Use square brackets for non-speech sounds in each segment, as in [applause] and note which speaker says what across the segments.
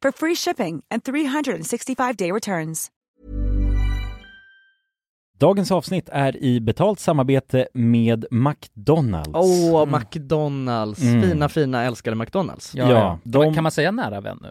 Speaker 1: for free shipping and 365-day returns.
Speaker 2: Dagens avsnitt är i betalt samarbete med McDonalds.
Speaker 3: Åh,
Speaker 4: Mm.
Speaker 3: McDonalds.
Speaker 2: Mm.
Speaker 3: Fina, fina, älskade McDonalds.
Speaker 2: Ja, ja. de-
Speaker 4: Kan man säga nära vän nu?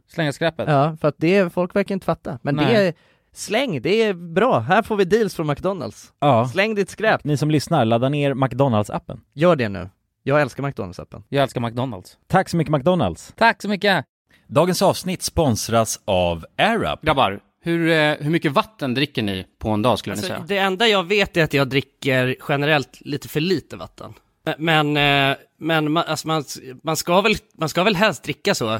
Speaker 4: Slänga skräpet.
Speaker 3: Ja, för att det, folk verkar inte fatta. Men det
Speaker 4: Nej.
Speaker 3: är, släng, det är bra. Här får vi deals från McDonalds.
Speaker 2: Ja.
Speaker 3: Släng ditt skräp.
Speaker 2: Ni som lyssnar, ladda ner McDonalds-appen.
Speaker 3: Gör det nu. Jag älskar McDonalds-appen.
Speaker 4: Jag älskar McDonalds.
Speaker 2: Tack så mycket McDonalds!
Speaker 4: Tack så mycket!
Speaker 2: Dagens avsnitt sponsras av AirUp.
Speaker 5: Grabbar, hur, eh, hur mycket vatten dricker ni på en dag skulle ni
Speaker 6: Alltså,
Speaker 5: säga?
Speaker 6: det enda jag vet är att jag dricker generellt lite för lite vatten. Men, eh, men man, alltså man, man, ska väl, man ska väl helst dricka så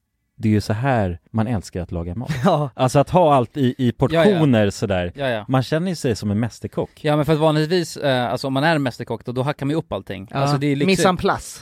Speaker 2: det är ju så här man älskar att
Speaker 7: [laughs]
Speaker 2: laga mat.
Speaker 7: Ja.
Speaker 2: Alltså att ha allt i, i portioner sådär.
Speaker 8: Ja, ja.
Speaker 2: Man känner ju sig som en mästerkock.
Speaker 8: Ja men för att vanligtvis, eh, alltså om man är mästerkock då, då hackar man ju upp allting.
Speaker 7: Ja.
Speaker 8: Alltså det är liksom,
Speaker 7: Mise en place.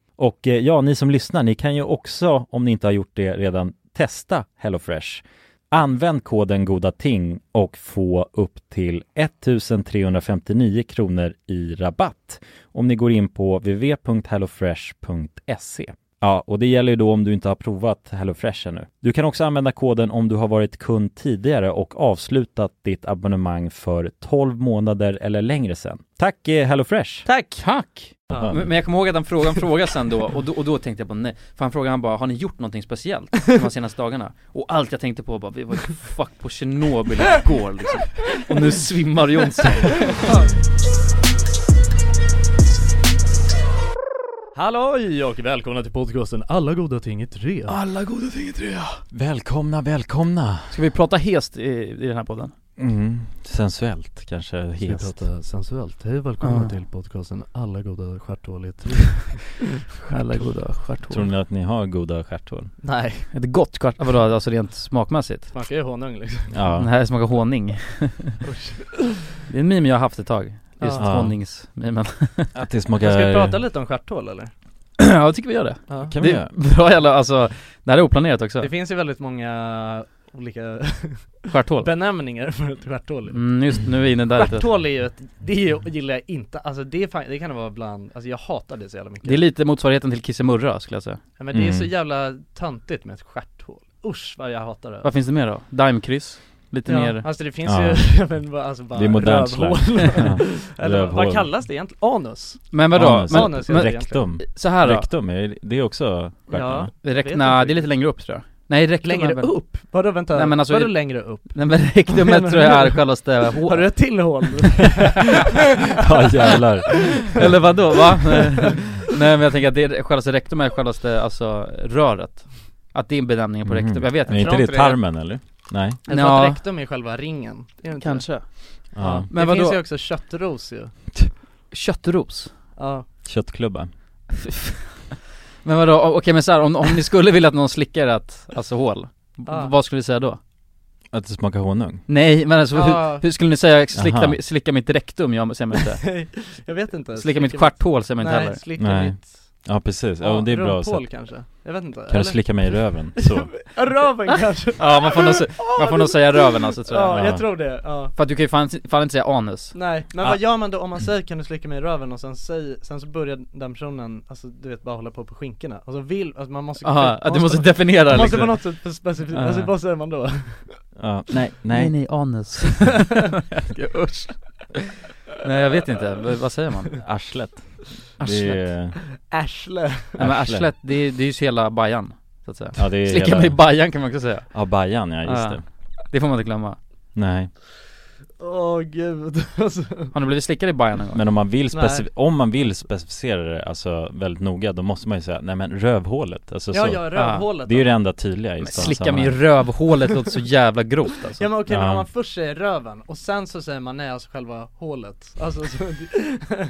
Speaker 2: Och eh, ja, ni som lyssnar, ni kan ju också, om ni inte har gjort det redan, testa HelloFresh. Använd koden goda ting och få upp till 1359 kronor i rabatt om ni går in på www.hellofresh.se. Ja, och det gäller ju då om du inte har provat HelloFresh ännu. Du kan också använda koden om du har varit kund tidigare och avslutat ditt abonnemang för 12 månader eller längre sedan. Tack eh, HelloFresh!
Speaker 3: Tack!
Speaker 8: Tack! Men men jag kommer ihåg att han frågade en fråga sen då och, då och då tänkte jag på nej. För han frågade han bara, har ni gjort någonting speciellt de här senaste dagarna? Och allt jag tänkte på var bara, vi var ju fuck på Tjernobyl igår liksom. Och nu svimmar Jonsson.
Speaker 3: Halloj och välkomna till podcasten Alla goda ting i tre.
Speaker 2: Alla goda ting i trea! Välkomna, välkomna!
Speaker 4: Ska vi prata hest i, i den här podden?
Speaker 2: Mm, sensuellt kanske hest.
Speaker 3: sensuellt. Hej
Speaker 4: välkomna till
Speaker 3: podcasten Alla goda stjärthål [laughs] i tre.
Speaker 4: Alla goda
Speaker 2: Tror
Speaker 4: stjärthår
Speaker 2: ni att ni har goda stjärthål?
Speaker 4: [laughs]
Speaker 3: Nej,
Speaker 4: Ett gott stjärt... Vadå, alltså rent smakmässigt?
Speaker 3: smakar ju honung liksom.
Speaker 2: Ja.
Speaker 4: Den här smakar
Speaker 5: [laughs]
Speaker 4: honung Det är en meme jag har haft ett tag Just
Speaker 2: Ja.
Speaker 4: honungsmimen
Speaker 2: Att det
Speaker 3: Ska vi prata
Speaker 2: smakar...
Speaker 3: lite om stjärthål eller?
Speaker 4: [clears throat] Ja, jag tycker vi gör det
Speaker 3: Ja.
Speaker 2: Kan vi
Speaker 4: Det
Speaker 2: göra?
Speaker 4: är bra jävla, alltså Det här är oplanerat också
Speaker 3: Det finns ju väldigt många olika [laughs]
Speaker 4: Stjärthål
Speaker 3: benämningar för ett stjärthål.
Speaker 4: Mm, just nu är vi inne där lite
Speaker 3: Stjärthål är ju ett, det är ju- gillar jag inte, alltså det, är fan, det kan vara bland, alltså jag hatar det så jävla mycket
Speaker 4: Det är lite motsvarigheten till kissemurra skulle jag säga
Speaker 3: ja, Men det är så
Speaker 2: Mm.
Speaker 3: jävla töntigt med ett stjärthål, usch vad jag hatar det
Speaker 4: Vad finns det mer då? Daimkryss? Lite
Speaker 3: ja,
Speaker 4: mer
Speaker 3: Alltså det finns
Speaker 2: Ja.
Speaker 3: ju, [laughs] ja, men bara- alltså bara
Speaker 2: Det är modernt
Speaker 3: rövhål
Speaker 4: [laughs]
Speaker 2: Ja.
Speaker 3: Eller
Speaker 2: Rövhål.
Speaker 3: vad kallas det egentligen? Anus?
Speaker 4: Men vadå?
Speaker 2: Anus.
Speaker 4: Men,
Speaker 3: Anus,
Speaker 4: men,
Speaker 3: det
Speaker 2: Rektum.
Speaker 4: så här då?
Speaker 2: Rektum, är det är också
Speaker 3: Ja.
Speaker 2: stjärthål?
Speaker 3: vet
Speaker 4: Räkna,
Speaker 3: inte
Speaker 4: det är lite längre upp tror jag Nej rektum är
Speaker 3: Längre
Speaker 4: väl-
Speaker 3: upp? Vadå vänta,
Speaker 4: Nej, men alltså-
Speaker 3: vadå längre upp?
Speaker 4: Nej men rektumet tror jag är självaste
Speaker 3: [laughs] Har du ett
Speaker 4: [laughs]
Speaker 3: till hål?
Speaker 2: Ja
Speaker 3: [laughs]
Speaker 2: jävlar.
Speaker 4: Eller vadå va? [laughs] Nej men jag tänker att det är självaste rektum är självaste alltså röret Att det är benämningen på rektum, jag vet inte
Speaker 2: Är Mm. inte
Speaker 3: tror
Speaker 2: det
Speaker 3: inte det.
Speaker 2: tarmen eller? Nej?
Speaker 3: Jag tror
Speaker 4: Ja.
Speaker 3: att rektum är själva ringen, är det inte
Speaker 4: Kanske
Speaker 2: Ja.
Speaker 3: Men
Speaker 4: Men
Speaker 3: det finns
Speaker 4: vadå?
Speaker 3: ju också köttros ju
Speaker 4: Köttros
Speaker 3: Ja,
Speaker 2: Köttklubba.
Speaker 4: Men vadå, O- okej men så här, om, om ni skulle vilja att någon slickar ett, alltså hål b-
Speaker 3: Ah.
Speaker 4: Vad skulle ni säga då?
Speaker 2: Att det smakar honung.
Speaker 4: Nej men alltså
Speaker 3: Ah.
Speaker 4: hur, hur skulle ni säga slicka,
Speaker 2: Aha.
Speaker 4: mi- slicka mitt rektum? Jag säger man
Speaker 3: [laughs]
Speaker 4: inte
Speaker 3: jag vet inte
Speaker 4: Slicka mitt stjärthål säger man inte
Speaker 3: Nej,
Speaker 4: heller
Speaker 3: slicka
Speaker 2: Nej.
Speaker 3: mitt
Speaker 2: Ja precis, ja, det är bra
Speaker 3: rumphål
Speaker 2: sätt.
Speaker 3: kanske, jag vet inte
Speaker 2: Kan du slicka mig i
Speaker 4: [laughs]
Speaker 2: röven? Så.
Speaker 3: [laughs] Ja, Röven kanske?
Speaker 4: Ah! Ja man får nog,
Speaker 3: [laughs]
Speaker 4: se- man får nog säga röven alltså tror jag
Speaker 3: Ja,
Speaker 2: Ja.
Speaker 3: jag tror det, ja
Speaker 4: För att du kan ju fan, fan inte säga anus
Speaker 3: Nej, men
Speaker 2: Ah.
Speaker 3: vad gör man då om man säger kan du slicka mig i röven och sen säger, sen så börjar den personen, alltså du vet bara hålla på på skinkorna, alltså vill, alltså man måste
Speaker 4: Aha, att du
Speaker 3: man
Speaker 4: måste definiera
Speaker 3: man måste
Speaker 4: liksom
Speaker 3: på något sätt specifikt,
Speaker 4: Ah.
Speaker 3: alltså vad säger man då?
Speaker 2: Ja. Nej, nej.
Speaker 4: nej, anus Usch Nej jag vet inte, V- vad säger man?
Speaker 3: [laughs]
Speaker 2: Arslet. Det
Speaker 4: Arslet?
Speaker 2: är,
Speaker 3: Arsle
Speaker 4: Nej men
Speaker 2: arsle.
Speaker 4: arslet, det är, det är ju så hela bajan så att säga
Speaker 2: ja det är
Speaker 4: Slicka
Speaker 2: hela-
Speaker 4: mig i bajan kan man också säga,
Speaker 2: Ja bajan, ja just
Speaker 4: Ja.
Speaker 2: det.
Speaker 4: det får man inte glömma
Speaker 2: Nej.
Speaker 3: Åh gud, [laughs] alltså
Speaker 4: Har ni blivit slickad i bajan någon gång?
Speaker 2: Men om man vill,
Speaker 3: Nej.
Speaker 2: specif- om man vill specificera det alltså väldigt noga då måste man ju säga, nej men rövhålet, alltså
Speaker 3: Ja
Speaker 2: så.
Speaker 3: ja, rövhålet
Speaker 2: Det är ju
Speaker 3: då.
Speaker 2: det enda tydliga i
Speaker 4: Men
Speaker 2: sådana
Speaker 4: slicka mig i
Speaker 2: sammanhang.
Speaker 4: rövhålet låter så jävla grovt alltså
Speaker 3: Ja men okej, men
Speaker 2: Ja.
Speaker 3: om man först säger röven och sen så säger man nej alltså själva hålet, alltså så,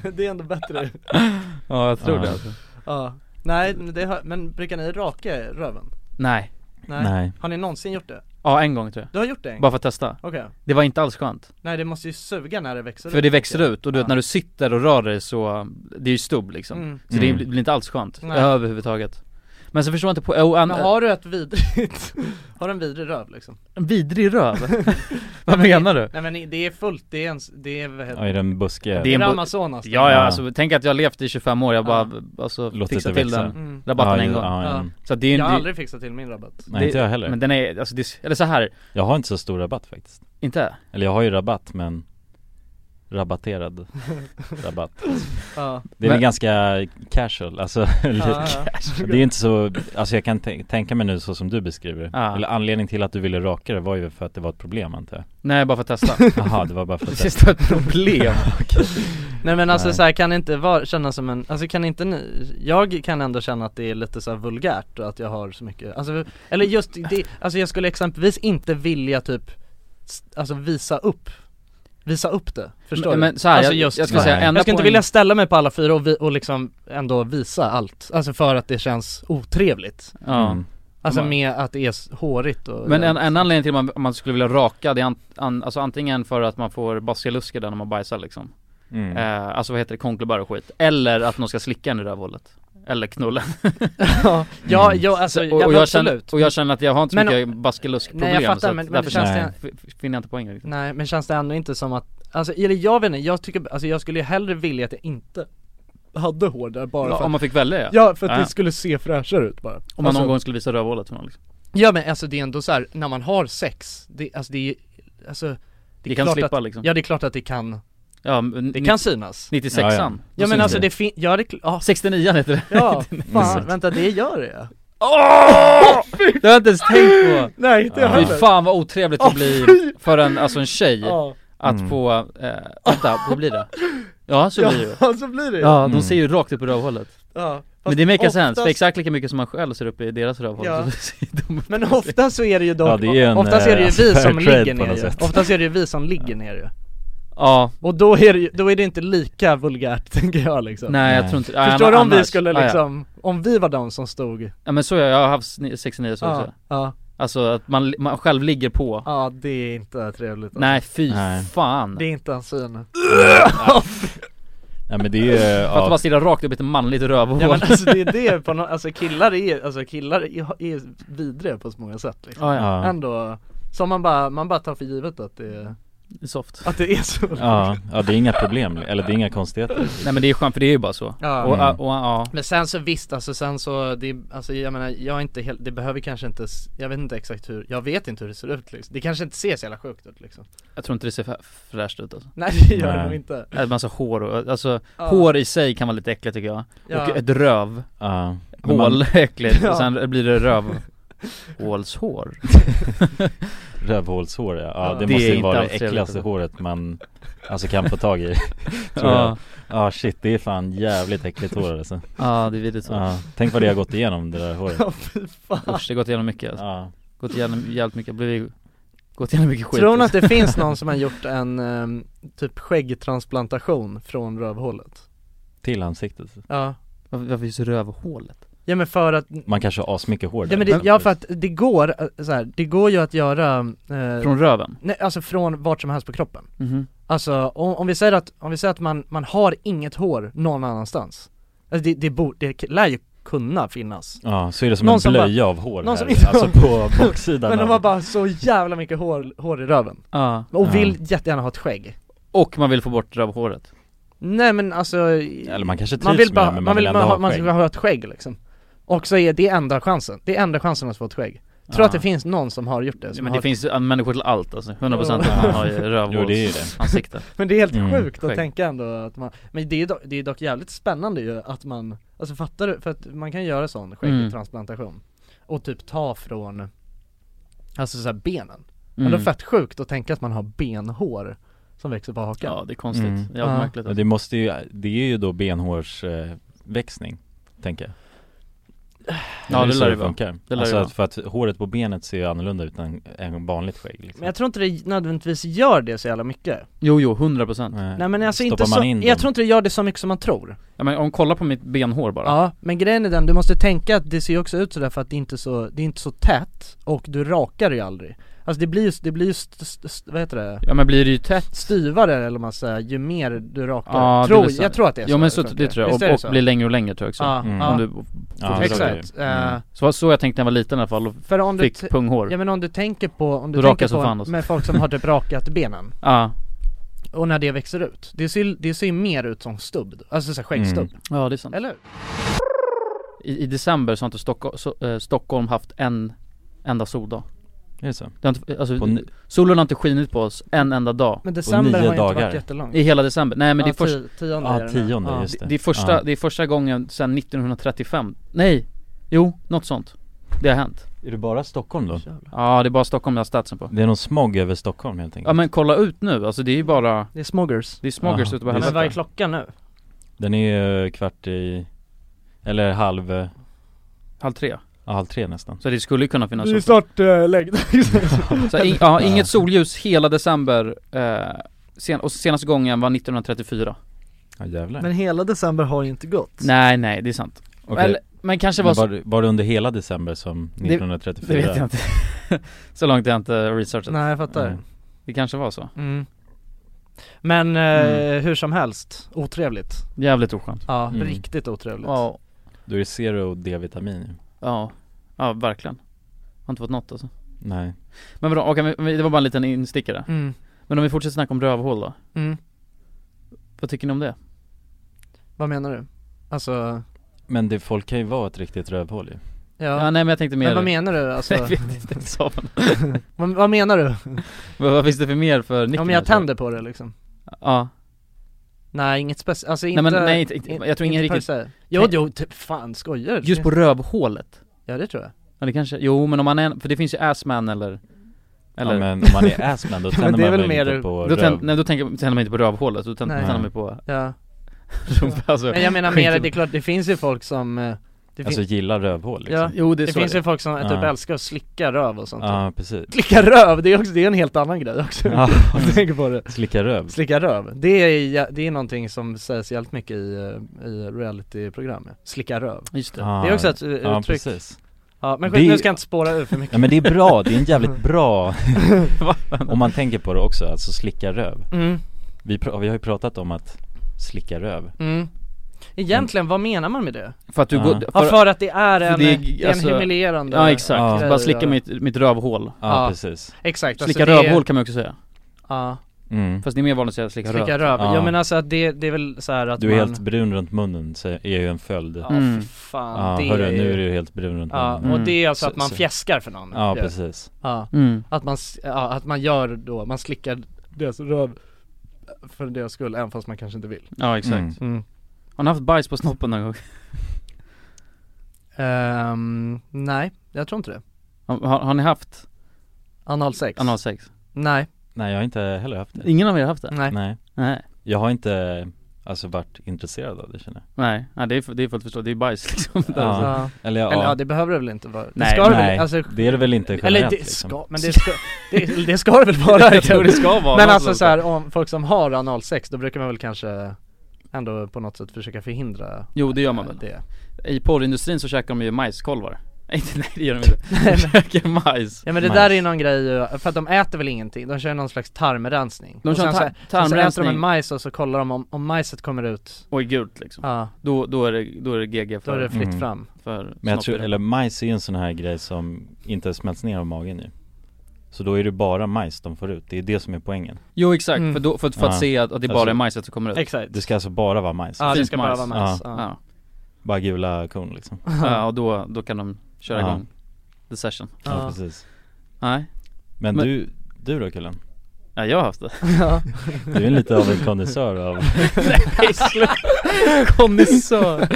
Speaker 3: det, [laughs] det är ändå bättre
Speaker 4: [laughs] Ja jag tror
Speaker 2: Ja.
Speaker 4: det alltså.
Speaker 3: Ja, nej men det har, men brukar ni raka er röven?
Speaker 4: Nej,
Speaker 3: Nej.
Speaker 2: Nej.
Speaker 3: Har ni någonsin gjort det?
Speaker 4: ja en gång tror jag
Speaker 3: Du har gjort det en gång?
Speaker 4: Bara för att testa,
Speaker 3: Okej,
Speaker 4: det var inte alls skönt
Speaker 3: nej det måste ju suga när det växer
Speaker 4: För det växer
Speaker 3: tänker jag.
Speaker 4: ut och du vet
Speaker 3: Ja.
Speaker 4: när du sitter och rör dig så, det är ju stubb liksom
Speaker 3: Mm.
Speaker 4: Så det
Speaker 2: Mm.
Speaker 4: blir inte alls skönt,
Speaker 3: Nej.
Speaker 4: överhuvudtaget Men så förstår jag inte på, oh, an,
Speaker 3: Men har du ett vidrigt, [laughs] har du en vidrig röv liksom?
Speaker 4: en vidrig röv?
Speaker 3: [laughs]
Speaker 4: [laughs] Vad menar du?
Speaker 3: Nej men det är fullt, det är en, det är vad heter
Speaker 2: Ja, i den buske.
Speaker 4: Det är
Speaker 3: det?
Speaker 4: en
Speaker 3: är
Speaker 4: bu-
Speaker 3: Amazonas då.
Speaker 4: Ja ja,
Speaker 2: Ja.
Speaker 4: alltså tänk att jag har levt i 25 år, jag bara alltså
Speaker 2: Låter
Speaker 4: fixar
Speaker 2: det
Speaker 4: till
Speaker 2: växa.
Speaker 4: den
Speaker 3: Mm.
Speaker 4: rabatten en gång
Speaker 2: Ja, ja.
Speaker 4: Så att det är
Speaker 3: Jag har
Speaker 4: inte,
Speaker 3: aldrig fixat till min rabatt
Speaker 2: Nej
Speaker 4: det-
Speaker 2: inte jag heller.
Speaker 4: men den är, alltså det, är- eller så här
Speaker 2: Jag har inte så stor rabatt faktiskt.
Speaker 4: inte?
Speaker 2: Eller jag har ju rabatt men
Speaker 4: [laughs]
Speaker 2: rabatterad rabatt.
Speaker 3: Ja,
Speaker 2: Det är väl
Speaker 4: Men-
Speaker 2: ganska casual, alltså
Speaker 3: ja, ja.
Speaker 2: [laughs] Det är inte så, alltså jag kan tän- tänka mig nu så som du beskriver
Speaker 4: Ja.
Speaker 2: Eller anledningen till att du ville raka det var ju för att det var ett problem antar jag
Speaker 4: Nej bara för att
Speaker 3: [laughs]
Speaker 4: testa
Speaker 2: Jaha, det var bara för
Speaker 4: Det
Speaker 2: att
Speaker 4: sista är ett problem
Speaker 3: Nej men alltså
Speaker 2: Nej.
Speaker 3: så här, kan det inte vara, kännas som en, alltså kan inte ni, jag kan ändå känna att det är lite så här vulgärt och att jag har så mycket, alltså, eller just det, alltså jag skulle exempelvis inte vilja typ, s- alltså visa upp, visa upp det, förstår
Speaker 4: Men-
Speaker 3: du?
Speaker 4: Men så här,
Speaker 3: alltså
Speaker 4: jag,
Speaker 3: just,
Speaker 4: jag ska säga
Speaker 2: Nej.
Speaker 4: enda
Speaker 3: jag skulle inte
Speaker 4: poäng-
Speaker 3: vilja ställa mig på alla fyra och, vi, och liksom ändå visa allt, alltså för att det känns otrevligt
Speaker 4: [laughs] ja.
Speaker 2: Mm.
Speaker 3: Alltså
Speaker 4: Men-
Speaker 3: med att det är s- hårigt och
Speaker 4: Men en, en anledning till att man, man skulle vilja raka, det är an, an, alltså antingen för att man får basilusker där när man bajsar liksom
Speaker 2: Mm.
Speaker 4: eh, Alltså vad heter det, konklebar och skit Eller att någon ska slicka en i rövhålet Eller knulla
Speaker 3: Ja, [laughs] ja, ja alltså,
Speaker 4: Så- [laughs] och, Mm.
Speaker 3: ja,
Speaker 4: och,
Speaker 3: men
Speaker 4: jag
Speaker 3: absolut
Speaker 4: känner, och jag känner att jag har inte så
Speaker 3: Men-
Speaker 4: mycket baskeluskproblem
Speaker 3: Nej, jag fattar,
Speaker 4: så att
Speaker 3: men- men
Speaker 4: därför
Speaker 3: det känns
Speaker 4: känner jag- f- [laughs] finner jag inte liksom. poängen riktigt
Speaker 3: Nej men känns det ändå inte som att, alltså eller jag vet inte, jag tycker, alltså jag skulle ju hellre vilja att jag inte hade hår där bara
Speaker 4: Ja,
Speaker 3: för
Speaker 4: Om
Speaker 3: att
Speaker 4: man fick välja
Speaker 3: Ja för att
Speaker 4: Ja.
Speaker 3: det skulle se fräschare ut bara
Speaker 4: Om man
Speaker 3: alltså,
Speaker 4: någon gång skulle visa rövhålet för någon liksom.
Speaker 3: Ja men alltså det är ändå så här, när man har sex, det, alltså det är, alltså det,
Speaker 4: Det kan
Speaker 3: klart
Speaker 4: slippa
Speaker 3: att,
Speaker 4: liksom
Speaker 3: Ja det är klart att det kan,
Speaker 4: Ja, men
Speaker 3: det
Speaker 4: ni-
Speaker 3: kan synas
Speaker 4: 96an
Speaker 2: Ja, ja.
Speaker 3: Ja men
Speaker 2: syns
Speaker 3: alltså
Speaker 2: det.
Speaker 3: det finns, ja det, är kl- ja,
Speaker 4: 69 heter det
Speaker 3: [laughs]
Speaker 4: [laughs]
Speaker 3: ja, fan, vänta det gör det ja
Speaker 4: Det har jag inte ens tänkt på!
Speaker 3: Nej inte jag
Speaker 4: Fy
Speaker 3: heller
Speaker 4: fan vad otrevligt det blir för en, alltså en tjej
Speaker 3: Ja,
Speaker 4: att
Speaker 2: Mm.
Speaker 4: få, eh, vänta, vad blir det? Ja så blir det ju
Speaker 3: ja så blir det ju.
Speaker 4: Ja, de
Speaker 2: Mm.
Speaker 4: ser ju rakt upp i rövhålet
Speaker 3: ja.
Speaker 4: Men
Speaker 3: Fast
Speaker 4: det makes sense,
Speaker 3: oftast-
Speaker 4: för exakt lika mycket som man själv ser upp i deras rövhål
Speaker 3: Ja.
Speaker 4: så [laughs] ser de upp
Speaker 3: Men ofta så är det ju dock,
Speaker 2: Ja, det är ju en,
Speaker 3: oftast är det ju
Speaker 2: eh,
Speaker 3: vi
Speaker 2: fair
Speaker 3: som
Speaker 2: trade
Speaker 3: ligger
Speaker 2: på
Speaker 3: ner
Speaker 2: något
Speaker 3: ju.
Speaker 2: sätt.
Speaker 3: Oftast är det ju vi som ligger ner ju
Speaker 4: Ja,
Speaker 3: Och då är det ju, då är det inte lika vulgärt [laughs] tänker jag liksom
Speaker 4: nej jag
Speaker 2: Nej.
Speaker 4: tror inte, ja,
Speaker 3: Förstår du om vi
Speaker 4: annars-
Speaker 3: skulle
Speaker 4: ja, ja.
Speaker 3: liksom, om vi var de som stod
Speaker 4: Ja men så är jag, jag har haft sni- 69 så
Speaker 3: Ja,
Speaker 4: också
Speaker 3: ja,
Speaker 4: Alltså att man, man själv ligger på
Speaker 3: ja det är inte trevligt alltså.
Speaker 4: Nej fy
Speaker 2: Nej.
Speaker 4: fan!
Speaker 3: Det är inte en syn
Speaker 2: Ja men det är ju,
Speaker 4: För att
Speaker 2: ja,
Speaker 4: bara stirra rakt upp i ett manligt rövhål
Speaker 3: Ja men [laughs] alltså det är det på no- alltså killar är, alltså killar är, är vidriga på så många sätt liksom.
Speaker 4: ja, ja.
Speaker 2: ja,
Speaker 3: Ändå, som man bara, man bara tar för givet att det,
Speaker 4: soft
Speaker 3: att det är så
Speaker 2: ja, ja det är inga problem, eller det är inga konstigheter
Speaker 4: Nej men det är skönt för det är ju bara så
Speaker 3: Ja.
Speaker 4: och,
Speaker 2: Mm.
Speaker 4: och, och, ja.
Speaker 3: Men sen så visst, alltså sen så, det, alltså jag menar, jag är inte helt, det behöver kanske inte, s- jag vet inte exakt hur, jag vet inte hur det ser ut liksom. Det kanske inte ser så jävla sjukt ut liksom [laughs]
Speaker 4: Jag tror inte det ser fä- fräscht ut alltså.
Speaker 3: Nej det gör det
Speaker 2: Nej.
Speaker 3: nog inte
Speaker 4: Äh, Massa hår och, alltså
Speaker 3: Ja.
Speaker 4: hår i sig kan vara lite äckligt tycker jag
Speaker 3: Ja.
Speaker 4: Och eh, ett röv,
Speaker 2: Ja, Men man-
Speaker 4: hål, [laughs] äckligt
Speaker 3: Ja.
Speaker 4: och sen blir det röv Hålshår
Speaker 2: Rövhålshår ja, ja det,
Speaker 3: Det
Speaker 2: måste
Speaker 4: är
Speaker 2: ju
Speaker 4: inte
Speaker 2: vara det
Speaker 4: alls trevligt,
Speaker 2: äckligaste
Speaker 4: alltså.
Speaker 2: håret man Alltså kan få tag
Speaker 3: [laughs]
Speaker 2: i Tror
Speaker 4: Ja,
Speaker 2: jag. Ja shit, det är fan jävligt äckligt hår alltså
Speaker 4: ja det är vidrigt så
Speaker 2: ja, Tänk vad det har gått igenom det där håret
Speaker 3: [laughs] Ja fy fan
Speaker 4: Usch det har gått igenom mycket alltså.
Speaker 2: Ja,
Speaker 4: Gått igenom jävligt mycket, blivit Gått igenom mycket skit alltså.
Speaker 3: Tror ni att det finns någon som har gjort en ehm, typ skäggtransplantation från rövhålet?
Speaker 2: till ansiktet alltså.
Speaker 3: Ja
Speaker 4: Varför, varför just rövhålet?
Speaker 3: Ja men för att,
Speaker 2: Man kanske har asmycket hår
Speaker 3: ja men det, ja för att det går, eh, så här, det går ju att göra, eh,
Speaker 4: Från röven?
Speaker 3: nej, alltså från vart som helst på kroppen
Speaker 4: Mhm
Speaker 3: Alltså om, om vi säger att, om vi säger att man, man har inget hår någon annans alltså, det, det, bor, det k- lär ju kunna finnas
Speaker 2: Ja, så är det som
Speaker 3: Någon
Speaker 2: en
Speaker 3: som bara-
Speaker 2: blöja av hår
Speaker 3: någon
Speaker 2: här,
Speaker 3: som inte-
Speaker 2: alltså på baksidan
Speaker 3: [laughs] Men de
Speaker 2: av-
Speaker 3: har bara så jävla mycket hår, hår i röven
Speaker 4: Ja
Speaker 3: Och
Speaker 2: Ja.
Speaker 3: vill jättegärna ha ett skägg
Speaker 4: Och man vill få bort rövhåret
Speaker 3: Nej men alltså
Speaker 2: Eller man kanske trivs
Speaker 3: man vill
Speaker 2: med
Speaker 3: bara,
Speaker 2: det, men man vill ändå
Speaker 3: ha,
Speaker 2: ha
Speaker 3: man
Speaker 2: skägg.
Speaker 3: vill ha ett skägg liksom Och så är det enda chansen, det är enda chansen att få ett skägg Tror
Speaker 4: Ja.
Speaker 3: att det finns någon som har gjort det? Som
Speaker 4: Men
Speaker 3: har,
Speaker 4: det finns ju människor till allt alltså, 100% procent
Speaker 2: Ja.
Speaker 4: man har ju
Speaker 2: Jo det är ju det
Speaker 4: rövhålsansikte
Speaker 3: men det är helt
Speaker 2: Mm,
Speaker 3: sjukt att
Speaker 4: skägg.
Speaker 3: tänka ändå att man Men det är, dock, det är dock jävligt spännande ju att man Alltså fattar du? För att man kan göra
Speaker 2: Mm.
Speaker 3: sån skäggtransplantation Och typ ta från Alltså såhär benen
Speaker 2: Mm.
Speaker 4: Mm.
Speaker 3: Men det är fett sjukt att tänka att man har benhår Som växer på hakan
Speaker 4: Ja det är konstigt,
Speaker 2: Mm.
Speaker 4: jävligt
Speaker 3: Ja.
Speaker 4: märkligt
Speaker 2: Men
Speaker 4: alltså.
Speaker 2: det måste ju, det är ju då benhårsväxning, tänker jag
Speaker 4: Ja,
Speaker 2: Eller
Speaker 4: det
Speaker 2: så
Speaker 4: lär det vara.
Speaker 2: funkar.
Speaker 4: Det lär
Speaker 2: Alltså
Speaker 4: det
Speaker 2: att, för att håret på benet ser ju annorlunda ut än, än vanligt skägg liksom.
Speaker 3: Men jag tror inte det nödvändigtvis gör det så jävla mycket
Speaker 4: Jo jo, 100% procent
Speaker 2: Nej.
Speaker 3: Nej men alltså
Speaker 2: Eh, Stoppar
Speaker 3: inte
Speaker 2: man
Speaker 3: så,
Speaker 2: in
Speaker 3: jag
Speaker 2: dem?
Speaker 3: tror inte det gör det så mycket som man tror
Speaker 4: ja, men om kolla på mitt benhår bara
Speaker 3: Ja, men grejen är den, du måste tänka att det ser ju också ut sådär för att det är inte så, det är inte så tätt och du rakar det ju aldrig Alltså Alltså det blir ju, det blir ju, st, st, st, vad heter det?
Speaker 4: Ja men blir det ju tätt
Speaker 3: Styvare eller vad man säger, ju mer du rakar
Speaker 4: Ja, det är
Speaker 3: tror,
Speaker 4: väl så.
Speaker 3: Jag tror att det är så
Speaker 4: Jo men så, det
Speaker 3: funkar.
Speaker 4: tror jag,
Speaker 3: Visst är det
Speaker 4: och,
Speaker 3: så?
Speaker 4: och blir längre och längre tror jag också
Speaker 3: Ja,
Speaker 2: Mm.
Speaker 3: ja,
Speaker 4: Om du,
Speaker 2: Ja,
Speaker 3: exakt,
Speaker 2: Mm.
Speaker 3: Eh,
Speaker 4: så, så jag tänkte när jag var liten i alla fall och
Speaker 3: för om du,
Speaker 4: fick
Speaker 3: t-
Speaker 4: punghår
Speaker 3: ja men om du tänker på, om du
Speaker 4: Då rakar
Speaker 3: tänker
Speaker 4: som fan alltså.
Speaker 3: på
Speaker 4: också.
Speaker 3: med folk som har typ rakat benen
Speaker 4: Ja,
Speaker 3: och när det växer ut, det ser, ju- det ser ju mer ut som stubb, då. alltså såhär skäggstubb,
Speaker 4: ja det är sant
Speaker 3: eller hur?
Speaker 4: I, I december så har inte Stocko- så, eh, Stockholm haft en enda soldag
Speaker 2: Är det så?
Speaker 4: det har inte, alltså,
Speaker 2: På ni-
Speaker 4: Solen har inte skinit på oss en enda dag
Speaker 3: Men december har ju
Speaker 2: nio
Speaker 3: inte varit
Speaker 2: dagar.
Speaker 3: jättelång
Speaker 4: I hela december, nej men det är först,
Speaker 3: ti- tionde är
Speaker 2: Ja,
Speaker 3: det nu.
Speaker 2: tionde,
Speaker 3: Ja.
Speaker 2: just det
Speaker 4: Det är första,
Speaker 2: Ja.
Speaker 4: det är första gången sedan 1935 Nej, jo, något sånt Det har hänt
Speaker 2: Är det bara Stockholm då?
Speaker 4: Ja det är bara Stockholm jag har statsen på
Speaker 2: Det är någon smog över Stockholm helt enkelt
Speaker 4: Ja men kolla ut nu, alltså det är ju bara
Speaker 3: Det är smoggers
Speaker 4: Det är smoggers
Speaker 2: Aha.
Speaker 4: ute på
Speaker 2: Men
Speaker 3: Men vad är
Speaker 4: helvete
Speaker 3: klockan nu?
Speaker 2: Den är ju kvart i, eller halv, eh,
Speaker 4: Halv tre
Speaker 2: ja, halv tre nästan
Speaker 4: Så Mm. det skulle ju kunna finnas sol.
Speaker 3: snart äh, lägg [laughs]
Speaker 4: Så in, ja, inget solljus hela december eh, sen, Och senaste gången var 1934
Speaker 2: Ja jävlar
Speaker 3: Men hela december har ju inte gått
Speaker 4: Nej nej, det är sant
Speaker 2: Okej.
Speaker 4: Eller, Men kanske
Speaker 2: Men
Speaker 4: var,
Speaker 2: var,
Speaker 4: så,
Speaker 2: det- var det under hela december som
Speaker 4: Det- det
Speaker 2: 1934?
Speaker 4: vet jag inte [laughs] Så långt har jag inte researchat
Speaker 3: Nej jag fattar
Speaker 2: Nej.
Speaker 4: Det kanske var så
Speaker 3: Mm. Men eh, hur som helst, otrevligt
Speaker 4: Jävligt oskönt
Speaker 3: Ja,
Speaker 2: Mm.
Speaker 3: riktigt otrevligt
Speaker 4: Ja,
Speaker 2: Då är det zero D-vitamin
Speaker 4: ja, ja verkligen Har inte fått något alltså
Speaker 2: Nej
Speaker 4: Men vadå, okej, men- men det var bara en liten instickare
Speaker 3: mm.
Speaker 4: Men om vi fortsätter snacka om rövhål då
Speaker 3: Mm.
Speaker 4: Vad tycker ni om det?
Speaker 3: Vad menar du? Alltså,
Speaker 2: Men det, folk kan ju vara ett riktigt rövhål ju
Speaker 4: Ja,
Speaker 3: ja,
Speaker 4: nej men jag tänkte mer
Speaker 3: men vad menar du?
Speaker 4: [laughs]
Speaker 3: Alltså,
Speaker 4: Jag vet inte, det sa man.
Speaker 3: vad, vad menar du?
Speaker 4: Vad, vad finns det för mer för nickning?
Speaker 3: Om jag tänder på det liksom?
Speaker 4: Ja,
Speaker 3: Nej inget speciellt, alltså
Speaker 4: nej
Speaker 3: inte
Speaker 4: men nej, inte, inte, jag tror ingen
Speaker 3: per
Speaker 4: riktigt
Speaker 3: se. Jo, jo, typ, fan skojar du?
Speaker 4: Just på rövhålet?
Speaker 3: Ja det tror jag
Speaker 4: Ja det kanske, jo men om man är, för det finns ju assman eller eller,
Speaker 2: ja, men om man
Speaker 3: [laughs]
Speaker 2: är assman då
Speaker 3: Men
Speaker 2: tänder
Speaker 3: det är
Speaker 2: man
Speaker 3: väl
Speaker 2: väl
Speaker 3: mer-
Speaker 2: inte på
Speaker 4: då,
Speaker 2: röv...
Speaker 4: tänd, nej, då tänker, tänder man inte på rövhålet, då tänder,
Speaker 3: Nej.
Speaker 4: tänder man på
Speaker 3: Ja,
Speaker 4: [laughs] alltså,
Speaker 3: men jag menar
Speaker 4: skit i-
Speaker 3: mer, det är klart det finns ju folk som eh, det, fin-
Speaker 2: Alltså gillar rövhål liksom.
Speaker 3: Ja.
Speaker 4: Jo det är
Speaker 3: det
Speaker 4: så
Speaker 3: finns
Speaker 4: det
Speaker 3: ju
Speaker 4: är.
Speaker 3: folk som typ
Speaker 2: Ja.
Speaker 3: älskar att slicka röv och sånt
Speaker 2: Ja precis
Speaker 3: Slicka röv, det är, också, [laughs] det är en helt annan grej också
Speaker 2: Ja.
Speaker 3: [laughs] Jag tänker på det
Speaker 2: [laughs] Slicka röv
Speaker 3: Slicka röv, det är, jä- det är någonting som sägs jävligt mycket i, eh, i realityprogram ja. Slicka röv
Speaker 4: Just det,
Speaker 2: Ja.
Speaker 3: Det är också ett eh,
Speaker 2: Ja
Speaker 3: uttryck Ja,
Speaker 2: precis
Speaker 3: men
Speaker 2: Det
Speaker 3: skit,
Speaker 2: är-
Speaker 3: nu ska jag inte spåra ur för
Speaker 2: [laughs]
Speaker 3: mycket
Speaker 2: Ja men det är bra, det är en
Speaker 3: [laughs]
Speaker 2: jävligt bra Om man tänker på det också, alltså slicka röv
Speaker 3: mm,
Speaker 2: Vi, pr- vi har ju pratat om att slicka röv
Speaker 3: mm. Egentligen, vad menar man med det?
Speaker 4: för att du
Speaker 2: Ja.
Speaker 4: går,
Speaker 3: Ja
Speaker 4: för,
Speaker 3: för att det är en,
Speaker 4: det
Speaker 3: det
Speaker 4: är-
Speaker 3: är,
Speaker 4: alltså-
Speaker 3: en humiljerande
Speaker 4: ja exakt,
Speaker 2: Ja.
Speaker 4: bara slicka mitt, mitt rövhål
Speaker 2: Ja,
Speaker 3: Ja.
Speaker 2: precis
Speaker 3: Exakt, alltså
Speaker 4: Slicka
Speaker 3: det är-
Speaker 4: rövhål kan man också säga,
Speaker 3: Ja,
Speaker 2: mm.
Speaker 4: fast det är mer vanligt att säga slicka röv
Speaker 3: slicka röv,
Speaker 2: Ja.
Speaker 3: ja men alltså att det, det är väl så här att
Speaker 2: Du är
Speaker 3: man
Speaker 2: helt brun runt munnen, så är ju en följd
Speaker 3: Ja
Speaker 2: Ja,
Speaker 3: mm.
Speaker 4: Mm.
Speaker 3: för fan, det
Speaker 2: ja hörru,
Speaker 3: är
Speaker 2: nu är du helt brun runt
Speaker 3: Ja,
Speaker 2: munnen
Speaker 3: och
Speaker 4: Mm.
Speaker 3: det är alltså
Speaker 2: Så-
Speaker 3: att man
Speaker 2: så-
Speaker 3: fjäskar för någon
Speaker 2: Ja,
Speaker 3: ju.
Speaker 2: precis
Speaker 3: ja.
Speaker 4: Mm.
Speaker 3: Att man, s- ja, att man gör då, man slickar deras röv för deras skull, även fast man kanske inte vill
Speaker 4: Ja exakt
Speaker 2: Mm.
Speaker 4: Har ni haft bajs på snoppen någon gång?
Speaker 3: Ehm, nej, jag tror inte det
Speaker 4: Har, har, har ni haft
Speaker 3: Analsex?
Speaker 4: analsex?
Speaker 3: Nej,
Speaker 2: Nej jag har inte heller haft det
Speaker 4: Ingen av er har haft det?
Speaker 3: nej,
Speaker 2: Nej
Speaker 4: Nej,
Speaker 2: Jag har inte, alltså varit intresserad av det känner jag
Speaker 4: nej, nej det, är, fu- det är fullt förståeligt, det är bajs liksom där
Speaker 2: Ja.
Speaker 4: alltså.
Speaker 3: Ja.
Speaker 2: Eller ja,
Speaker 3: Eller ja,
Speaker 2: ja
Speaker 3: det behöver det väl inte vara?
Speaker 4: Nej,
Speaker 3: det ska det
Speaker 2: nej.
Speaker 3: väl, alltså,
Speaker 2: det är det väl inte generellt
Speaker 3: eller det
Speaker 2: liksom.
Speaker 3: ska, men det ska, det, det ska det väl vara?
Speaker 4: Jag tror det ska vara
Speaker 3: Men
Speaker 4: något
Speaker 3: alltså
Speaker 4: sånt.
Speaker 3: så här, om folk som har analsex, då brukar man väl kanske ändå på något sätt försöka förhindra
Speaker 4: Jo det gör man väl
Speaker 3: det
Speaker 4: I porrindustrin så käkar de ju majskolvar [laughs] Nej inte- nej, det gör de inte, de käkar majs
Speaker 3: Ja men det
Speaker 2: Nice.
Speaker 3: där är ju någon grej, ju, för att de äter väl ingenting, de kör någon slags tarmrensning
Speaker 4: De
Speaker 3: Och
Speaker 4: kör
Speaker 3: sen
Speaker 4: en
Speaker 3: så-
Speaker 4: tar-
Speaker 3: sen så äter de
Speaker 4: tarmrensning
Speaker 3: en majs och så kollar de om, om majset kommer ut,
Speaker 4: och är gult liksom
Speaker 3: ja,
Speaker 4: då, då, är det, då är det GG
Speaker 3: då är
Speaker 4: för,
Speaker 3: det fritt
Speaker 2: Mm.
Speaker 3: fram
Speaker 4: för
Speaker 2: Men jag
Speaker 4: snoppen.
Speaker 2: tror, eller majs är ju en sån här grej som inte smälts ner av magen ju Så då är det bara majs de får ut, det är det som är poängen
Speaker 4: Jo exakt,
Speaker 3: Mm.
Speaker 4: för, då, för, att- för att
Speaker 2: Ja.
Speaker 4: se att, att det bara
Speaker 2: Alltså-
Speaker 4: är majset som kommer ut
Speaker 3: Exakt
Speaker 2: Det ska alltså bara vara majs,
Speaker 3: Ja det
Speaker 4: fint
Speaker 3: ska bara
Speaker 4: majs.
Speaker 3: vara majs, ja.
Speaker 4: Ja,
Speaker 2: bara gula korn liksom
Speaker 4: ja och då, då kan de köra
Speaker 2: Ja.
Speaker 4: igång the session
Speaker 2: Ja,
Speaker 3: Ja.
Speaker 2: precis
Speaker 4: Nej,
Speaker 2: Men,
Speaker 4: Men-
Speaker 2: du, du då Kullen?
Speaker 4: ja, jag har haft det
Speaker 3: Ja.
Speaker 2: Du är lite av en kondensör av,
Speaker 4: Kondisör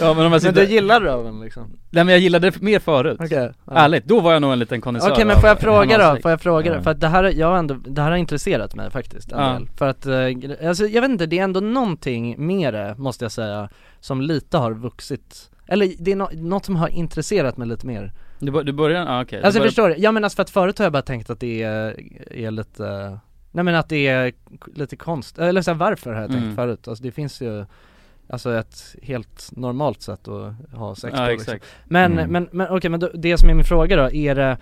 Speaker 4: Ja men om jag
Speaker 3: Men du
Speaker 4: sitter,
Speaker 3: gillar röven liksom?
Speaker 4: nej men jag gillade det mer förut
Speaker 3: Okej ja.
Speaker 4: Ärligt, då var jag nog en liten kondensör
Speaker 3: Okej men får jag
Speaker 4: av-
Speaker 3: fråga då,
Speaker 4: analsex.
Speaker 3: får jag fråga
Speaker 2: Ja.
Speaker 3: då? För att det här, jag har ändå, det här har intresserat mig faktiskt en
Speaker 4: Ja.
Speaker 3: del. För att, eh, gre- alltså, jag vet inte, det är ändå någonting med det måste jag säga Som lite har vuxit, eller det är nå- något som har intresserat mig lite mer
Speaker 4: Du, bör- du börjar, ah, okej
Speaker 3: Alltså
Speaker 4: du börjar,
Speaker 3: förstår du? Ja men alltså för att förut har jag bara tänkt att det är, är lite, nej men att det är k- lite konst, eller så här, varför har jag tänkt
Speaker 4: Mm.
Speaker 3: förut? Alltså det finns ju Alltså ett helt normalt sätt att ha sex på
Speaker 4: Ja
Speaker 3: liksom.
Speaker 4: exakt
Speaker 3: Men,
Speaker 2: Mm.
Speaker 3: men, men okej men då, det som är min fråga då, är det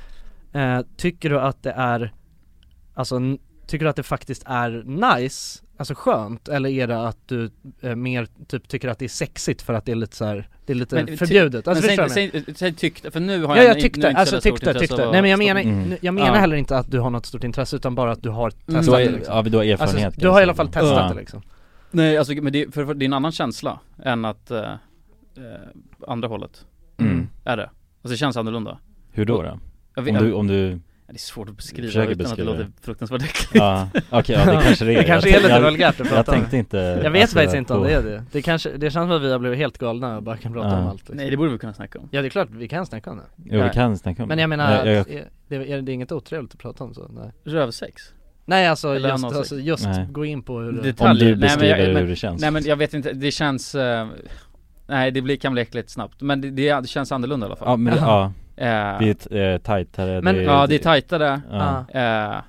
Speaker 3: eh, tycker du att det är, alltså n- tycker du att det faktiskt är nice, alltså skönt, eller är det att du eh, mer typ tycker att det är sexigt för att det är lite så här, det är lite
Speaker 4: Men ty-
Speaker 3: förbjudet? Alltså,
Speaker 4: men
Speaker 3: förstår
Speaker 4: säg,
Speaker 3: du?
Speaker 4: säg, säg tyckte, för nu har
Speaker 3: Ja
Speaker 4: jag,
Speaker 3: jag
Speaker 4: nu-
Speaker 3: tyckte,
Speaker 4: nu är inte så
Speaker 3: alltså
Speaker 4: jävla stort
Speaker 3: tyckte,
Speaker 4: intresse
Speaker 3: tyckte.
Speaker 4: av-
Speaker 3: [laughs] Nej men jag menar,
Speaker 2: Mm.
Speaker 3: jag menar
Speaker 4: Ja.
Speaker 3: heller inte att du har något stort intresse utan bara att du har testat
Speaker 2: Du har,
Speaker 3: det
Speaker 2: ju-
Speaker 3: liksom.
Speaker 2: ja, du har
Speaker 3: Alltså
Speaker 2: erfarenhet
Speaker 3: du har i alla fall testat
Speaker 2: Ja.
Speaker 3: det liksom.
Speaker 4: Nej alltså, men det, för, för, det är en annan känsla än att, eh, eh, andra hållet,
Speaker 2: mm.
Speaker 4: är det? Alltså det känns annorlunda
Speaker 2: Hur då? då?
Speaker 4: jag
Speaker 2: Om
Speaker 4: vet,
Speaker 2: du, om
Speaker 3: [laughs]
Speaker 2: du,
Speaker 4: det är svårt att beskriva utan
Speaker 2: Försöker
Speaker 4: att det
Speaker 2: beskriva det.
Speaker 4: låter fruktansvärt äckligt
Speaker 2: ja, okej, ja, det kanske det är
Speaker 3: Det kanske är
Speaker 2: jag,
Speaker 3: lite
Speaker 2: jag,
Speaker 3: vulgärt att
Speaker 2: jag
Speaker 3: prata om.
Speaker 2: tänkte inte
Speaker 3: Jag vet
Speaker 2: alltså,
Speaker 3: faktiskt inte om
Speaker 2: på-
Speaker 3: det är det. Det kanske, det känns som att vi har blivit helt galna och bara kan prata
Speaker 2: Ja.
Speaker 3: om allt liksom.
Speaker 4: Nej det borde vi kunna snacka om
Speaker 3: Ja det är klart, vi kan snacka om det.
Speaker 2: Jo, vi kan snacka om
Speaker 3: Men
Speaker 2: det.
Speaker 3: jag menar,
Speaker 2: jag, jag,
Speaker 3: att är- det, är det inget otrevligt att prata om så? Nej,
Speaker 4: Rövsex?
Speaker 3: nej alltså
Speaker 4: Eller
Speaker 3: just,
Speaker 4: annonser.
Speaker 3: alltså, just
Speaker 2: Nej.
Speaker 3: gå in på hur det...
Speaker 4: Detaljer?
Speaker 2: om du
Speaker 4: Nej, men
Speaker 2: beskriver
Speaker 4: jag- men-
Speaker 2: hur det känns
Speaker 4: Nej men jag vet inte, det känns, eh, nej det blir, kan bli äckligt snabbt Men det, det, det känns annorlunda i alla fall
Speaker 2: Ja men, ja,
Speaker 4: Eh,
Speaker 2: det är ett eh, tajtare
Speaker 3: Men-
Speaker 4: Ja det är tajtare,
Speaker 2: ja.
Speaker 4: eh, nej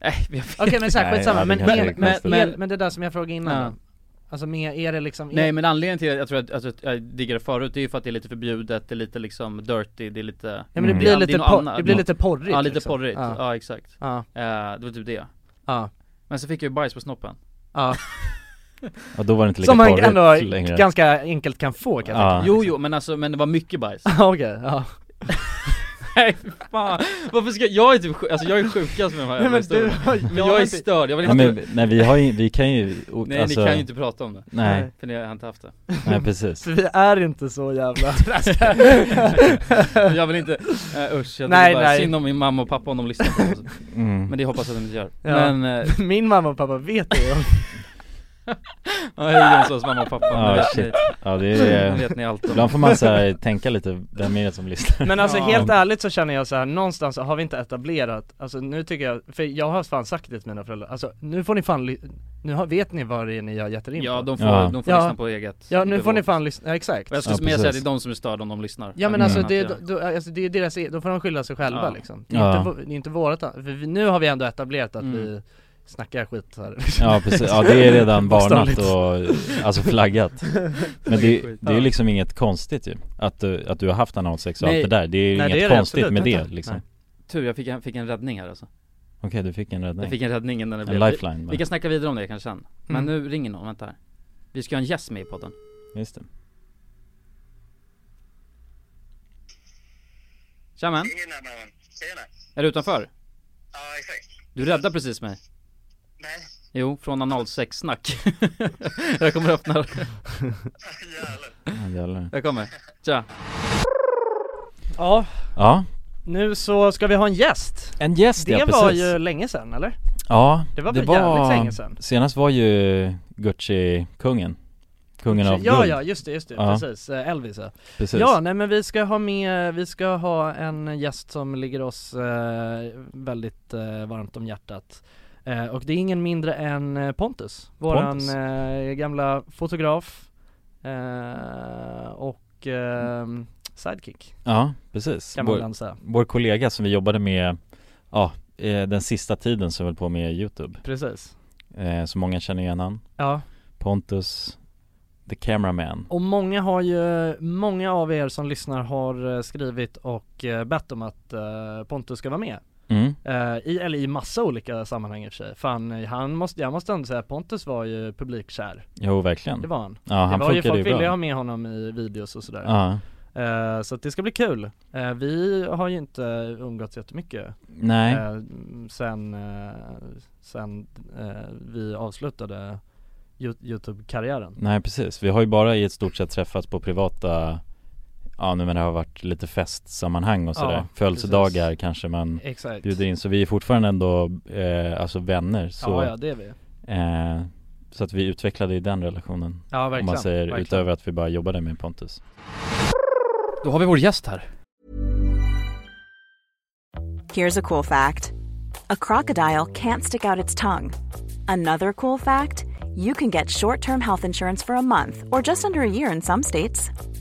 Speaker 4: jag vet
Speaker 3: Okej men såhär,
Speaker 2: Nej,
Speaker 3: skitsamma,
Speaker 2: ja, det
Speaker 3: men,
Speaker 2: kanske
Speaker 3: men,
Speaker 2: är
Speaker 3: men,
Speaker 2: konstigt.
Speaker 3: men, men det där som jag frågade innan
Speaker 4: Ja.
Speaker 3: då? Alltså med, är det liksom,
Speaker 4: Nej men anledningen till att jag tror att, alltså, att jag diggade förut, det är ju för att det är lite förbjudet, det är lite liksom dirty, det är lite
Speaker 3: ja, men det
Speaker 2: Mm.
Speaker 3: blir
Speaker 4: Det är
Speaker 3: lite,
Speaker 4: något
Speaker 3: por-
Speaker 4: annat.
Speaker 3: det blir lite porrigt
Speaker 4: Ja lite
Speaker 3: liksom.
Speaker 4: porrigt, ja,
Speaker 3: Ja,
Speaker 4: exakt
Speaker 3: ja,
Speaker 4: Eh, Det var typ det
Speaker 3: ja,
Speaker 4: Men så fick jag ju bajs på snoppen
Speaker 3: ja.
Speaker 2: ja, då var det inte lika
Speaker 3: Som man
Speaker 2: porrigt
Speaker 3: ändå
Speaker 2: längre
Speaker 3: ganska enkelt kan få kanske
Speaker 2: ja.
Speaker 4: Jo jo men alltså, men det var mycket bajs
Speaker 3: [laughs] Ja, Okej, ja.
Speaker 4: Nej fy fan, varför ska, jag är typ sjuk, alltså jag är sjukast med de här
Speaker 3: Nej, men, du,
Speaker 4: historierna. Men jag är störd, jag vill
Speaker 2: Nej,
Speaker 4: inte,
Speaker 2: men, nej vi har ju, vi kan ju, o-
Speaker 4: nej
Speaker 2: alltså,
Speaker 4: ni kan ju inte prata om det,
Speaker 2: Nej,
Speaker 4: för ni har inte
Speaker 3: [laughs]
Speaker 4: haft det
Speaker 2: nej precis
Speaker 4: [laughs]
Speaker 3: Så vi är inte så jävla
Speaker 4: Jag vill inte, uh, usch, jag
Speaker 3: Nej,
Speaker 4: nej, bara
Speaker 3: nej.
Speaker 4: synd om min mamma och pappa om de lyssnar på oss
Speaker 2: mm.
Speaker 4: Men det hoppas jag att de inte gör
Speaker 3: Ja.
Speaker 4: Men, eh,
Speaker 3: [laughs] Min mamma och pappa vet det ju.
Speaker 4: ja hej Jönssons mamma och pappa,
Speaker 2: Ja,
Speaker 4: nu vet
Speaker 2: shit.
Speaker 4: ni,
Speaker 2: Ja
Speaker 4: [laughs]
Speaker 2: det
Speaker 4: nu
Speaker 2: är,
Speaker 4: vet ni allt om
Speaker 2: ibland får man så här, tänka lite, vem är det som lyssnar?
Speaker 3: Men alltså
Speaker 4: Ja.
Speaker 3: helt ärligt så känner jag så här, någonstans har vi inte etablerat, alltså nu tycker jag, för jag har fan sagt det till mina föräldrar, alltså nu får ni fan, ly- nu har, vet ni vad det är ni har gett er in
Speaker 4: Ja
Speaker 3: på?
Speaker 4: de får,
Speaker 2: Ja.
Speaker 4: de får
Speaker 3: Ja.
Speaker 4: lyssna på eget
Speaker 3: Ja nu får ni
Speaker 4: bevåg.
Speaker 3: fan lyssna, ja, exakt
Speaker 4: Och jag skulle
Speaker 2: Ja,
Speaker 4: mer säga att det
Speaker 2: precis.
Speaker 4: är de som är störda om de lyssnar
Speaker 3: Ja men
Speaker 2: Mm.
Speaker 3: alltså det,
Speaker 4: att jag-
Speaker 3: då, alltså det är deras, e- då får de skylla sig själva
Speaker 4: Ja.
Speaker 3: liksom Det är
Speaker 2: Ja.
Speaker 3: inte, vå- det är inte vårat an- för vi, nu har vi ändå etablerat att
Speaker 4: Mm.
Speaker 3: vi snackar skit här
Speaker 2: Ja precis, ja det
Speaker 4: [laughs]
Speaker 2: är redan varnat
Speaker 3: Bokstavligt.
Speaker 2: och alltså flaggat Men det, det är ju liksom inget konstigt ju, att du, att du har haft analsex och
Speaker 4: Nej.
Speaker 2: allt det där, det är ju
Speaker 3: Nej,
Speaker 2: inget
Speaker 3: det är det
Speaker 2: konstigt med
Speaker 3: absolut
Speaker 2: det
Speaker 3: inte.
Speaker 2: liksom
Speaker 3: Nej.
Speaker 4: Tur, jag fick en, fick en räddning här alltså
Speaker 2: Okej du fick en räddning,
Speaker 4: Jag fick en räddning innan det
Speaker 2: en
Speaker 4: blev vi,
Speaker 2: lifeline bara.
Speaker 4: vi kan snacka vidare om det kanske sen Men
Speaker 3: Mm.
Speaker 4: nu ringer någon, vänta här Vi ska ha en gäst med i podden
Speaker 2: Just det.
Speaker 4: Tja man,
Speaker 9: Tjena mannen. Tjena.
Speaker 4: är du utanför?
Speaker 9: Ja, exakt.
Speaker 4: Du räddade precis mig
Speaker 9: Nej,
Speaker 4: Jo, från analsexsnack [laughs] Jag kommer öppna,
Speaker 9: jävlar.
Speaker 2: Ja, jävlar.
Speaker 4: jag kommer Tja
Speaker 3: [laughs] Ja,
Speaker 2: ja,
Speaker 3: nu så ska vi ha en gäst!
Speaker 2: en gäst
Speaker 3: Det
Speaker 2: ja precis
Speaker 3: var ju länge sedan eller?
Speaker 2: Ja,
Speaker 3: Det var väl jävligt länge sedan?
Speaker 2: Senast var ju Gucci-kungen Kungen av
Speaker 3: Ja
Speaker 2: guld,
Speaker 3: ja, just det, just det,
Speaker 2: Ja.
Speaker 3: precis, Eh, Elvis ja.
Speaker 2: precis
Speaker 3: Ja, nej men vi ska ha med, vi ska ha en gäst som ligger oss eh, väldigt eh, varmt om hjärtat eh, Och det är ingen mindre än eh, Pontus, våran
Speaker 2: Pontus.
Speaker 3: Eh, gamla fotograf eh, och eh, sidekick
Speaker 2: Ja, precis
Speaker 3: kan man
Speaker 2: Vår,
Speaker 3: ibland säga
Speaker 2: vår kollega som vi jobbade med, ja, eh, den sista tiden som vi höll på med Youtube
Speaker 3: Precis
Speaker 2: eh, Så många känner igen han
Speaker 3: Ja,
Speaker 2: Pontus, the cameraman
Speaker 3: och många har ju, många av er som lyssnar har eh, skrivit och eh, bett om att eh, Pontus ska vara med
Speaker 2: mm.
Speaker 3: Eh, i, eller i massa olika sammanhang i och för sig. Fan, eh, han måste, jag måste ändå säga att Pontus var ju publikkär.
Speaker 2: Jo verkligen
Speaker 3: Det var han.
Speaker 2: Mm. Ja han
Speaker 3: det var ju,
Speaker 2: funkade
Speaker 3: folk
Speaker 2: ju
Speaker 3: ville ha
Speaker 2: bra
Speaker 3: med honom i videos och sådär.
Speaker 2: Ja,
Speaker 3: Eh, så att det ska bli kul. Eh, vi har ju inte umgåtts jättemycket
Speaker 2: nej,
Speaker 3: eh, m- sen, eh, sen eh, vi avslutade Yo- Youtube-karriären.
Speaker 2: nej precis Vi har ju bara i ett stort sett träffats på privata Ja nu men det har varit lite festsammanhang och
Speaker 3: Ja,
Speaker 2: sådär Födelsedagar kanske man
Speaker 3: Exakt.
Speaker 2: bjuder in Så vi är fortfarande ändå, eh, alltså vänner så
Speaker 3: Ja, ja det är vi.
Speaker 2: Eh, så att vi utvecklade ju den relationen
Speaker 3: Ja
Speaker 2: Om
Speaker 3: verkligen.
Speaker 2: man säger
Speaker 3: verkligen.
Speaker 2: utöver att vi bara jobbade med Pontus
Speaker 4: Då har vi vår gäst här
Speaker 1: Here's a cool fact a crocodile can't stick out its tongue. Another cool fact you can get short term health insurance for a month or just under a year in some states.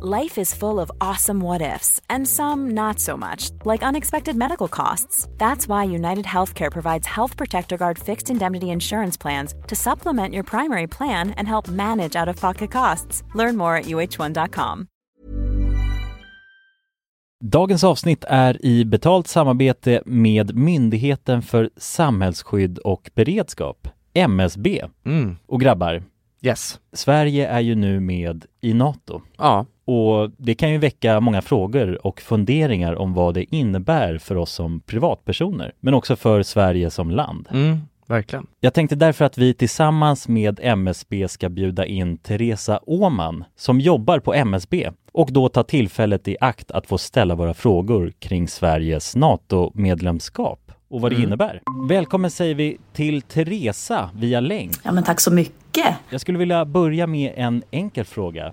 Speaker 10: Life is full of awesome what ifs and some not so much, like unexpected medical costs. That's why United Healthcare provides Health Protector Guard fixed indemnity insurance plans to supplement your primary plan and help manage out of pocket costs. Learn more at uh1.com.
Speaker 2: Dagens avsnitt är i betalt samarbete med Myndigheten för samhällsskydd och beredskap, MSB.
Speaker 3: Mm.
Speaker 2: Och grabbar,
Speaker 3: Yes.
Speaker 2: Sverige är ju nu med i NATO
Speaker 11: Ja.
Speaker 2: och det kan ju väcka många frågor och funderingar om vad det innebär för oss som privatpersoner, men också för Sverige som land.
Speaker 3: Mm, verkligen.
Speaker 2: Jag tänkte därför att vi tillsammans med MSB ska bjuda in Teresa Åman som jobbar på MSB och då ta tillfället i akt att få ställa våra frågor kring Sveriges NATO-medlemskap och vad det innebär. Välkommen säger vi till Teresa via länk.
Speaker 12: Ja, men tack så mycket.
Speaker 2: Jag skulle vilja börja med en enkel fråga.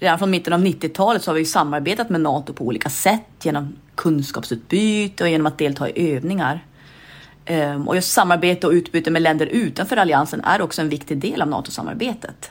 Speaker 12: Redan från mitten av 90-talet så har vi ju samarbetat med Nato på olika sätt genom kunskapsutbyte och genom att delta i övningar. Ehm, Och just samarbete och utbyte med länder utanför alliansen är också en viktig del av NATO-samarbetet.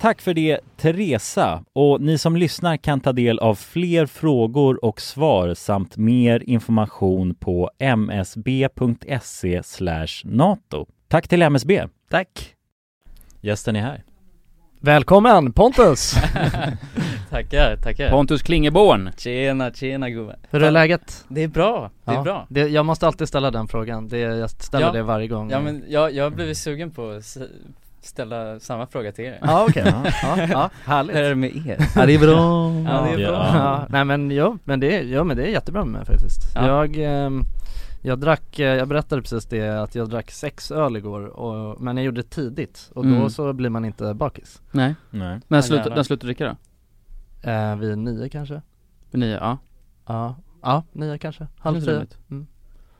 Speaker 2: Tack för det Teresa och ni som lyssnar kan ta del av fler frågor och svar samt mer information på msb.se E NATO. Tack till MSB.
Speaker 3: Tack.
Speaker 2: Gästen är här.
Speaker 3: Välkommen Pontus!
Speaker 7: Tackar, tackar
Speaker 4: Pontus Klingeborn!
Speaker 7: Tjena, tjena gubben
Speaker 3: Hur är läget?
Speaker 7: Det är bra, det är bra
Speaker 3: Det, jag måste alltid ställa den frågan, det, jag ställer
Speaker 7: Ja.
Speaker 3: det varje gång
Speaker 7: Ja men jag, jag har blivit sugen på att s- ställa samma fråga till er
Speaker 3: Ja okej, ja,
Speaker 7: [laughs]
Speaker 3: ja, härligt
Speaker 7: Hur är det med er?
Speaker 3: Ja det är bra
Speaker 7: Ja, det är bra.
Speaker 3: ja. Nej men jo, men det, är- jo, men det är jättebra med mig faktiskt
Speaker 7: Ja.
Speaker 3: Jag, ehm, jag drack, eh, jag berättade precis det att jag drack sex öl igår och, men jag gjorde det tidigt och då
Speaker 4: Mm.
Speaker 3: så blir man inte bakis
Speaker 4: Nej,
Speaker 2: Nej.
Speaker 4: men
Speaker 3: jävlar.
Speaker 4: sluta, den slutar dricka då?
Speaker 3: eh, Vid nio kanske?
Speaker 4: Vid nio, ja
Speaker 3: Ja, ja nio kanske, halv
Speaker 4: Det är
Speaker 3: tio
Speaker 4: rimligt.
Speaker 3: Mm.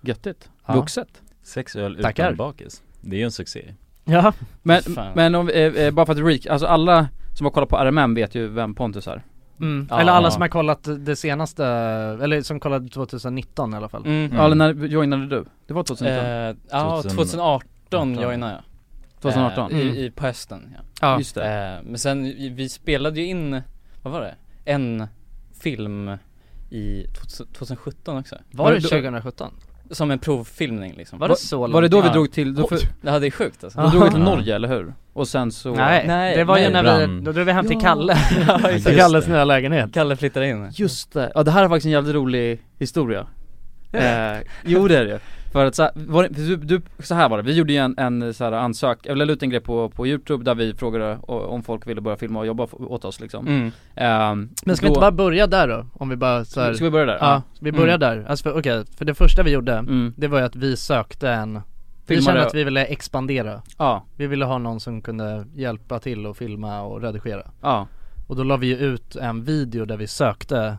Speaker 4: Göttigt,
Speaker 3: Ja.
Speaker 4: vuxet
Speaker 2: Sex öl
Speaker 3: Tackar.
Speaker 2: bakis. Det är ju en succé.
Speaker 3: Ja,
Speaker 4: Men,
Speaker 7: Fan.
Speaker 4: men om, eh, eh, bara för att reek, alltså alla som har kollat på RMM vet ju vem Pontus är
Speaker 3: mm.
Speaker 4: Ja.
Speaker 3: eller alla som har kollat det senaste, eller som kollade 2019 i alla fall
Speaker 7: mm.
Speaker 4: Ja, eller när joinade du? Det var 2019?
Speaker 7: Eh, Ja,
Speaker 2: 2018
Speaker 7: 2018
Speaker 2: Mm.
Speaker 7: joinade jag
Speaker 4: 2018?
Speaker 7: Eh, i, i, på hösten ja.
Speaker 4: Mm. ja, just det
Speaker 7: Eh, Men sen, i- vi spelade ju in, vad var det? En film i 2000- 2017 också
Speaker 3: Var det 2017?
Speaker 7: Som en provfilmning liksom
Speaker 3: Var det så långt?
Speaker 4: Var det då vi
Speaker 7: Ja.
Speaker 4: drog till, då, för,
Speaker 7: Ja det är sjukt alltså
Speaker 4: då
Speaker 7: [laughs]
Speaker 4: drog vi till
Speaker 2: Ja.
Speaker 4: Norge eller hur? Och sen så
Speaker 3: Nej,
Speaker 7: Nej,
Speaker 3: det var ju
Speaker 7: nej.
Speaker 3: när vi,
Speaker 2: Brann.
Speaker 3: då drog vi hem till
Speaker 7: Ja.
Speaker 3: Kalle,
Speaker 7: [laughs] Ja,
Speaker 3: till
Speaker 2: just
Speaker 3: Kalles
Speaker 2: det.
Speaker 3: nya lägenhet
Speaker 7: Kalle flyttade in
Speaker 4: Just det, ja det här är faktiskt en jävligt rolig historia eh, Jo det är det ju. för att så, här- var det, du, du, så här var det, vi gjorde ju en, en så här ansök, eller la ut en grej på, på youtube där vi frågade o- om folk ville börja filma och jobba f- åt oss liksom
Speaker 7: mm.
Speaker 4: Ehm,
Speaker 3: Men ska vi
Speaker 4: då-
Speaker 3: inte bara börja där då? Om vi bara så här,
Speaker 4: Ska vi börja där?
Speaker 3: ja, vi börjar där, alltså för, okej, för det första vi gjorde,
Speaker 4: Mm.
Speaker 3: det var ju att vi sökte en Vi
Speaker 4: Filmare-
Speaker 3: kände att vi ville expandera.
Speaker 4: Ja.
Speaker 3: Vi ville ha någon som kunde hjälpa till och filma och redigera.
Speaker 4: Ja.
Speaker 3: Och då la vi ju ut en video där vi sökte,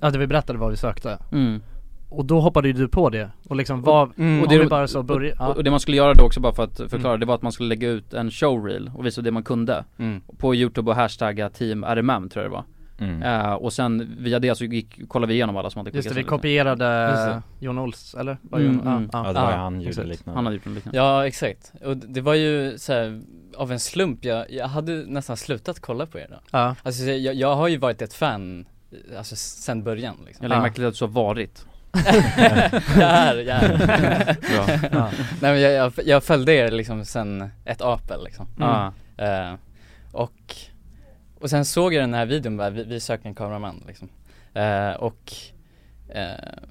Speaker 3: ja där vi berättade vad vi sökte.
Speaker 4: Mm.
Speaker 3: Och då hoppade ju du på det och liksom var,
Speaker 4: Mm.
Speaker 3: och
Speaker 4: Och
Speaker 3: det,
Speaker 4: det-
Speaker 3: vi bara så börja,
Speaker 4: Och,
Speaker 3: ja.
Speaker 4: och det man skulle göra då också bara för att förklara, det var att man skulle lägga ut en showreel och visa det man kunde
Speaker 2: Mm.
Speaker 4: På youtube och hashtagga team RMM tror jag det var
Speaker 2: Mm.
Speaker 4: Eh, Och sen via det så gick, kollade vi igenom alla som hade
Speaker 3: Just det, vi
Speaker 4: klickat sig.
Speaker 3: kopierade
Speaker 4: Just det.
Speaker 3: Jon Ols, eller? Var
Speaker 4: Mm,
Speaker 3: Jon- ja,
Speaker 4: mm.
Speaker 3: ja.
Speaker 2: Ja det var ju
Speaker 3: Ja,
Speaker 2: han gjorde
Speaker 3: exakt.
Speaker 2: liknande
Speaker 4: Han hade gjort något liknande
Speaker 7: Ja exakt, och d- det var ju så här, av en slump, jag, jag hade nästan slutat kolla på er då
Speaker 3: Ja.
Speaker 7: Alltså jag, jag har ju varit ett fan, eh, alltså sen början liksom
Speaker 4: Jag lägger märke till att du sa varit
Speaker 7: [laughs] Jag är, jag är
Speaker 4: Bra.
Speaker 7: Nej men jag, jag, jag följde er liksom sen ett apel liksom
Speaker 4: Ja.
Speaker 7: Eh, och, och sen såg jag den här videon bara, vi, vi söker en kameraman liksom. Eh, och eh,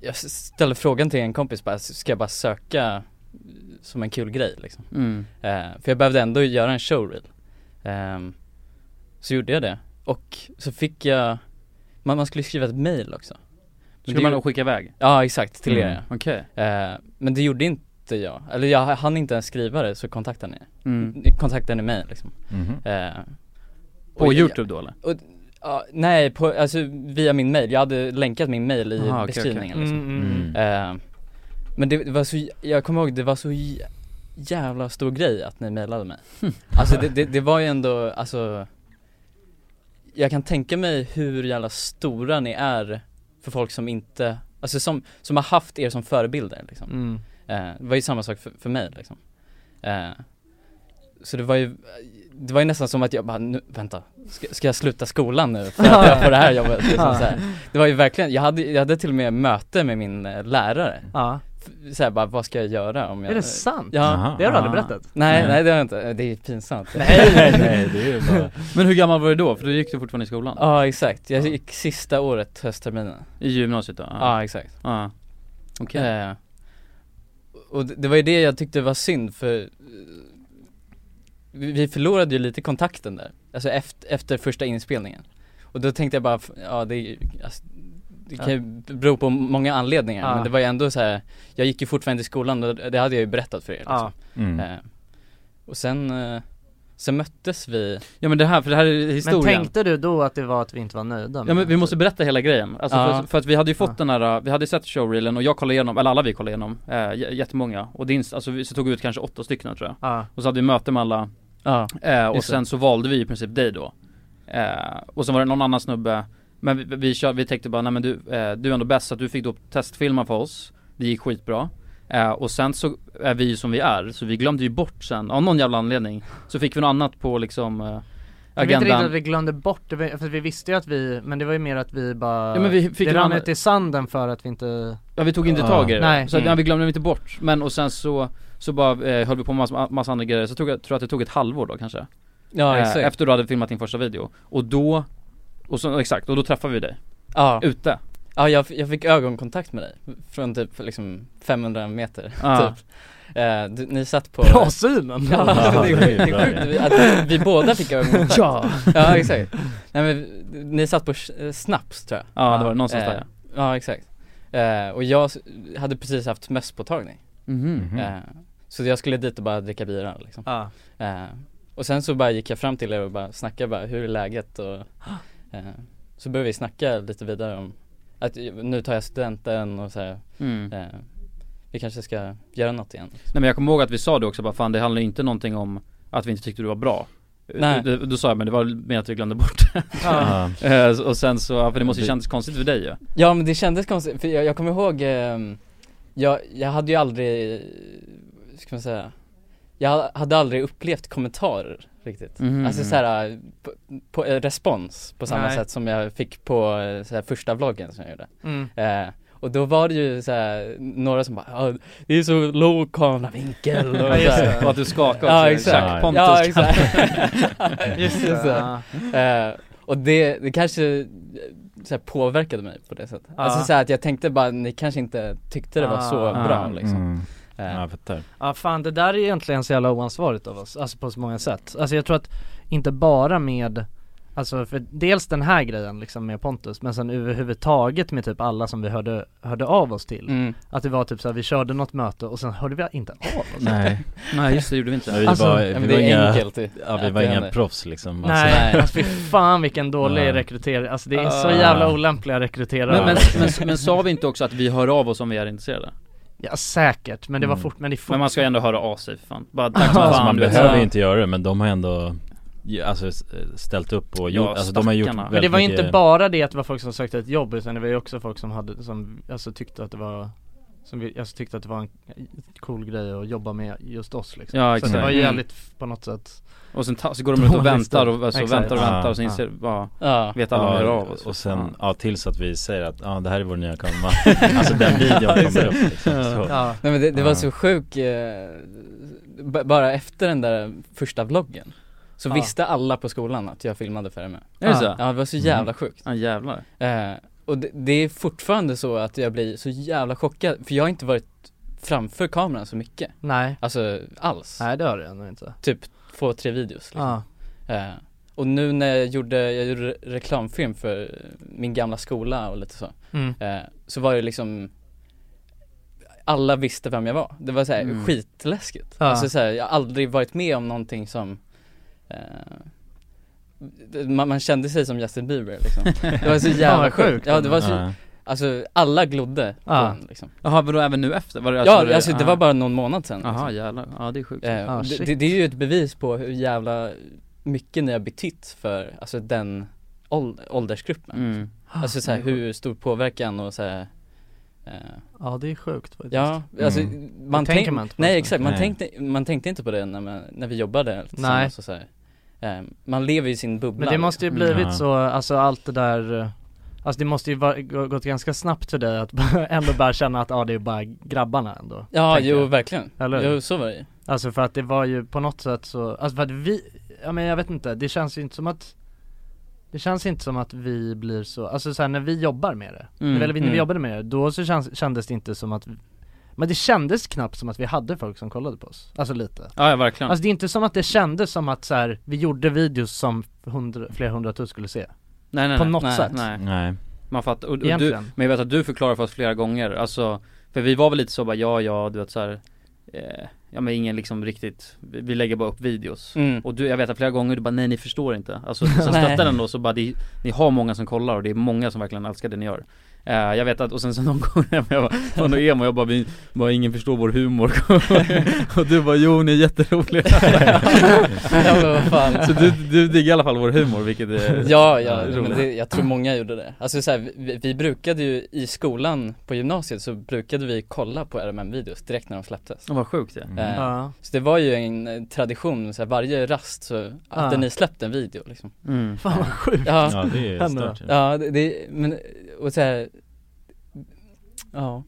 Speaker 7: jag s- ställde frågan till en kompis bara, s- ska jag bara söka som en kul grej liksom?
Speaker 4: Mm.
Speaker 7: Eh, för jag behövde ändå göra en showreel. Ehm, så gjorde jag det. Och så fick jag, man, man skulle skriva ett mail också. Men
Speaker 4: Skulle
Speaker 7: det
Speaker 4: man
Speaker 7: gjorde-
Speaker 4: då skicka iväg?
Speaker 7: Ja exakt, till
Speaker 2: Mm.
Speaker 7: er ja.
Speaker 4: Okej
Speaker 7: Eh, Men det gjorde inte jag, eller jag hann inte ens skriva det så kontaktade ni,
Speaker 4: mm.
Speaker 7: kontaktade ni mig liksom.
Speaker 2: Mhm.
Speaker 7: Eh,
Speaker 4: På
Speaker 7: och jag-
Speaker 4: youtube
Speaker 7: [laughs]
Speaker 4: då eller?
Speaker 7: Ja, nej, på, alltså via min mail. Jag hade länkat min mail i
Speaker 4: Aha, okej,
Speaker 7: beskrivningen
Speaker 3: Mm,
Speaker 7: liksom.
Speaker 3: mm, mm.
Speaker 2: Mm.
Speaker 7: Eh, Men det, det var så, jag kommer ihåg, det var så jä- jävla stor grej att ni mejlade mig Alltså det, det, det var ju ändå, alltså Jag kan tänka mig hur jävla stora ni är för folk som inte, alltså som, som har haft er som förebilder liksom
Speaker 3: Mm.
Speaker 7: Eh, Det var ju samma sak för, för mig liksom. Eh, Så det var ju, det var ju nästan som att jag bara, nu, vänta, ska, ska jag sluta skolan nu för att jag får det här jobbet? Liksom, så här. Det var ju verkligen, jag hade, jag hade till och med möte med min eh, lärare,
Speaker 3: Ja.
Speaker 7: F- så här, bara vad ska jag göra om jag
Speaker 3: Är det sant?
Speaker 7: Ja,
Speaker 2: Aha.
Speaker 3: Det har du aldrig
Speaker 4: Ah.
Speaker 3: berättat?
Speaker 7: nej,
Speaker 2: Nej.
Speaker 7: nej det har jag inte, det är pinsamt
Speaker 2: Nej, nej det är ju bara
Speaker 4: Men hur gammal var du då? För då gick du fortfarande i skolan?
Speaker 7: Ja exakt, jag gick sista året höstterminen,
Speaker 4: I gymnasiet då?
Speaker 7: ja exakt
Speaker 4: Ja. Okej
Speaker 7: Eh, och det, det var ju det jag tyckte var synd för eh, vi vi förlorade ju lite kontakten där, alltså efter, efter första inspelningen. Och då tänkte jag bara, f- ja det, är ju- alltså, det kan ju bero på många anledningar
Speaker 3: Ja.
Speaker 7: men det var ju ändå så här. jag gick ju fortfarande i skolan och det hade jag ju berättat för er liksom.
Speaker 3: Ja.
Speaker 2: mm.
Speaker 7: eh, Och sen, eh, sen möttes vi
Speaker 4: Ja men det här, för det här är
Speaker 3: Men
Speaker 4: historien
Speaker 3: tänkte du då att det var att vi inte var nöjda?
Speaker 4: Ja men vi måste berätta hela grejen, alltså
Speaker 7: Ja.
Speaker 4: för, för att vi hade ju fått
Speaker 3: Ja.
Speaker 4: den här, uh, vi hade ju sett showreelen och jag kollade igenom, eller alla vi kollade igenom, eh, j- jättemånga och din, alltså vi så tog vi ut kanske åtta stycken tror jag
Speaker 3: Ja.
Speaker 4: Och så hade vi möte med alla,
Speaker 7: Ja,
Speaker 4: eh, och
Speaker 7: Just det.
Speaker 4: sen så valde vi i princip dig då eh, Och sen var det någon annan snubbe, men vi, vi, kör, vi tänkte bara nej men du, eh, du är ändå bäst så att du fick då testfilma för oss Det gick skitbra eh, Och sen så är vi ju som vi är, så vi glömde ju bort sen, av någon jävla anledning Så fick vi något annat på liksom eh,
Speaker 3: Jag vet inte riktigt att
Speaker 4: agendan
Speaker 3: vi glömde bort det, för vi visste ju att vi, men det var ju mer att vi bara
Speaker 4: Ja, men vi fick
Speaker 3: Det
Speaker 4: en
Speaker 3: rann
Speaker 4: annan-
Speaker 3: ut i sanden för att vi inte
Speaker 4: Ja vi tog inte
Speaker 2: Ah.
Speaker 4: tag i det,
Speaker 3: Nej.
Speaker 4: så att,
Speaker 3: Mm.
Speaker 4: ja, vi glömde inte bort Men och sen så, så bara eh, höll vi på med massa, massa andra grejer, så tog, jag tror jag att det tog ett halvår då kanske
Speaker 7: ja
Speaker 4: Eh,
Speaker 7: exakt
Speaker 4: Efter du hade filmat din första video, och då och så, exakt, och då träffade vi dig,
Speaker 7: Ja,
Speaker 4: ute
Speaker 7: ja jag, f- jag fick ögonkontakt med dig från typ liksom 500 meter
Speaker 4: Ja.
Speaker 7: typ eh, du, Ni satt på
Speaker 3: Bra synen!
Speaker 7: [laughs] Ja,
Speaker 2: Ja,
Speaker 7: det,
Speaker 2: det är
Speaker 7: är
Speaker 2: bra.
Speaker 7: sjukt. Vi- Att vi båda fick ögonkontakt Ja! Ja exakt Nej men, vi- ni satt på sh- eh, snaps tror jag
Speaker 4: Ja det var det, någonstans
Speaker 7: Eh,
Speaker 4: där
Speaker 7: Ja exakt Eh, Och jag s- hade precis haft mösspåtagning
Speaker 4: Mhm.
Speaker 2: Mhm.
Speaker 7: Eh, Så jag skulle dit och bara dricka bira liksom
Speaker 3: Ja.
Speaker 7: Eh, Och sen så bara gick jag fram till er och bara snackade bara, hur är läget och eh, Så började vi snacka lite vidare om att eh, nu tar jag studenten och så här,
Speaker 4: Mm.
Speaker 7: eh, Vi kanske ska göra något igen
Speaker 4: Nej men jag kommer ihåg att vi sa det också bara fan det handlar ju inte någonting om att vi inte tyckte du var bra Eh,
Speaker 7: Nej.
Speaker 4: Då, då sa jag men det var mer att vi glömde bort [laughs]
Speaker 2: Ja.
Speaker 4: Eh, så- Och sen så, ja, för det måste ju
Speaker 2: Det-
Speaker 4: kännas konstigt för dig ju
Speaker 7: Ja men det kändes konstigt, för jag, jag kommer ihåg, ehm, jag, jag hade ju aldrig, eh, ska man säga, jag hade aldrig upplevt kommentarer riktigt.
Speaker 4: Mhm.
Speaker 7: Alltså såhär, eh, på, på, eh, respons på samma
Speaker 3: Nej.
Speaker 7: sätt som jag fick på eh, så här, första vloggen som jag gjorde.
Speaker 3: Mm.
Speaker 7: Eh, och då var det ju såhär, några som bara "Ja, det är så låg
Speaker 13: é
Speaker 7: kameravinkel och
Speaker 3: Ja, just det.
Speaker 7: såhär.
Speaker 4: Och att du skakade
Speaker 7: Ja,
Speaker 4: också.
Speaker 7: exakt.
Speaker 4: Jack Pontus
Speaker 7: Ja exakt. [laughs] just det.
Speaker 3: Ja.
Speaker 7: Eh, och det, det kanske eh, så här, påverkade mig på det sättet.
Speaker 3: Ja.
Speaker 7: Alltså så här, att jag tänkte bara, ni kanske inte tyckte det var så
Speaker 3: Ah.
Speaker 7: bra liksom.
Speaker 2: Mm.
Speaker 7: Eh,
Speaker 2: Ja, jag fattar.
Speaker 3: Ja fan det där är egentligen så jävla oansvarigt av oss, alltså på så många sätt. Alltså jag tror att, inte bara med Alltså för dels den här grejen liksom med Pontus, men sen överhuvudtaget med typ alla som vi hörde, hörde av oss till
Speaker 4: Mm.
Speaker 3: Att det var typ såhär, vi körde något möte och sen hörde vi inte av oss
Speaker 2: Nej.
Speaker 4: [laughs] Nej just det, gjorde vi inte
Speaker 2: Nej, vi
Speaker 3: Alltså,
Speaker 2: var,
Speaker 4: ja, men
Speaker 2: vi
Speaker 4: det
Speaker 2: var
Speaker 4: är
Speaker 2: inga,
Speaker 4: enkelt i-
Speaker 2: ja, vi
Speaker 4: att
Speaker 2: var
Speaker 4: det
Speaker 2: inga
Speaker 4: händer.
Speaker 2: proffs liksom
Speaker 3: Nej,
Speaker 4: nej.
Speaker 3: alltså fy fan vilken dålig
Speaker 2: Ja.
Speaker 3: rekrytering, alltså det är så
Speaker 4: Ah.
Speaker 3: jävla olämpliga rekryterare
Speaker 4: Men, men, men, men sa vi inte också att vi hör av oss om vi är intresserade?
Speaker 3: Ja säkert, men det var fort, men det är fort
Speaker 4: Men man ska ju ändå höra av sig för fan Bara tack som
Speaker 2: Alltså,
Speaker 4: fan liksom.
Speaker 2: man
Speaker 4: du vet.
Speaker 2: behöver ju
Speaker 4: Ja.
Speaker 2: inte göra det men de har ändå ju- Alltså s- ställt upp och gjort,
Speaker 4: Ja,
Speaker 2: alltså de har gjort
Speaker 4: stackarna.
Speaker 2: väldigt
Speaker 3: Men det var ju inte
Speaker 2: mycket-
Speaker 3: bara det att det var folk som sökte ett jobb utan det var ju också folk som hade, som alltså tyckte att det var som vi, alltså tyckte att det var en cool grej att jobba med just oss liksom.
Speaker 4: Ja,
Speaker 3: Så
Speaker 4: exakt.
Speaker 3: det var ju
Speaker 4: Mm.
Speaker 3: jävligt f- på något sätt
Speaker 4: Och sen ta, så går de runt och
Speaker 3: Dålig
Speaker 4: väntar
Speaker 3: start.
Speaker 4: och alltså,
Speaker 3: Exakt.
Speaker 4: väntar och
Speaker 2: Ja,
Speaker 4: väntar och sen
Speaker 3: ja.
Speaker 4: inser, bara,
Speaker 7: Ja.
Speaker 4: vet alla om vi hör
Speaker 2: Ja,
Speaker 4: av oss
Speaker 2: och sen,
Speaker 4: Ja.
Speaker 2: ja tills att vi säger att ja det här är vår nya kamera [laughs] Alltså den videon kommer upp liksom, så.
Speaker 3: Ja,
Speaker 7: Nej men det, det
Speaker 2: Ja.
Speaker 7: var så sjuk, eh, b- bara efter den där första vloggen Så
Speaker 3: Ja.
Speaker 7: visste alla på skolan att jag filmade för med
Speaker 4: Är det
Speaker 3: Ja. Mhm.
Speaker 4: så?
Speaker 7: Ja det var så jävla sjukt
Speaker 4: Ja jävlar
Speaker 7: eh, Och det, det är fortfarande så att jag blir så jävla chockad, för jag har inte varit framför kameran så mycket
Speaker 3: nej,
Speaker 7: Alltså alls,
Speaker 3: nej det har det ändå inte
Speaker 7: typ två, tre videos liksom.
Speaker 3: Ja,
Speaker 7: eh, Och nu när jag gjorde, jag gjorde re- reklamfilm för min gamla skola och lite så
Speaker 3: mm.
Speaker 7: eh, Så var det liksom Alla visste vem jag var, det var såhär
Speaker 4: Mm.
Speaker 7: skitläskigt
Speaker 3: Ja.
Speaker 7: Alltså såhär, jag har aldrig varit med om någonting som eh, man, man kände sig som Justin Bieber liksom Det var så
Speaker 3: Fan,
Speaker 7: jävla
Speaker 3: vad
Speaker 7: sjukt
Speaker 3: sjukt.
Speaker 7: Ja det var så,
Speaker 2: Ja.
Speaker 7: alltså alla glodde på
Speaker 3: Ja.
Speaker 7: en, liksom
Speaker 4: Jaha men då även nu efter? Var det,
Speaker 7: Ja alltså det var bara någon månad sen
Speaker 4: Jaha
Speaker 7: liksom.
Speaker 4: jävlar, ja det är sjukt
Speaker 7: eh,
Speaker 3: Ah,
Speaker 7: det-
Speaker 3: shit.
Speaker 7: det, det är ju ett bevis på hur jävla mycket ni har betytt för, alltså den åld- åldersgruppen
Speaker 4: mm.
Speaker 7: Alltså
Speaker 3: Ah,
Speaker 7: såhär hur stor påverkan och såhär eh,
Speaker 3: ja det är sjukt faktiskt
Speaker 7: Ja, alltså man
Speaker 3: tänker
Speaker 7: tänker
Speaker 3: man inte på
Speaker 7: Nej
Speaker 3: det.
Speaker 7: exakt, man
Speaker 2: Nej.
Speaker 7: tänkte, man tänkte inte på det när, man, när vi jobbade
Speaker 3: Nej.
Speaker 7: tillsammans och så här. Eh, Man lever ju i sin bubbla
Speaker 3: Men det måste ju
Speaker 4: Mm.
Speaker 3: blivit
Speaker 2: Ja.
Speaker 3: så, alltså allt det där eh, Alltså det måste ju va- gå- gått ganska snabbt för dig att [laughs] bara- ändå bara känna att ja det är bara grabbarna ändå
Speaker 7: Ja,
Speaker 3: tänker
Speaker 7: jo
Speaker 3: jag.
Speaker 7: verkligen,
Speaker 3: Eller hur?
Speaker 7: jo så var det ju
Speaker 3: Alltså för att det var ju på något sätt så, alltså för att vi, ja men jag vet inte, det känns ju inte som att Det känns inte som att vi blir så, alltså så här, när vi jobbar med det,
Speaker 4: Mm,
Speaker 3: eller när vi
Speaker 4: mm.
Speaker 3: jobbade med det, då så känns, kändes det inte som att Men det kändes knappt som att vi hade folk som kollade på oss, alltså lite
Speaker 4: Ja ja verkligen
Speaker 3: Alltså det är inte som att det kändes som att så här, vi gjorde videos som hundra, flera hundratusen skulle se
Speaker 4: nej, nej,
Speaker 3: på
Speaker 4: nej,
Speaker 3: något
Speaker 4: nej,
Speaker 3: sätt.
Speaker 4: Nej
Speaker 2: Nej,
Speaker 4: Man fattar, och, och du,
Speaker 3: Egentligen.
Speaker 4: men jag vet att du förklarar för oss flera gånger, alltså För vi var väl lite så bara, ja ja, du vet såhär eh, Ja men ingen liksom riktigt, vi, vi lägger bara upp videos
Speaker 7: mm.
Speaker 4: Och du, jag vet att flera gånger du bara, nej ni förstår inte [laughs] Alltså sen
Speaker 7: Nej.
Speaker 4: stöttar den då så bara, det, ni har många som kollar och det är många som verkligen älskar det ni gör Eh, jag vet att, och sen så någon [laughs] gång när jag var från emo, jag bara, vi, bara ingen förstår vår humor [laughs] Och du bara, jo ni är [laughs] jätteroliga
Speaker 7: ja, men vad fan.
Speaker 4: Så du, du diggar i alla fall vår humor vilket är
Speaker 7: [laughs] Ja,
Speaker 4: Ja,
Speaker 7: ja,
Speaker 4: roligt.
Speaker 7: men det, jag tror många gjorde det Alltså så här, vi, vi brukade ju i skolan på gymnasiet så brukade vi kolla på RMM-videos direkt när de släpptes
Speaker 4: Vad sjukt det
Speaker 2: Mm.
Speaker 7: Eh,
Speaker 3: Ja,
Speaker 7: Så det var ju en eh, tradition, så här, varje rast så hade
Speaker 3: Ah.
Speaker 7: ni släppt en video
Speaker 4: [laughs]
Speaker 7: liksom
Speaker 4: mm.
Speaker 3: fan vad sjukt
Speaker 7: Ja,
Speaker 2: ja det är
Speaker 3: Händer
Speaker 2: stört
Speaker 7: Ja, det, det men, och så här, ja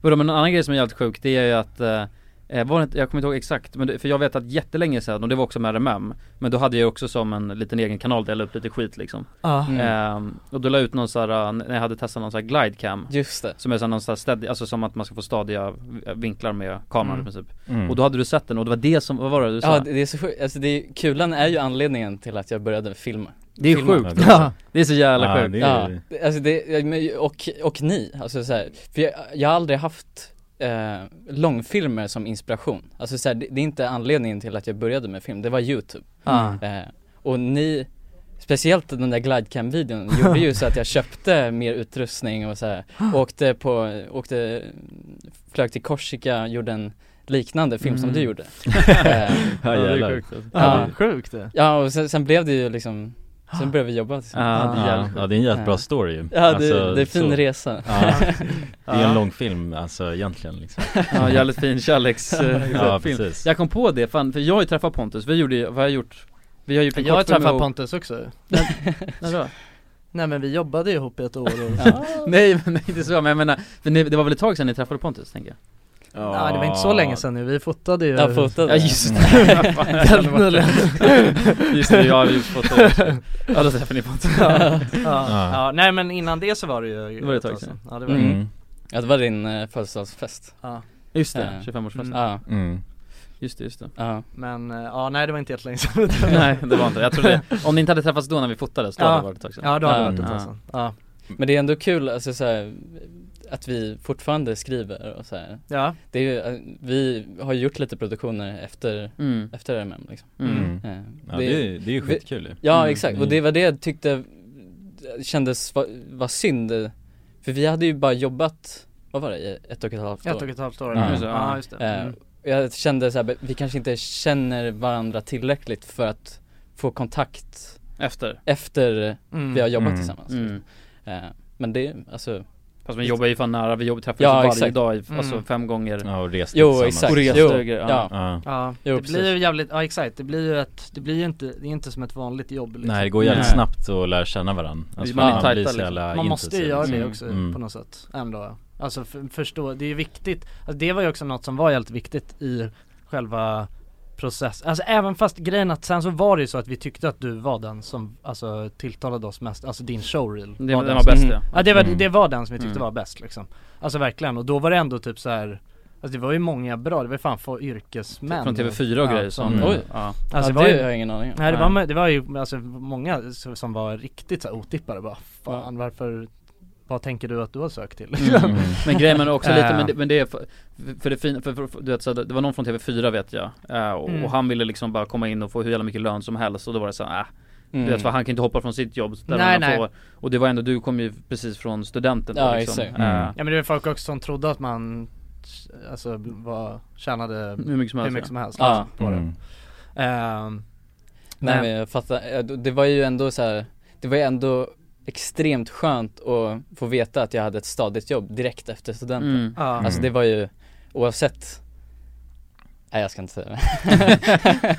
Speaker 4: Vadå men en annan grej som är jävligt sjuk det är ju att eh, eh, var det inte, jag kommer inte ihåg exakt, men det, för jag vet att jättelänge sedan, och det var också med RMM Men då hade jag också som en liten egen kanal där jag la upp lite skit liksom
Speaker 3: Ja,
Speaker 7: Mm.
Speaker 4: Ehm, Och då la jag ut någon sån här, eh, när jag hade testat någon sån här glidecam
Speaker 7: Just det,
Speaker 4: Som är sån någon sån här steady, alltså som att man ska få stadiga vinklar med kameran i princip
Speaker 2: mm.
Speaker 4: Och då hade du sett den och det var det som, vad var det du sa?
Speaker 7: ja det, det är så sjukt, alltså det är, kulan är ju anledningen till att jag började filma
Speaker 4: det är
Speaker 7: filma.
Speaker 4: [laughs] sjukt,
Speaker 3: ja,
Speaker 4: det är så jävla
Speaker 2: Ja,
Speaker 4: sjukt
Speaker 2: det är-
Speaker 7: Ja, alltså det, ja, men- och, och ni, alltså så här, för jag, jag har aldrig haft eh, långfilmer som inspiration Alltså så här, det, det är inte anledningen till att jag började med film, det var youtube
Speaker 2: [laughs]
Speaker 3: ja.
Speaker 7: eh, Och ni, speciellt den där glidecam-videon
Speaker 4: [laughs]
Speaker 7: gjorde ju så att jag köpte mer utrustning och så
Speaker 4: [gasps]
Speaker 7: här, åkte på, åkte, flög till Korsika, gjorde en liknande film som
Speaker 4: Mm.
Speaker 7: du gjorde
Speaker 4: [laughs]
Speaker 7: eh,
Speaker 2: Ja,
Speaker 4: det
Speaker 2: jävlar.
Speaker 4: är sjukt alltså.
Speaker 3: ja. sjukt det
Speaker 7: Ja och sen, sen blev det ju liksom,
Speaker 4: [gasps]
Speaker 7: sen började vi jobba tillsammans
Speaker 4: Ja, det är jävligt
Speaker 2: ja,
Speaker 4: sjukt.
Speaker 2: ja det är en jävligt bra
Speaker 7: Ja.
Speaker 2: story ju
Speaker 7: Ja det, det är fin
Speaker 2: Alltså, så-
Speaker 7: resa
Speaker 2: [laughs] Ja, det är
Speaker 4: Ja.
Speaker 2: en lång film alltså egentligen liksom
Speaker 4: Ja, jävligt fin [laughs] kärleksfilm
Speaker 2: [laughs] Ja precis
Speaker 4: Jag kom på det, fan, för jag har ju träffat Pontus, vi gjorde ju, vad har jag gjort? Vi har gjort en
Speaker 3: Jag har
Speaker 4: kortfilm
Speaker 3: träffat
Speaker 4: ihop.
Speaker 3: Pontus också [laughs]
Speaker 4: När då?
Speaker 3: Nej men vi jobbade ihop i ett år och
Speaker 4: Nej men nej, inte så, men jag menar, för ni, det var väl ett tag sedan ni träffade Pontus tänker jag?
Speaker 3: Nej det var inte så länge sedan nu, vi fotade ju
Speaker 7: Jag fotade [laughs]
Speaker 4: [laughs] Helt nyligen Just det, jag har ju fått det Ja då träffade ni Pontus
Speaker 3: [laughs] ja. Ja.
Speaker 2: Ja.
Speaker 3: ja, nej men innan det så var det ju
Speaker 4: Det var ett tag sedan.
Speaker 3: Ja det var
Speaker 7: Mm.
Speaker 3: det
Speaker 2: Mm,
Speaker 7: Ja Mm. det var din eh, födelsedagsfest
Speaker 3: ja.
Speaker 4: Just
Speaker 7: det,
Speaker 4: det, 25-årsfesten
Speaker 7: Ja,
Speaker 2: mm.
Speaker 4: Just det, just det
Speaker 3: Men eh, ja, nej det var inte jättelänge sedan
Speaker 4: Nej det var inte det. jag trodde, om ni inte hade träffats då när vi fotades, då
Speaker 3: Ja.
Speaker 4: hade det varit ett tag sedan
Speaker 3: Ja, då hade det varit ett
Speaker 4: Mm.
Speaker 3: tag sedan. Ja.
Speaker 7: Men det är ändå kul alltså, så här, att vi fortfarande skriver och så här.
Speaker 3: Ja.
Speaker 7: Det är, ju, eh, vi har ju gjort lite produktioner efter,
Speaker 4: Mm.
Speaker 7: efter RMM liksom.
Speaker 2: Mm.
Speaker 7: Eh,
Speaker 2: Ja, det är ju- det är
Speaker 7: vi-
Speaker 2: ju skitkul ju.
Speaker 7: Ja
Speaker 2: Mm.
Speaker 7: exakt, och
Speaker 2: Mm.
Speaker 7: det var det jag tyckte eh, kändes var, var synd eh, För vi hade ju bara jobbat, vad var det, i ett och ett halvt år?
Speaker 3: Ett och ett halvt år, Ja. just det. Ja, just det.
Speaker 7: Eh,
Speaker 3: Mm.
Speaker 7: och Jag kände så här, vi kanske inte känner varandra tillräckligt för att få kontakt
Speaker 4: Efter?
Speaker 7: Efter
Speaker 4: Mm.
Speaker 7: vi har jobbat
Speaker 4: Mm.
Speaker 7: tillsammans
Speaker 4: Mm.
Speaker 7: Eh, Men det, alltså
Speaker 4: Fast man jobbar ju fan nära, vi jobbar- träffas
Speaker 7: Ja,
Speaker 4: ju varje
Speaker 7: exakt.
Speaker 4: dag, i- alltså fem gånger
Speaker 3: typ.
Speaker 2: Ja, och reste
Speaker 7: Jo,
Speaker 2: tillsammans.
Speaker 7: exakt.
Speaker 4: Och reste
Speaker 7: jo.
Speaker 4: och grejer, ja.
Speaker 7: Ja,
Speaker 2: Ja.
Speaker 3: Ja,
Speaker 7: Jo,
Speaker 3: det
Speaker 7: precis.
Speaker 3: blir ju jävligt, ja exakt, det blir ju ett, det blir ju inte, det är inte som ett vanligt jobb liksom.
Speaker 2: Nej det går jävligt
Speaker 3: Nej.
Speaker 2: snabbt att lära känna varandra alltså,
Speaker 3: Man är tajta,
Speaker 2: blir så
Speaker 3: liksom.
Speaker 2: jävla
Speaker 3: Man måste ju
Speaker 2: intensiv,
Speaker 3: göra
Speaker 2: liksom.
Speaker 3: det också på något sätt ändå Alltså för, förstå, det är ju viktigt alltså, Det var ju också något som var jävligt viktigt i själva processen Alltså även fast grejen att sen så var det ju så att vi tyckte att du var den som alltså tilltalade oss mest Alltså din showreel
Speaker 4: Det- den var
Speaker 3: som-
Speaker 4: bäst, ja.
Speaker 3: ja det var,
Speaker 4: Mm.
Speaker 3: det var den som vi tyckte
Speaker 4: Mm.
Speaker 3: var bäst liksom Alltså verkligen, och då var det ändå typ så här Alltså det var ju många bra, det var ju fan få yrkesmän
Speaker 4: Från TV4 och grejer som- Oj. Ja.
Speaker 3: Alltså
Speaker 4: Ja,
Speaker 3: var
Speaker 4: det
Speaker 3: ju-
Speaker 4: har jag ingen aning om.
Speaker 3: Nej det var,
Speaker 4: Nej.
Speaker 3: det var ju alltså många s- som var riktigt så här otippade bara Fan varför, vad tänker du att du har sökt till?
Speaker 4: Mm. Men grejen är också lite,
Speaker 3: Eh,
Speaker 4: men det, men det är för, för det fina, för, för, för, du vet, så här, det var någon från TV4 vet jag eh, och,
Speaker 3: Mm.
Speaker 4: och han ville liksom bara komma in och få hur jävla mycket lön som helst och då var det såhär äh.
Speaker 7: Mm.
Speaker 4: Du vet för han kan inte hoppa från sitt jobb där
Speaker 3: Nej,
Speaker 4: han
Speaker 3: nej.
Speaker 4: Får, Och det var ändå, du kom ju precis från studenten då,
Speaker 7: Ja,
Speaker 4: liksom.
Speaker 7: exakt.
Speaker 4: Eh,
Speaker 7: Mm.
Speaker 3: [laughs] Ja men det var folk också som trodde att man alltså var, tjänade
Speaker 4: Hur mycket som helst, ja.
Speaker 3: liksom,
Speaker 7: Ja.
Speaker 3: på det
Speaker 7: Mm.
Speaker 3: Ehm,
Speaker 7: Nej
Speaker 3: men-
Speaker 7: men jag fattar, Eh, det var ju ändå så här, det var ju ändå extremt skönt att få veta att jag hade ett stadigt jobb direkt efter studenten
Speaker 4: Mm. Ja.
Speaker 7: Alltså
Speaker 4: Mm.
Speaker 7: det var ju, oavsett Nej jag ska inte
Speaker 3: [laughs]
Speaker 7: säga det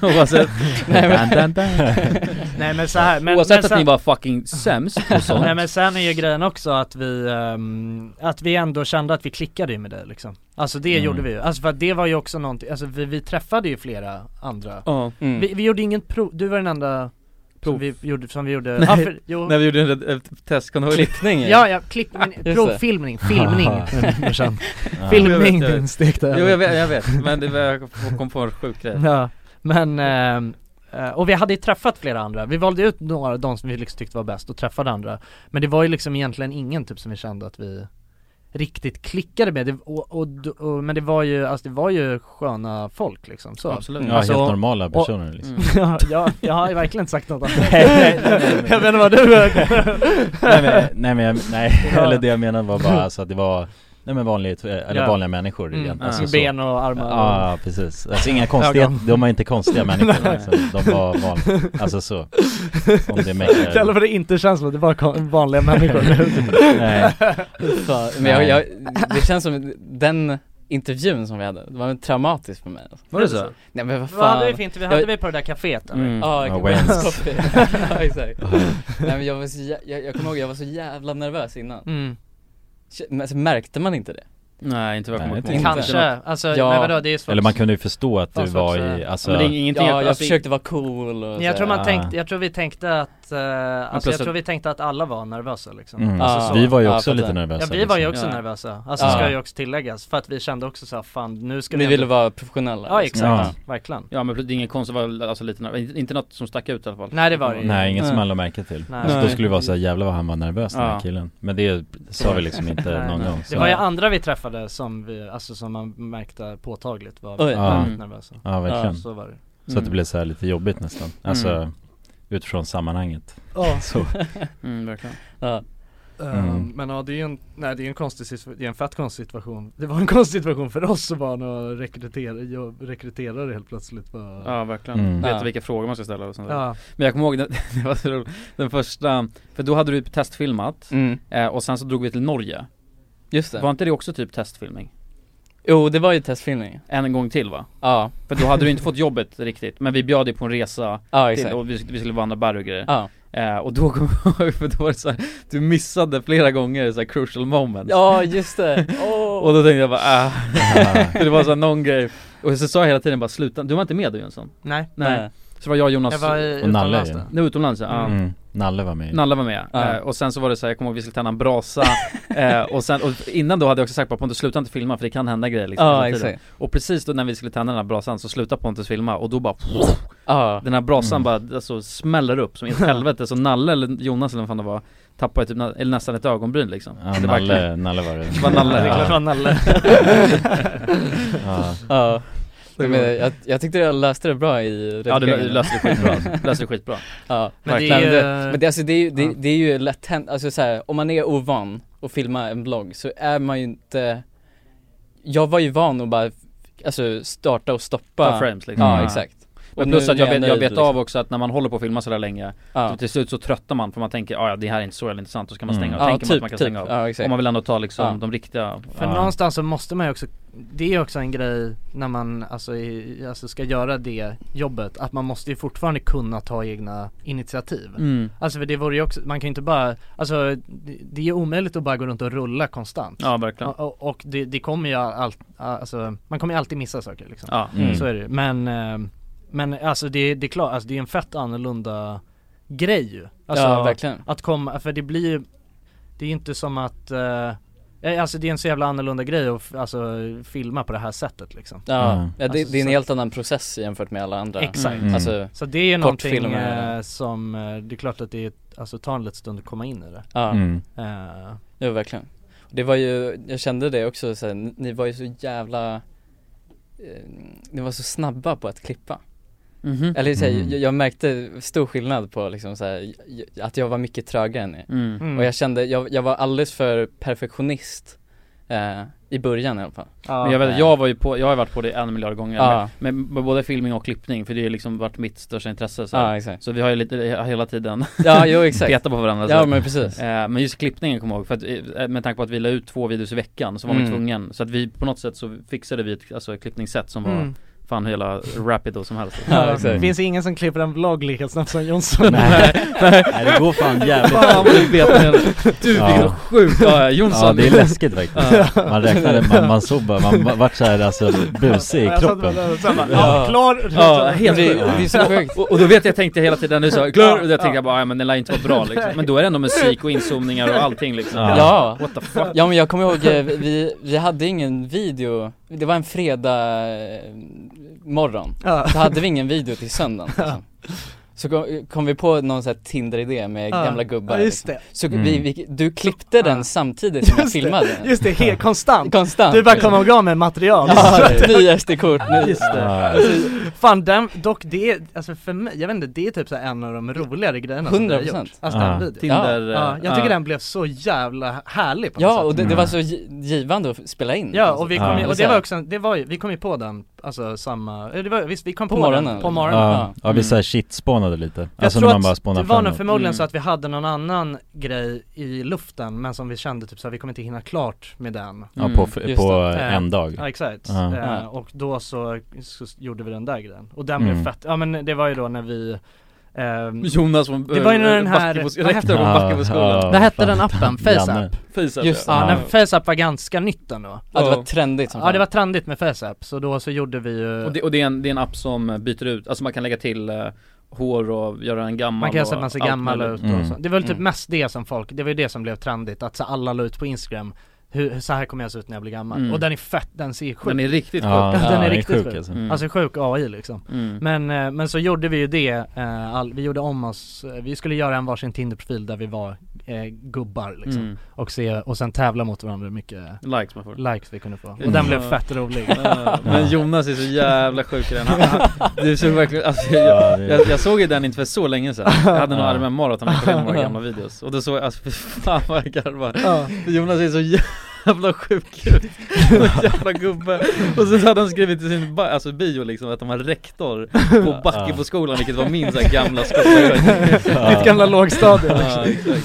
Speaker 4: mm. [laughs] Oavsett
Speaker 7: Nej men,
Speaker 4: Dun, dun, dun.
Speaker 3: Nej men så här, men,
Speaker 4: Oavsett
Speaker 3: men
Speaker 4: att
Speaker 3: sen-
Speaker 4: ni var fucking sämst på sånt
Speaker 3: Nej men sen är ju grejen också att vi, ehm, att vi ändå kände att vi klickade ju med dig liksom Alltså det
Speaker 4: Mm.
Speaker 3: gjorde vi ju, alltså för att det var ju också någonting, alltså vi, vi träffade ju flera andra
Speaker 4: Ja. Mm.
Speaker 3: vi, vi gjorde inget prov, du var den enda Som vi gjorde, som vi gjorde,
Speaker 4: Nej,
Speaker 3: ja, för, jo.
Speaker 4: när vi gjorde en, en test, kommer du ihåg?
Speaker 3: Ja, ja, klipp, men,
Speaker 4: Just det. [laughs]
Speaker 3: provfilmning, filmning [laughs] morsan.
Speaker 4: Ja.
Speaker 3: Filmning
Speaker 4: Jag vet, jag
Speaker 3: din
Speaker 4: vet.
Speaker 3: stekta
Speaker 4: Jo jag vet, jag vet, men det var, jag kom på en sjuk grej
Speaker 3: Ja, men ehm, eh, och vi hade ju träffat flera andra, vi valde ut några av de som vi liksom tyckte var bäst och träffade andra Men det var ju liksom egentligen ingen typ som vi kände att vi riktigt klickade med, det, och, och, och, men det var ju, alltså det var ju sköna folk liksom så
Speaker 2: Absolut. Ja, helt normala personer, liksom.
Speaker 3: Mm. ja, jag, jag har ju verkligen inte sagt något annat
Speaker 2: Nej, nej, nej, nej.
Speaker 3: Jag vet inte vad du
Speaker 2: nej men, nej, men jag, nej,
Speaker 3: [laughs] Ja.
Speaker 2: eller det jag menade var
Speaker 3: [laughs]
Speaker 2: bara alltså att det var Nej men vanligt, eller
Speaker 3: Ja.
Speaker 2: vanliga människor
Speaker 3: Mm.
Speaker 2: igen
Speaker 3: Ja. Ben och armar och-
Speaker 2: alltså Ja precis, alltså inga konstigheter,
Speaker 3: Ögon.
Speaker 2: de var inte
Speaker 3: [laughs]
Speaker 2: konstiga människor
Speaker 3: Nej.
Speaker 2: alltså. de var vanliga, alltså så Om det mäktar
Speaker 3: Kallar för det inte känslor, det var kon- vanliga människor
Speaker 2: [laughs] liksom. Nej.
Speaker 7: Fan, men jag, jag, det känns som den intervjun som vi hade, det var en traumatisk för mig alltså.
Speaker 3: Var det så?
Speaker 7: Nej men vad fan
Speaker 3: Vad hade vi för intervju? Hade
Speaker 7: Jag-
Speaker 3: vi på det där kaféet, eller?
Speaker 7: Mm. Ja,
Speaker 3: Ja,
Speaker 7: jag
Speaker 3: Wayne's.
Speaker 7: [laughs] ja exakt Nej men jag var så, jä- jag, jag kommer ihåg jag var så jävla nervös innan
Speaker 3: Mm.
Speaker 7: K- Men alltså, märkte man inte det?
Speaker 4: Nej inte vad jag
Speaker 2: Nej,
Speaker 4: kommer
Speaker 2: inte
Speaker 4: på.
Speaker 3: Kanske, alltså, men vadå, det är svårt.
Speaker 2: Eller man kunde ju förstå att du
Speaker 3: Fan, svårt
Speaker 2: var
Speaker 3: att
Speaker 2: i,
Speaker 3: säga.
Speaker 2: alltså
Speaker 4: Ja, men det är ingenting-
Speaker 7: Ja, jag
Speaker 4: alltså-
Speaker 7: försökte vara cool och
Speaker 3: Men jag
Speaker 7: så-
Speaker 3: tror man
Speaker 2: Ah.
Speaker 3: tänkte, jag tror vi tänkte att, eh, alltså
Speaker 7: plus
Speaker 3: jag
Speaker 7: att-
Speaker 3: tror vi tänkte att alla var nervösa liksom
Speaker 2: Mm.
Speaker 3: alltså,
Speaker 2: Ah. Vi var ju också
Speaker 3: fattar.
Speaker 2: lite nervösa,
Speaker 3: Ja vi var ju
Speaker 2: liksom.
Speaker 3: också
Speaker 2: Ja.
Speaker 3: nervösa, alltså
Speaker 2: Ja.
Speaker 3: ska ju också tilläggas, för att vi kände också såhär fan nu ska
Speaker 7: Ni
Speaker 3: vi
Speaker 7: ville
Speaker 3: ändå-
Speaker 7: vara professionella,
Speaker 3: Ja
Speaker 7: liksom.
Speaker 3: exakt,
Speaker 7: Ja.
Speaker 3: verkligen
Speaker 4: Ja men det är ingen konst, det var alltså lite, nerv- inte- inte något som stack ut i alla fall
Speaker 3: Nej, det var det ju.
Speaker 2: Nej inget som
Speaker 3: Nej.
Speaker 2: man lade märke till,
Speaker 3: Nej.
Speaker 2: alltså, då
Speaker 3: Nej.
Speaker 2: skulle det vara såhär jävlar vad han var nervös den
Speaker 3: Ja.
Speaker 2: här killen Men det sa vi liksom inte
Speaker 3: [laughs] Nej,
Speaker 2: någon
Speaker 3: nej.
Speaker 2: gång
Speaker 3: Det
Speaker 2: så.
Speaker 3: var ju andra vi träffade som vi, alltså som man märkte påtagligt var
Speaker 2: Oj.
Speaker 3: väldigt
Speaker 2: Ja.
Speaker 3: nervösa
Speaker 2: Ja verkligen
Speaker 3: Så var det
Speaker 2: Så att det blev så här lite jobbigt nästan, alltså utifrån sammanhanget
Speaker 3: Ja.
Speaker 2: så.
Speaker 7: [laughs]
Speaker 4: Mm, verkligen
Speaker 3: Ehm,
Speaker 2: Mm.
Speaker 3: Men ja det är ju en, nej det är en konstig situ- det är en fett konstig situation Det var en [laughs] konstig situation för oss som var några rekryterare, jag rekryterare helt plötsligt bara
Speaker 4: Ja verkligen,
Speaker 2: Mm.
Speaker 4: veta
Speaker 3: Ja.
Speaker 4: vilka frågor man ska ställa och sånt där.
Speaker 3: Ja.
Speaker 4: Men jag kommer ihåg, den, [laughs] det var så roligt, den första, för då hade du typ testfilmat eh, och sen så drog vi till Norge
Speaker 7: Mm, Just det
Speaker 4: Var inte det också typ testfilmning?
Speaker 7: Jo det var ju testfilmning
Speaker 4: En gång till va?
Speaker 7: Ja
Speaker 4: För då hade du inte fått jobbet riktigt, men vi bjöd dig på en resa
Speaker 7: Ja,
Speaker 4: till,
Speaker 7: exakt.
Speaker 4: och vi, vi skulle vandra berg och grejer
Speaker 7: Ja.
Speaker 4: eh, Och då kom [laughs] jag ihåg, för då var det så här, du missade flera gånger så här crucial moments
Speaker 7: Ja just det, Åh.
Speaker 4: Och då tänkte jag bara
Speaker 2: [laughs]
Speaker 4: ah. [laughs] För det var så här någon grej Och så sa jag hela tiden bara sluta, du var inte med då Jönsson?
Speaker 3: Nej.
Speaker 4: Nej
Speaker 7: Nej.
Speaker 4: det var jag, Jonas
Speaker 2: Jag var i- Och Nalle, utomlands, ja.
Speaker 4: Det var utomlands ja. ja.
Speaker 2: Mm. Nalle var med
Speaker 4: Nalle var med,
Speaker 2: Ja.
Speaker 4: eh, och sen så var det så här, jag kommer ihåg vi skulle tända en
Speaker 2: [laughs]
Speaker 4: brasa eh, och sen, och innan då hade jag också sagt bara Pontus sluta inte filma för det kan hända grejer liksom
Speaker 7: Ja,
Speaker 4: hela tiden.
Speaker 7: exakt.
Speaker 4: Och precis då när vi skulle tända den här brasan så slutade Pontus filma och då bara [laughs]
Speaker 7: Ja.
Speaker 4: Den här brasan
Speaker 7: Mm.
Speaker 4: bara alltså, smäller upp
Speaker 2: [laughs]
Speaker 4: som i helvete så Nalle eller Jonas eller vad fan det var Tappade typ, nä- eller nästan ett ögonbryn liksom
Speaker 2: Ja,
Speaker 4: Det
Speaker 2: Nalle-
Speaker 4: verkligen-
Speaker 2: Nalle var det.
Speaker 4: Det var Nalle
Speaker 2: [laughs] Ja, det är klart det var Nalle.
Speaker 7: ja. ja. Men jag, jag tyckte jag löste det bra i
Speaker 4: Ja,
Speaker 2: [laughs]
Speaker 4: du lö-
Speaker 7: redigeringen.
Speaker 4: löste det skitbra alltså. Löste det skitbra.
Speaker 7: Ja,
Speaker 4: Men
Speaker 7: men
Speaker 4: det
Speaker 7: det,
Speaker 4: är ju-
Speaker 7: men det, alltså, det, är ju, det, det är ju lätt hänt, alltså så här, om man är ovan och filmar en vlogg så är man ju inte Jag var ju van att bara, alltså starta och stoppa
Speaker 4: Ta frames liksom.
Speaker 7: Ja, exakt
Speaker 4: Men
Speaker 7: Och
Speaker 4: plus
Speaker 7: nu
Speaker 4: att jag
Speaker 7: när
Speaker 4: vet,
Speaker 7: är
Speaker 4: jag
Speaker 7: nöjd,
Speaker 4: vet
Speaker 7: liksom.
Speaker 4: av också att när man håller på att filma sådär länge
Speaker 7: Ja.
Speaker 4: så Till slut så tröttar man för man tänker "Ah, ja det här är inte så jävla intressant och så kan man
Speaker 7: Mm.
Speaker 4: stänga av,
Speaker 7: Ja,
Speaker 4: tänker man att
Speaker 7: typ,
Speaker 4: man kan
Speaker 7: typ.
Speaker 4: stänga av
Speaker 7: Ja, exakt.
Speaker 4: Om man vill ändå ta liksom
Speaker 7: Ja.
Speaker 4: de riktiga
Speaker 3: För någonstans så måste man ju också, det är ju också en grej när man alltså, i, alltså ska göra det jobbet, att man måste ju fortfarande kunna ta egna initiativ.
Speaker 4: Mm.
Speaker 3: Alltså för det vore ju också, man kan ju inte bara, alltså det, det är ju omöjligt att bara gå runt och rulla konstant.
Speaker 4: Ja, verkligen.
Speaker 3: Och, och, och det, det kommer ju allt, alltså man kommer ju alltid missa saker liksom.
Speaker 4: Ja. Mm.
Speaker 3: Så är det ju. Men, eh, men alltså det, det är klart, alltså det är en fett annorlunda grej ju. Alltså,
Speaker 7: Ja, verkligen.
Speaker 3: Att komma, för det blir ju Det är ju inte som att eh, eh, Alltså det är en så jävla annorlunda grej att f- alltså, filma på det här sättet liksom
Speaker 7: Ja, ja det,
Speaker 3: Alltså,
Speaker 7: det är en
Speaker 3: så-
Speaker 7: helt annan process jämfört med alla andra
Speaker 2: Mm.
Speaker 3: Exakt,
Speaker 7: alltså,
Speaker 3: så det är ju någonting
Speaker 7: kortfilmer.
Speaker 3: eh, som, eh, det är klart att det är, alltså tar en liten stund att komma in i det
Speaker 7: Ja,
Speaker 2: Mm.
Speaker 3: Eh,
Speaker 7: ja verkligen. Det var ju, jag kände det också så här, ni- ni var ju så jävla, eh, ni var så snabba på att klippa.
Speaker 4: Mhm.
Speaker 7: Eller så här,
Speaker 4: Mm.
Speaker 7: jag, jag märkte stor skillnad på liksom så här, j- att jag var mycket trögare än ni.
Speaker 4: Mm. Mm.
Speaker 7: Och jag kände, jag, jag var alldeles för perfektionist eh, i början i alla fall.
Speaker 4: Men jag vet, jag var ju på, jag har ju varit på det en miljard gånger
Speaker 7: Ja.
Speaker 4: med, med både filmning och klippning för det har liksom varit mitt största intresse så,
Speaker 7: Ja, exakt.
Speaker 4: så vi har ju lite, hela tiden
Speaker 7: Ja, jo, exakt.
Speaker 4: [laughs] petat på varandra
Speaker 7: Ja,
Speaker 4: så.
Speaker 7: men precis.
Speaker 4: eh, Men just klippningen kommer jag ihåg, för att, eh, med tanke på att vi la ut två videos i veckan så var man ju
Speaker 7: Mm.
Speaker 4: tvungen Så att vi på något sätt så fixade vi ett alltså, ett klippningssätt som var
Speaker 3: Mm.
Speaker 4: fan hur jävla rapido som helst
Speaker 3: Det finns ingen som klipper en vlogg lika snabbt som Jonsson [laughs]
Speaker 4: Nej, det går fan jävligt Fan, vad [laughs] du
Speaker 7: [laughs]
Speaker 4: vet det. Du, vilken sjuk- ja, ja, Jonsson.
Speaker 2: Ja det är läskigt faktiskt
Speaker 4: Ja.
Speaker 2: Man räknade, man, man såg bara, man man vart såhär alltså busig i
Speaker 4: Ja, jag satt
Speaker 2: kroppen
Speaker 4: där och så här bara, ja, klar. Ja, helt
Speaker 2: Det-
Speaker 4: sjukt.
Speaker 2: det är
Speaker 7: så sjukt.
Speaker 4: Och, och då vet jag, tänkte hela tiden nu så,
Speaker 7: Ja,
Speaker 4: klar, och jag tänkte bara, ja men den lär inte vara bra liksom. Men då är det ändå musik och inzoomningar och allting liksom.
Speaker 7: Ja,
Speaker 4: What the fuck?
Speaker 7: ja men jag kommer ihåg, eh, vi, vi hade ingen video, det var en fredag eh, morgon,
Speaker 3: Ja.
Speaker 7: då hade vi ingen video till söndagen liksom. Så kom, kom vi på någon sån här Tinder-idé med
Speaker 3: Ja.
Speaker 7: gamla gubbar
Speaker 3: Ja, just
Speaker 7: liksom.
Speaker 3: det.
Speaker 7: Så
Speaker 3: Mm.
Speaker 7: vi, vi, du klippte den samtidigt som jag filmade den
Speaker 3: Just det, helt konstant!
Speaker 7: Konstant
Speaker 3: Du bara kommer igång med material
Speaker 7: Ja, ny SD-kort, ny
Speaker 3: Just det. Alltså, Fan den, dock det, är- alltså för mig, jag vet inte, det är typ så här en av de roligare grejerna som vi har
Speaker 7: 100%.
Speaker 3: gjort. Alltså den
Speaker 7: Ja.
Speaker 3: videon
Speaker 7: Tinder,
Speaker 4: eh,
Speaker 3: ja, jag tycker
Speaker 7: ja.
Speaker 3: den blev så jävla härlig på något
Speaker 7: Ja
Speaker 3: sätt.
Speaker 7: och det,
Speaker 4: Mm.
Speaker 7: det var så gi- givande att spela in
Speaker 3: Ja och vi kom ju,
Speaker 7: Eller
Speaker 3: och
Speaker 7: så
Speaker 3: det
Speaker 7: här.
Speaker 3: var också, en- det var ju, vi kom ju på den, alltså samma, eh, det var, visst vi kom på,
Speaker 7: På
Speaker 3: den
Speaker 7: morgonen. liksom.
Speaker 3: på morgonen
Speaker 2: Ja, ja vi såhär shitspånade lite,
Speaker 3: Jag
Speaker 2: alltså
Speaker 3: tror
Speaker 2: när man
Speaker 3: att
Speaker 2: bara spånar
Speaker 3: Det var nog
Speaker 2: framåt.
Speaker 3: förmodligen så
Speaker 7: Mm.
Speaker 3: att vi hade någon annan grej i luften men som vi kände typ så här, vi kommer inte hinna klart med den
Speaker 2: Ja, på- Mm, just på det.
Speaker 3: Eh,
Speaker 2: en dag.
Speaker 3: Ja exakt,
Speaker 2: Ja.
Speaker 3: Eh,
Speaker 2: Ja.
Speaker 3: och då så, så gjorde vi den där grejen Och den
Speaker 2: Mm.
Speaker 3: blev fett, ja men det var ju då när vi eh, ehm,
Speaker 4: Jonas som-
Speaker 3: Det var ju när den här,
Speaker 4: backar på-
Speaker 3: vad hette-
Speaker 4: rektorn på backen på skolan.
Speaker 3: Vad hette den
Speaker 4: Fan.
Speaker 3: appen?
Speaker 4: Janne.
Speaker 3: FaceApp?
Speaker 4: FaceApp,
Speaker 3: Just
Speaker 4: ja.
Speaker 3: ja,
Speaker 4: Ja.
Speaker 3: när FaceApp var ganska nytt ändå Alltså,
Speaker 4: Ja, det var trendigt som
Speaker 3: Ja
Speaker 4: fan.
Speaker 3: det var trendigt med FaceApp, så då så gjorde vi ju
Speaker 4: Och, det, och det, är en, det är en app som byter ut, alltså man kan lägga till eh, hår och göra en gammal
Speaker 3: Man kan
Speaker 4: och
Speaker 3: säga att man ser
Speaker 4: allt
Speaker 3: gammal ut
Speaker 4: möjligt. Mm.
Speaker 3: och så. Det var väl typ mest det som folk, det var ju det som blev trendigt, att så alla la ut på Instagram hur, hur- så här kommer jag se ut när jag blir gammal.
Speaker 4: Mm.
Speaker 3: Och den är fett, den ser sjuk
Speaker 4: Den är riktigt
Speaker 3: Ja,
Speaker 4: sjuk.
Speaker 3: den
Speaker 4: Ja,
Speaker 3: är riktigt sjuk.
Speaker 4: alltså.
Speaker 3: Alltså.
Speaker 4: Mm.
Speaker 3: sjuk AI liksom.
Speaker 4: Mm.
Speaker 3: Men, eh, men så gjorde vi ju det, eh, all, vi gjorde om oss, eh, vi skulle göra en varsin Tinder-profil där vi var eh, gubbar liksom.
Speaker 4: Mm.
Speaker 3: Och, se, och sen tävla mot varandra hur mycket
Speaker 4: Likes man får.
Speaker 3: likes vi kunde få.
Speaker 4: Mm.
Speaker 3: Och den blev
Speaker 4: [laughs]
Speaker 3: fett rolig.
Speaker 4: Ja, Men Jonas är så jävla sjuk i den Han- han- Du såg verkligen, alltså,
Speaker 3: Ja,
Speaker 4: jag,
Speaker 3: det är-
Speaker 4: jag, jag såg ju den inte för så länge sedan Jag hade nog
Speaker 3: Ja.
Speaker 4: allmän maraton och kollade in några gamla videos Och då såg jag, alltså fy fan vad jag garvar Jonas är så jävla sjuk ut Någon jävla gubbe Och så hade han skrivit i sin ba- alltså, bio liksom att han var rektor på Backe
Speaker 2: Ja.
Speaker 4: på skolan vilket var min så här gamla skola
Speaker 3: [laughs]
Speaker 2: Ja.
Speaker 4: Ja, exakt.
Speaker 2: Ja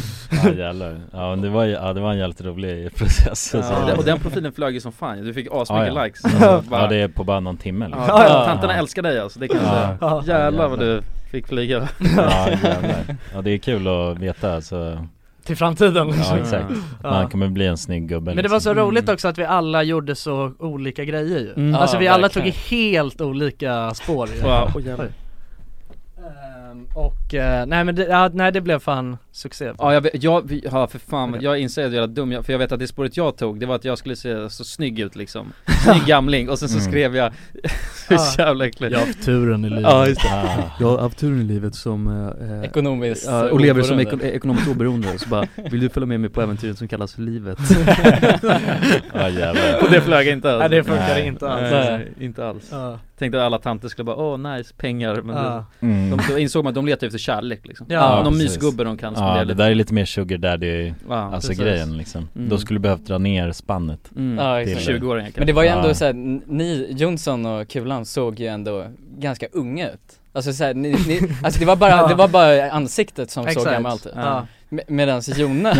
Speaker 2: jävlar, ja men det var, ju- ja, det var en jävligt rolig process alltså.
Speaker 4: Ja, och den profilen flög ju som fan ju. du fick
Speaker 2: Ja,
Speaker 4: asmycket
Speaker 2: ja.
Speaker 4: likes
Speaker 2: Alltså,
Speaker 4: bara-
Speaker 2: ja det är på bara någon timme liksom.
Speaker 4: Ja, Tanterna älskar dig alltså, det kan jag
Speaker 2: Ja.
Speaker 4: säga
Speaker 2: Ja.
Speaker 4: Jävlar vad du fick flyga
Speaker 2: Ja jävlar. Ja det är kul att veta alltså
Speaker 3: Till framtiden
Speaker 2: Ja
Speaker 3: liksom.
Speaker 2: exakt,
Speaker 3: Ja.
Speaker 2: man kommer bli en snygg gubbe
Speaker 3: Men det var
Speaker 2: liksom.
Speaker 3: så roligt också att vi alla gjorde så olika grejer ju.
Speaker 2: Mm.
Speaker 3: Alltså
Speaker 2: Ja,
Speaker 3: vi alla tog
Speaker 2: verkligen.
Speaker 3: helt olika spår ju.
Speaker 2: Ja,
Speaker 4: jävlar.
Speaker 3: och, eh, nej men det, ja, nej det blev fan succé
Speaker 4: Ja jag, vet- jag vi- ja, för fan, jag inser att jag är dum, jag- för jag vet att det spåret jag tog, det var att jag skulle se så snygg ut liksom [laughs] Snygg gamling, och sen så
Speaker 3: Mm.
Speaker 4: skrev jag, [laughs] så jävla äckligt
Speaker 3: Jag har haft turen i livet.
Speaker 4: Ja just det,
Speaker 3: Ah.
Speaker 4: jag har haft turen i livet som eh,
Speaker 7: Ekonomiskt
Speaker 4: ja, och lever som
Speaker 7: oberoende.
Speaker 4: eko, ekonomiskt oberoende, så bara, vill du följa med mig på äventyret som kallas [laughs] livet? [laughs]
Speaker 2: Ja, jävlar.
Speaker 4: och det flög inte alls
Speaker 2: Nej, det funkade inte alls.
Speaker 4: Nej, nej, inte alls
Speaker 3: Ja.
Speaker 4: Tänkte att alla tanter skulle bara, åh nice, pengar, men
Speaker 3: Ja.
Speaker 4: det,
Speaker 2: Mm.
Speaker 4: de, då insåg man att de letar efter kärlek liksom
Speaker 2: Ja,
Speaker 4: Någon
Speaker 2: precis.
Speaker 4: mysgubbe de kan
Speaker 2: Ja,
Speaker 4: spendera
Speaker 2: det
Speaker 4: lite
Speaker 2: där är lite mer sugar daddy,
Speaker 4: Ja,
Speaker 2: alltså
Speaker 4: precis.
Speaker 2: grejen liksom
Speaker 4: Mm.
Speaker 2: Då skulle du behövt dra ner spannet
Speaker 4: Mm.
Speaker 7: Ja,
Speaker 2: till-
Speaker 7: exakt.
Speaker 2: kanske.
Speaker 7: Men det var ju ändå
Speaker 2: Ja.
Speaker 7: så såhär, ni, Jonsson och Kulan såg ju ändå ganska unga ut Alltså såhär, ni, ni, alltså det var
Speaker 2: [laughs]
Speaker 7: bara,
Speaker 3: Ja.
Speaker 7: det var bara ansiktet som såg
Speaker 3: Exakt.
Speaker 7: gammalt ut
Speaker 3: Ja.
Speaker 7: Me- Medans Jonas,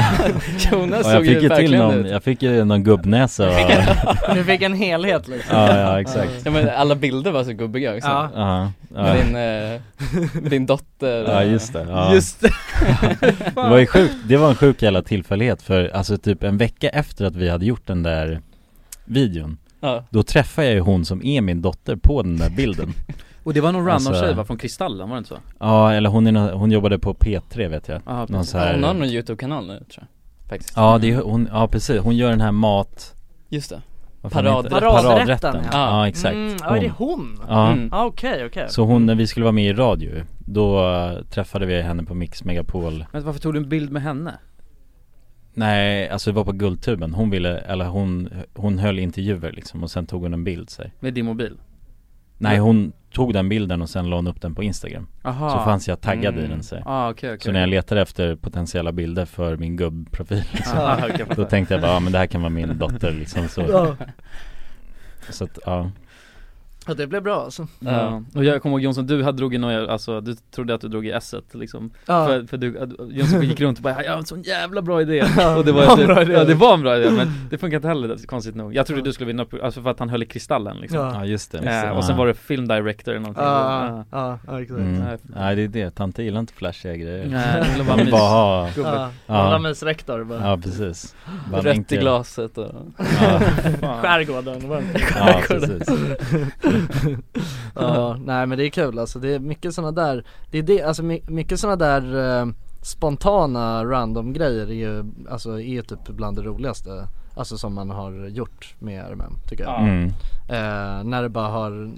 Speaker 7: Jonas
Speaker 2: [laughs] Ja,
Speaker 7: såg
Speaker 2: jag
Speaker 7: ju
Speaker 2: fick ju till
Speaker 7: verkligen
Speaker 2: någon,
Speaker 7: ut
Speaker 2: jag fick ju någon gubbnäsa och,
Speaker 3: Du fick en helhet liksom
Speaker 2: Ja, ja, exakt.
Speaker 7: ja, men alla bilder var så gubbiga också
Speaker 3: Ja.
Speaker 2: Ja, ja.
Speaker 7: Med din, eh, din dotter
Speaker 2: Ja
Speaker 7: eh.
Speaker 2: just det, ja.
Speaker 7: [laughs]
Speaker 2: det var ju sjukt, det var en sjuk jävla tillfällighet för alltså typ en vecka efter att vi hade gjort den där videon
Speaker 7: Ja.
Speaker 2: Då träffade jag ju hon som är min dotter på den där bilden
Speaker 4: Och det var någon random
Speaker 2: Alltså-
Speaker 4: tjej va, från Kristallen, var det inte så?
Speaker 2: Ja eller hon, är, nå- hon jobbade på P3 vet jag
Speaker 4: Ja,
Speaker 2: Någon
Speaker 4: precis.
Speaker 2: så här,
Speaker 7: Hon har någon youtube-kanal nu tror jag, faktiskt
Speaker 2: Ja det är, hon, ja precis, hon gör den här mat
Speaker 7: Just det
Speaker 2: vad fan heter det?
Speaker 7: Paradrätten.
Speaker 2: Paradrätten ja,
Speaker 7: Ja.
Speaker 2: ja exakt
Speaker 7: Mm,
Speaker 3: ja, är det hon?
Speaker 2: Ja
Speaker 3: Mm. Ah, okej, okej.
Speaker 2: Så hon, när vi skulle vara med i radio, då eh, träffade vi henne på Mix Megapol
Speaker 4: Men varför tog du en bild med henne?
Speaker 2: Nej, alltså det var på Guldtuben. Hon ville, eller hon, hon höll intervjuer liksom och sen tog hon en bild så här.
Speaker 4: Med din mobil?
Speaker 2: Nej hon tog den bilden och sen la hon upp den på Instagram
Speaker 4: Aha.
Speaker 2: Så fanns jag taggad i
Speaker 4: Mm.
Speaker 2: den så här.
Speaker 4: Ah, okej, okej,
Speaker 2: Så när jag
Speaker 4: okej.
Speaker 2: letade efter potentiella bilder för
Speaker 4: [laughs]
Speaker 2: min gubbprofil liksom,
Speaker 4: Ah, okej, jag
Speaker 2: Då
Speaker 4: fattar. Ah.
Speaker 2: tänkte jag bara, ja men det här kan vara min dotter liksom så
Speaker 3: Ja.
Speaker 2: Så att, ja
Speaker 3: Ja det blev bra alltså
Speaker 4: Ja. Och jag kommer ihåg Jonsson, du hade drog i några, alltså du trodde att du drog i esset liksom
Speaker 3: Ja.
Speaker 4: för, för du, att- Jonsson gick runt och bara 'Jag har en sån jävla bra idé'
Speaker 3: [laughs] Ja,
Speaker 4: Och det
Speaker 3: det var
Speaker 4: var,
Speaker 3: en
Speaker 4: typ,
Speaker 3: bra idé.
Speaker 4: ja det var en bra idé men det funkar inte heller alltså, konstigt nog Jag trodde du skulle vinna, på- alltså för att han höll i Kristallen liksom
Speaker 3: Ja. Ja, Ah, just det.
Speaker 4: eh, Och sen
Speaker 2: Ja.
Speaker 4: var det film director eller någonting
Speaker 3: Ja, ja, ja, exakt.
Speaker 2: Ah. mm. Nej det är det, tanter gillar inte flashiga grejer
Speaker 4: Nej, de vill
Speaker 2: [laughs]
Speaker 4: bara
Speaker 2: De vill bara
Speaker 4: mys.
Speaker 2: ha
Speaker 4: Gubbe.
Speaker 3: Ja, alla mysrektor bara.
Speaker 2: Ja precis Bara
Speaker 7: Rött
Speaker 2: inte-
Speaker 7: i glaset och...
Speaker 4: [laughs]
Speaker 2: Ja.
Speaker 3: Fan. Skärgården, var det?
Speaker 2: Ja, precis.
Speaker 3: [laughs] ja, nej men det är kul alltså, det är mycket sådana där, det är det, alltså my- mycket sådana där eh, spontana random grejer är ju, alltså är ju typ bland det roligaste Alltså som man har gjort med RMM tycker jag
Speaker 2: Ja. Mm.
Speaker 3: eh, När det bara har,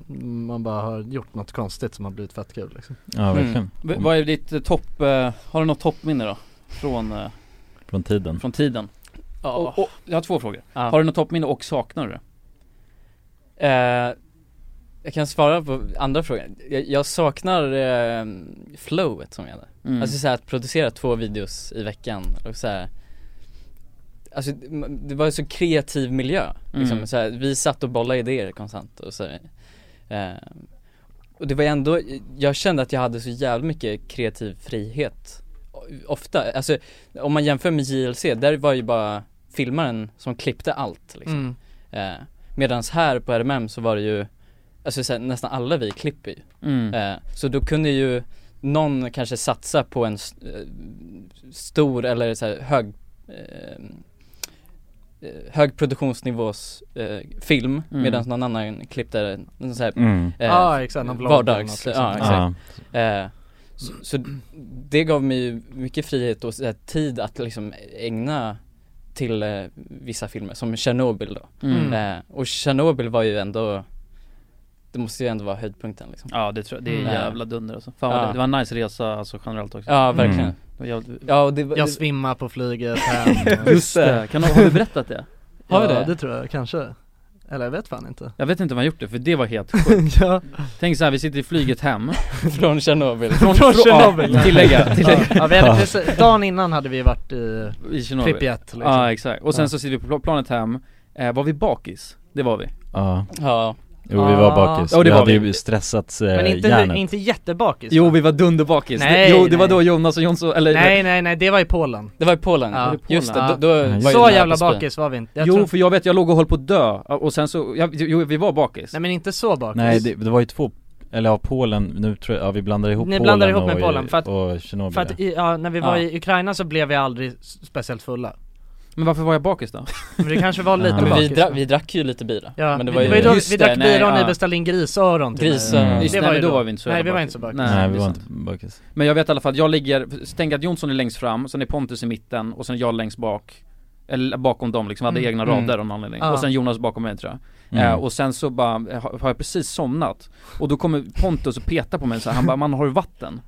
Speaker 3: man bara har gjort något konstigt som har blivit fett kul liksom
Speaker 2: Ja verkligen,
Speaker 4: Mm. V- Vad är ditt eh, topp, eh, har du något toppminne då? Från, eh,
Speaker 2: från tiden
Speaker 4: från tiden? Och, och, jag har två frågor. Har du något toppminne och saknar du det?
Speaker 7: Eh, jag kan svara på andra frågan. Jag, jag saknar eh, flowet som jag hade.
Speaker 4: Mm.
Speaker 7: Alltså så här att producera två videos i veckan och så här. Alltså det- m- det var ju så kreativ miljö. Liksom,
Speaker 4: Mm.
Speaker 7: så här, vi satt och bollade idéer konstant och så här, eh, Och det var ändå, jag kände att jag hade så jävla mycket kreativ frihet. O- Ofta, alltså om man jämför med JLC, där var ju bara filmaren som klippte allt liksom.
Speaker 3: Mm.
Speaker 7: Eh, Medan här på RMM så var det ju, alltså så här, nästan alla vi klipper ju.
Speaker 4: Mm.
Speaker 7: Eh, så då kunde ju någon kanske satsa på en s- eh, stor eller så här, hög, eh, eh, hög produktionsnivås eh, film
Speaker 3: Mm. Ah.
Speaker 7: medan någon annan klippte en så här,
Speaker 2: Mm.
Speaker 3: Ja, exakt, någon vlogg eller något
Speaker 7: vardags,
Speaker 3: liksom.
Speaker 7: ja typ. exakt. Eh, så, så det gav mig ju mycket frihet och så här, tid att liksom ägna till eh, vissa filmer, som Chernobyl då.
Speaker 4: Mm.
Speaker 7: Eh, och Chernobyl var ju ändå, det måste ju ändå vara höjdpunkten liksom.
Speaker 4: Ja det tror jag, det är
Speaker 7: Mm.
Speaker 4: jävla dunder alltså. Fan, vad
Speaker 7: Ja.
Speaker 4: det, det var en nice resa alltså generellt också
Speaker 7: Ja, verkligen. Mm.
Speaker 4: Det var jävligt...
Speaker 7: Ja, och det var-
Speaker 3: Jag
Speaker 7: det-
Speaker 3: svimmar på flyget hem
Speaker 4: Just det, kan du, har du berättat det?
Speaker 3: Har
Speaker 4: vi
Speaker 3: ja,
Speaker 4: det?
Speaker 3: det? tror jag kanske Eller jag vet fan inte
Speaker 4: Jag vet inte om han gjort det, för det var helt
Speaker 3: [laughs]
Speaker 4: sjukt Tänk såhär, vi sitter i flyget hem
Speaker 7: Från Tjernobyl
Speaker 4: Från,
Speaker 3: Från Tjernobyl.
Speaker 4: Tjernobyl! Ja, tillägga, [laughs] tillägga
Speaker 3: [laughs] Ja, vi hade precis, dagen innan hade vi varit i,
Speaker 4: I Tjernobyl
Speaker 3: Pripyat liksom.
Speaker 4: Ja exakt, och sen
Speaker 3: Ja.
Speaker 4: så sitter vi på pl- planet hem, eh, var vi bakis? Det var vi
Speaker 2: Ja
Speaker 7: Ja
Speaker 2: Jo vi var bakis,
Speaker 4: Ja, det
Speaker 2: vi
Speaker 4: var
Speaker 2: hade
Speaker 4: vi.
Speaker 2: ju stressat eh,
Speaker 3: Men inte,
Speaker 2: hjärnet
Speaker 3: inte jättebakis
Speaker 4: Jo vi var dunderbakis,
Speaker 3: Nej,
Speaker 4: nej, jo det var
Speaker 3: nej.
Speaker 4: då Jonas och Jonsson, eller
Speaker 3: Nej nej nej, det var i Polen
Speaker 7: Det var i Polen,
Speaker 3: Ja.
Speaker 7: just det,
Speaker 3: Ja.
Speaker 7: då, då var ju
Speaker 3: Så
Speaker 7: nära
Speaker 3: jävla
Speaker 7: att spy.
Speaker 3: bakis var vi inte jag
Speaker 4: Jo
Speaker 3: tror,
Speaker 4: för jag vet, jag låg och höll på att dö, och sen så, jag, jo vi var bakis
Speaker 3: Nej men inte så bakis
Speaker 2: Nej det, det var ju två, eller ja Polen, nu tror jag, ja vi blandar ihop
Speaker 3: Ni
Speaker 2: Polen
Speaker 3: blandar ihop med
Speaker 2: och,
Speaker 3: Polen för att-
Speaker 2: och Tjernobyl
Speaker 3: För att i, ja, när vi var
Speaker 2: Ja.
Speaker 3: i Ukraina så blev vi aldrig s- speciellt fulla
Speaker 4: Men varför var jag bakis då?
Speaker 3: Men det kanske var lite
Speaker 7: men vi,
Speaker 3: bakis.
Speaker 7: dra, vi drack ju lite bira
Speaker 3: Ja,
Speaker 7: men det
Speaker 3: vi-
Speaker 7: var ju
Speaker 3: vi, drack-
Speaker 4: Just
Speaker 3: vi drack
Speaker 4: det, nej,
Speaker 3: bira och ni
Speaker 4: ja.
Speaker 3: beställde in grisöron till mig.
Speaker 7: Grisöron,
Speaker 2: Mm.
Speaker 4: Just
Speaker 3: Det
Speaker 4: det,
Speaker 3: var
Speaker 4: men
Speaker 3: ju
Speaker 4: då
Speaker 3: då.
Speaker 4: var vi inte så
Speaker 3: Nej,
Speaker 4: jävla
Speaker 3: vi var
Speaker 4: bakis.
Speaker 3: inte så bakis.
Speaker 2: Nej,
Speaker 4: det
Speaker 2: vi
Speaker 4: är
Speaker 2: var
Speaker 4: sant.
Speaker 2: inte bakis.
Speaker 4: Men jag vet i alla fall att jag ligger, tänk att Jonsson är längst fram, sen är Pontus i mitten och sen jag längst bak Eller bakom dem liksom, hade
Speaker 3: Mm.
Speaker 4: egna
Speaker 2: Mm.
Speaker 4: rader av någon anledning
Speaker 3: Ja.
Speaker 4: Och sen Jonas bakom mig tror jag
Speaker 2: Mm.
Speaker 4: eh, Och sen så bara, eh, har har jag precis somnat Och då kommer Pontus och petar på mig så här, han bara 'Man har du vatten?'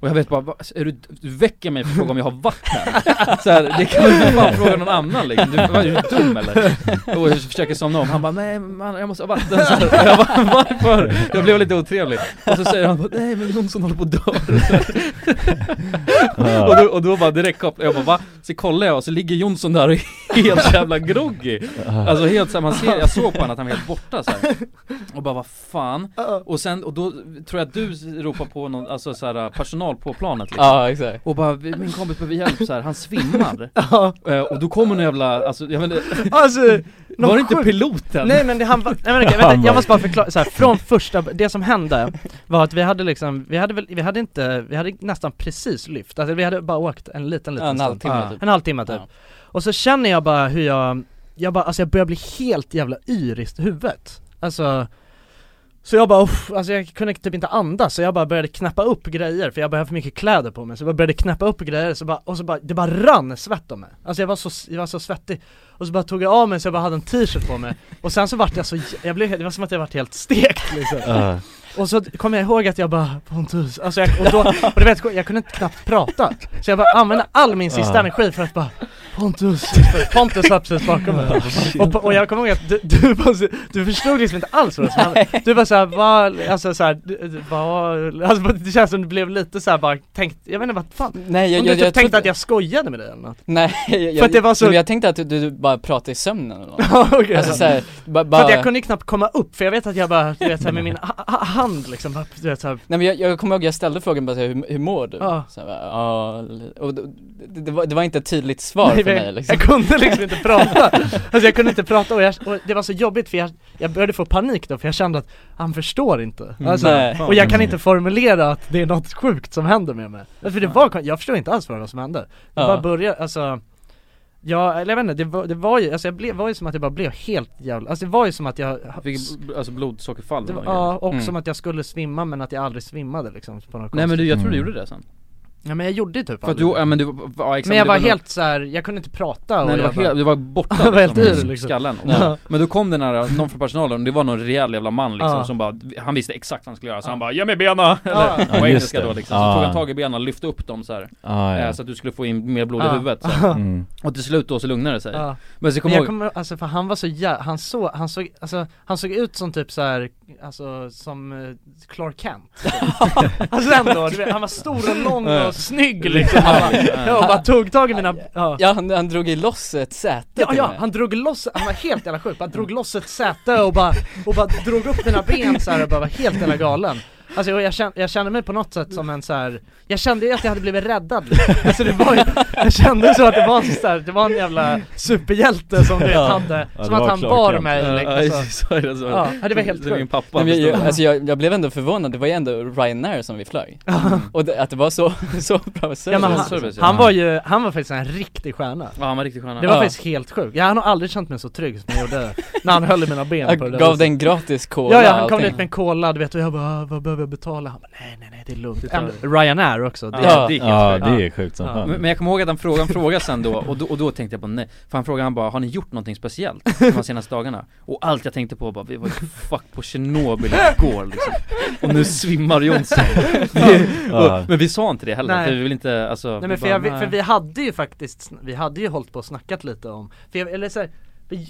Speaker 4: Och jag vet bara, "Va? är du, du väcker mig för att fråga om jag har vatten? [laughs] Så här, det kan du för fan fråga någon annan liksom, du, vad, är du dum eller? Och jag försöker somna om, han bara 'Nej man, jag måste ha vatten' så här, och jag bara, 'Varför?' Jag blev lite otrevlig Och så säger han bara, 'Nej men Jonsson håller på att [laughs] dö' Och då, och då bara direkt kopplade jag bara va? Så kollar jag och så ligger Jonsson där och är helt jävla groggy Alltså helt såhär, man ser, jag såg på honom att han var helt borta så
Speaker 3: [laughs]
Speaker 4: här. Och bara vad fan?
Speaker 3: Uh-uh.
Speaker 4: Och sen, och då tror jag att du ropar på någon, alltså så här, personal på planet liksom
Speaker 7: Ja exakt
Speaker 4: och bara, "Vi- min kompis behöver hjälp så här, han
Speaker 3: [laughs]
Speaker 4: svimmar Eh, Och då kommer någon jävla, alltså jag vet inte,
Speaker 3: Alltså,
Speaker 4: var
Speaker 3: någon
Speaker 4: det inte
Speaker 3: sjuk-
Speaker 4: piloten?
Speaker 3: Nej men det, han var,
Speaker 2: [laughs]
Speaker 3: nej men okej,
Speaker 2: Han
Speaker 3: vänta,
Speaker 2: var-
Speaker 3: jag måste bara förklara, så här, från första, det som hände var att vi hade liksom, vi hade väl, vi hade inte, vi hade nästan precis lyft, alltså vi hade bara åkt en liten liten
Speaker 7: Ja, en
Speaker 3: stund.
Speaker 7: halvtimme
Speaker 3: Ja.
Speaker 7: typ.
Speaker 3: En halvtimme typ.
Speaker 7: Ja.
Speaker 3: Och så känner jag bara hur jag, jag bara, alltså jag börjar bli helt jävla yr i huvudet. Alltså så jag bara, uff, alltså jag kunde typ inte andas så jag bara började knäppa upp grejer för jag bara hade för mycket kläder på mig så jag började knäppa upp grejer så bara, och så bara, det bara rann svett om mig Alltså jag var så, jag var så svettig och så bara tog jag av mig så jag bara hade en t-shirt på mig och sen så vart jag så, jä- jag blev, helt- det var som att jag vart helt stekt liksom
Speaker 2: Ja.
Speaker 3: och så kom jag ihåg att jag bara Pontus, alltså jag, och då, och du vet jag kunde inte knappt prata Så jag bara använde all min sista
Speaker 2: Ja.
Speaker 3: energi för att bara Pontus, för Pontus var precis bakom mig och, och jag kommer ihåg att du, du, bara, så- du förstod liksom inte alls vad det var Du bara såhär, vad, alltså såhär, du- du- vad, alltså det känns som du blev lite såhär bara tänkt, jag vet inte vad fan
Speaker 7: Nej jag,
Speaker 3: Om du
Speaker 7: jag,
Speaker 3: typ
Speaker 7: jag
Speaker 3: tänkte
Speaker 7: trodde-
Speaker 3: att jag skojade med dig eller något
Speaker 7: Nej, [laughs] jag,
Speaker 3: För att det var så-
Speaker 7: men jag tänkte att du, du bara pratade i sömnen
Speaker 3: [laughs]
Speaker 7: eller något.
Speaker 3: okay.
Speaker 7: Alltså såhär, bara,
Speaker 3: För att
Speaker 7: bara...
Speaker 3: jag kunde ju knappt komma upp, för jag vet att jag bara, du vet såhär med min ha- ha- hand liksom, bara, du vet såhär
Speaker 7: Nej men jag, jag kommer ihåg, jag ställde frågan bara så här, hur, hur mår du?
Speaker 3: Ja.
Speaker 7: Så jag bara, ja, li- och det, det, det, var, det var inte ett tydligt svar för
Speaker 3: men
Speaker 7: mig liksom.
Speaker 3: Jag kunde liksom inte prata, alltså jag kunde inte prata och, jag, och det var så jobbigt för jag, jag började få panik då för jag kände att han förstår inte alltså,
Speaker 7: Nej.
Speaker 3: Och jag kan inte formulera att det är något sjukt som händer med mig För det var, kon- jag förstod inte alls vad det var som hände Det
Speaker 7: Ja.
Speaker 3: bara började, alltså Ja, eller jag vet inte, det var, det var ju, alltså jag blev, var ju som att jag bara blev helt jävla, alltså det var ju som att jag
Speaker 4: Fick, alltså blodsockerfall
Speaker 3: det var,
Speaker 4: eller något.
Speaker 3: Ja, och
Speaker 7: Mm.
Speaker 3: som att jag skulle svimma men att jag aldrig svimmade liksom på något
Speaker 4: Nej men du, jag tror du
Speaker 2: Mm.
Speaker 4: gjorde det sen
Speaker 3: Ja men jag gjorde ju typ
Speaker 4: För att du,
Speaker 3: aldrig det.
Speaker 4: ja men du, var- ja, exakt,
Speaker 3: Men jag
Speaker 4: det
Speaker 3: var
Speaker 4: nog-
Speaker 3: helt såhär, jag kunde inte prata och
Speaker 4: Nej, du var,
Speaker 3: jag bara-
Speaker 4: helt, du var borta
Speaker 3: Jag var helt
Speaker 4: liksom,
Speaker 3: yr,
Speaker 4: i
Speaker 3: liksom.
Speaker 4: skallen
Speaker 3: Ja.
Speaker 4: Men då kom den här, någon från personalen, det var någon rejäl jävla man liksom
Speaker 3: Ja.
Speaker 4: som bara Han visste exakt vad han skulle göra så han bara 'Ge mig bena!' Eller
Speaker 2: Ja,
Speaker 4: på
Speaker 2: just
Speaker 4: engelska
Speaker 2: det.
Speaker 4: då liksom,
Speaker 2: Ja.
Speaker 4: så tog han tag i benen, lyfte upp dem så här,
Speaker 2: [laughs] Ah,
Speaker 4: eh,
Speaker 2: ja.
Speaker 4: Så att du skulle få in mer blod i
Speaker 3: Ja.
Speaker 4: huvudet så här.
Speaker 2: Mm.
Speaker 4: Och till slut då så lugnade det sig
Speaker 3: Ja.
Speaker 4: Men så
Speaker 3: Men
Speaker 4: kom jag
Speaker 3: jag
Speaker 4: ihåg,
Speaker 3: kommer, alltså för han var så jä- han såg, han såg, alltså, han såg ut som typ så här, alltså som eh, Clark [laughs] Kent Alltså ändå, du vet, han var stor och lång
Speaker 4: Ja.
Speaker 3: och snygg liksom Han bara, jag bara tog tag i mina, ja
Speaker 7: Ja han, han drog i loss ett säte
Speaker 3: Ja,
Speaker 7: till
Speaker 3: ja,
Speaker 7: mig.
Speaker 3: han drog loss, han var helt jävla sjuk, han drog loss ett säte och bara, och bara drog upp mina ben så här och bara var helt jävla galen Alltså och jag, kände, jag kände mig på något sätt som en så här. jag kände ju att jag hade blivit räddad liksom. Alltså det var ju, jag kände så att det var så här, det var en jävla superhjälte som du vet
Speaker 2: Ja.
Speaker 3: hade,
Speaker 2: Ja, det
Speaker 3: som att
Speaker 2: var
Speaker 3: han
Speaker 2: Clark
Speaker 3: bar
Speaker 2: Kent.
Speaker 3: mig
Speaker 4: Eh, eh, [laughs]
Speaker 3: liksom. alltså.
Speaker 4: så är det så
Speaker 3: Ja, det var helt
Speaker 4: Det är min
Speaker 3: sjukt.
Speaker 7: [laughs] Nej,
Speaker 4: pappa
Speaker 7: men jag, jag,
Speaker 4: bestämde.
Speaker 7: alltså jag, jag blev ändå förvånad, det var ju ändå Ryanair som vi flög [laughs] Och det, att det var så, så bra service
Speaker 3: Ja, men
Speaker 4: Så är det
Speaker 3: han,
Speaker 4: så.
Speaker 3: han var ju, han var faktiskt en riktig stjärna
Speaker 4: Ja han var riktigt stjärna
Speaker 3: Det var
Speaker 7: Ja.
Speaker 3: faktiskt helt sjukt, jag har nog aldrig känt mig så trygg som jag gjorde när han höll i mina ben
Speaker 7: Jag
Speaker 3: på det där
Speaker 7: gav
Speaker 3: viset.
Speaker 7: den gratis cola
Speaker 3: Ja, ja, han
Speaker 7: och
Speaker 3: kom dit
Speaker 7: allting.
Speaker 3: med en cola, du vet, och jag bara "Ah, vad behöver jag betala? Han bara, nej nej nej det är lugnt
Speaker 4: Det tar
Speaker 3: Äm, Ryanair också, det,
Speaker 7: Ja.
Speaker 4: det gick helt
Speaker 2: Ja,
Speaker 4: sjukt.
Speaker 2: det är sjukt som
Speaker 3: Ja.
Speaker 2: fan.
Speaker 4: Men men jag kommer ihåg att han frågade en fråga sen då, och då, och då tänkte jag på nej För han frågade han bara, har ni gjort någonting speciellt de här senaste dagarna? Och allt jag tänkte på bara, vi var ju fuck på Tjernobyl igår liksom Och nu svimmar Jonsson
Speaker 2: Ja.
Speaker 4: och, Men vi sa inte det heller,
Speaker 3: Nej.
Speaker 4: för vi vill inte alltså
Speaker 3: Nej
Speaker 4: vi
Speaker 3: men för,
Speaker 4: bara,
Speaker 3: jag,
Speaker 4: nej.
Speaker 3: för vi hade ju faktiskt, sn- vi hade ju hållit på och snackat lite om, för jag, eller så här,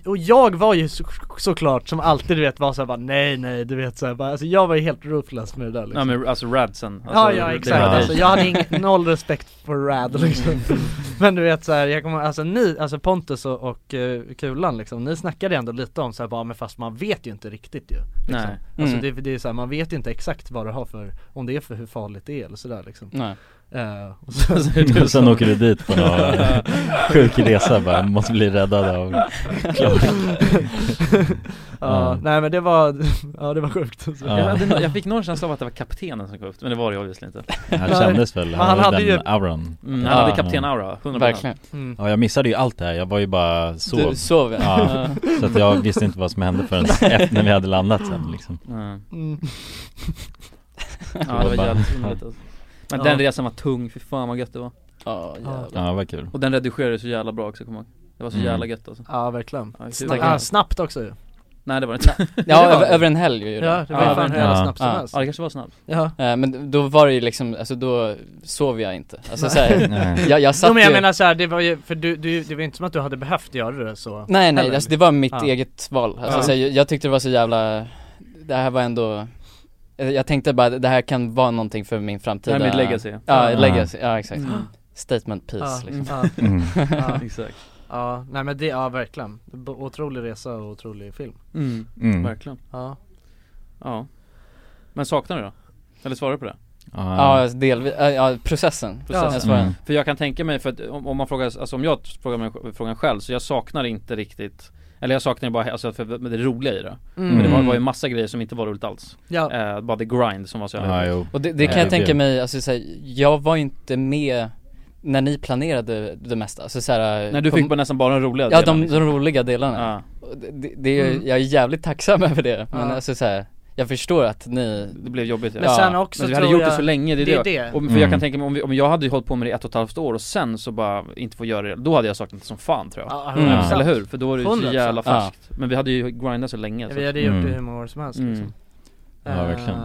Speaker 3: och jag var ju så, såklart som alltid du vet var såhär bara nej nej du vet såhär bara, alltså jag var ju helt ruthless med det där liksom.
Speaker 4: Ja men alltså radsen alltså,
Speaker 3: Ja ja
Speaker 4: det-
Speaker 3: exakt,
Speaker 2: var-
Speaker 3: alltså, jag hade
Speaker 4: [laughs]
Speaker 3: ingen, noll respekt för Rad [laughs] liksom Men du vet såhär, jag kommer, alltså ni, alltså Pontus och, och eh, Kulan liksom, ni snackade ändå lite om såhär bara men fast man vet ju inte riktigt ju liksom.
Speaker 4: Nej.
Speaker 3: Alltså
Speaker 7: Mm.
Speaker 4: Mm. [laughs]
Speaker 3: det, det är såhär, man vet ju inte exakt vad det har för, om det är för hur farligt det är eller sådär liksom
Speaker 7: Nej.
Speaker 3: Eh, och
Speaker 4: Alltså,
Speaker 2: [laughs] Och sen åker du dit på någon [laughs] sjuk resa bara, måste bli räddad av Clark
Speaker 3: [laughs] Ja,
Speaker 2: Ja.
Speaker 3: nej men det var, [laughs] ja det var sjukt
Speaker 2: Ja.
Speaker 4: Jag, hade nå- jag fick någon känsla av att det var kaptenen som kom upp, men det var det ju obviously inte
Speaker 2: Han kändes väl,
Speaker 4: Men
Speaker 2: han, hade den auran
Speaker 4: mm, Han hade
Speaker 2: Ja.
Speaker 4: kapten aura, 100%
Speaker 7: Verkligen.
Speaker 3: Mm.
Speaker 2: Ja jag missade ju allt det här, jag var ju bara sov
Speaker 7: Du sov, ja.
Speaker 2: ja.
Speaker 7: Ja.
Speaker 2: Så att jag visste inte vad som hände förrän efter när vi hade landat sen liksom
Speaker 3: Mm.
Speaker 4: Ja det var
Speaker 2: bara-
Speaker 4: jävligt underligt alltså. Men den
Speaker 3: Ja.
Speaker 4: resan var tung, för fan vad gött det var
Speaker 7: Ja, jävlar.
Speaker 2: Ja det var kul
Speaker 4: Och den redigerades så jävla bra också kommer jag ihåg Det var så
Speaker 2: Mm.
Speaker 4: jävla gött alltså
Speaker 3: Ja verkligen
Speaker 4: Ja, kul.
Speaker 3: Snack, ja, Snabbt också ju
Speaker 4: Nej det var det inte
Speaker 7: Ja,
Speaker 3: det var
Speaker 7: över,
Speaker 3: det.
Speaker 7: över en helg ju då.
Speaker 3: Ja, det var
Speaker 4: Ja,
Speaker 3: ju fan hur
Speaker 2: verkligen.
Speaker 3: jävla
Speaker 2: Ja.
Speaker 3: snabbt som
Speaker 7: Ja.
Speaker 3: helst
Speaker 4: Ja det kanske var snabbt
Speaker 3: Ja,
Speaker 7: Eh, Men då var det ju liksom, alltså då sov jag inte. Alltså såhär,
Speaker 4: [laughs]
Speaker 2: Nej.
Speaker 7: jag, jag satt
Speaker 3: jo, men jag
Speaker 7: ju...
Speaker 3: menar såhär, det var ju, för du, du, det var ju inte som att du hade behövt göra det så
Speaker 7: Nej nej,
Speaker 3: Heller.
Speaker 7: alltså, det var mitt
Speaker 3: Ja.
Speaker 7: eget val. Alltså,
Speaker 3: Ja.
Speaker 7: så jag, jag tyckte det var så jävla, det här var ändå, eh, jag tänkte bara det här kan vara någonting för min
Speaker 4: Det
Speaker 7: framtida
Speaker 4: här är mitt legacy
Speaker 7: Ja,
Speaker 2: Ja.
Speaker 7: legacy, ja exakt
Speaker 3: Mm.
Speaker 7: Statement piece
Speaker 3: ja,
Speaker 7: liksom
Speaker 3: ja,
Speaker 2: mm.
Speaker 3: ja,
Speaker 4: [laughs] Exakt
Speaker 3: ja, nej men det, ja verkligen B- Otrolig resa och otrolig film
Speaker 4: mm.
Speaker 2: Mm.
Speaker 4: Verkligen
Speaker 3: Ja,
Speaker 4: Ja Men saknar du då? Eller svarar du på det?
Speaker 7: Ja,
Speaker 2: Ja,
Speaker 7: alltså, delvis, ja, ja processen,
Speaker 4: Processen.
Speaker 7: Jag svarar.
Speaker 2: Mm.
Speaker 4: För jag kan tänka mig, för att om, om man frågar, alltså om jag frågar mig frågan själv så jag saknar inte riktigt Eller jag saknar bara, alltså för men det roliga i det
Speaker 7: Mm.
Speaker 4: Men det var, var ju massa grejer som inte var roligt alls
Speaker 3: ja,
Speaker 4: eh, Bara the grind som var så jävla
Speaker 2: ja jo
Speaker 7: Och det, det kan
Speaker 2: Ja,
Speaker 7: jag
Speaker 2: det är
Speaker 7: tänka
Speaker 2: det.
Speaker 7: mig, alltså så här, jag var ju inte med när ni planerade det mesta, alltså så här,
Speaker 4: Nej du
Speaker 7: på-
Speaker 4: fick bara nästan bara de roliga
Speaker 7: Ja
Speaker 4: delarna,
Speaker 7: de,
Speaker 4: liksom.
Speaker 7: de roliga delarna
Speaker 4: ja.
Speaker 7: Och det, det, det är,
Speaker 3: Mm.
Speaker 7: jag är jävligt tacksam [laughs] över det, men
Speaker 3: Ja.
Speaker 7: alltså så här, jag förstår att ni
Speaker 4: Det blev jobbigt ja.
Speaker 3: Men sen också
Speaker 4: Men vi hade
Speaker 3: tror
Speaker 4: gjort
Speaker 3: jag,
Speaker 4: det så länge, det är det,
Speaker 3: det är
Speaker 4: jag-
Speaker 3: det.
Speaker 4: Och, för jag
Speaker 2: Mm.
Speaker 4: kan tänka mig om, vi, om jag hade hållit på med det i ett och ett halvt år och sen så bara inte få göra det, då hade jag saknat det som fan tror jag
Speaker 3: ja,
Speaker 7: Mm.
Speaker 3: hundra procent.
Speaker 4: Eller hur? För då var det ju så
Speaker 3: 100%.
Speaker 4: jävla färskt Men vi hade ju grindat så länge så
Speaker 3: Vi
Speaker 4: att-
Speaker 3: hade gjort det
Speaker 2: Mm.
Speaker 3: hur många år som helst
Speaker 4: Mm.
Speaker 3: liksom.
Speaker 2: Ja,
Speaker 3: Eh,
Speaker 2: verkligen.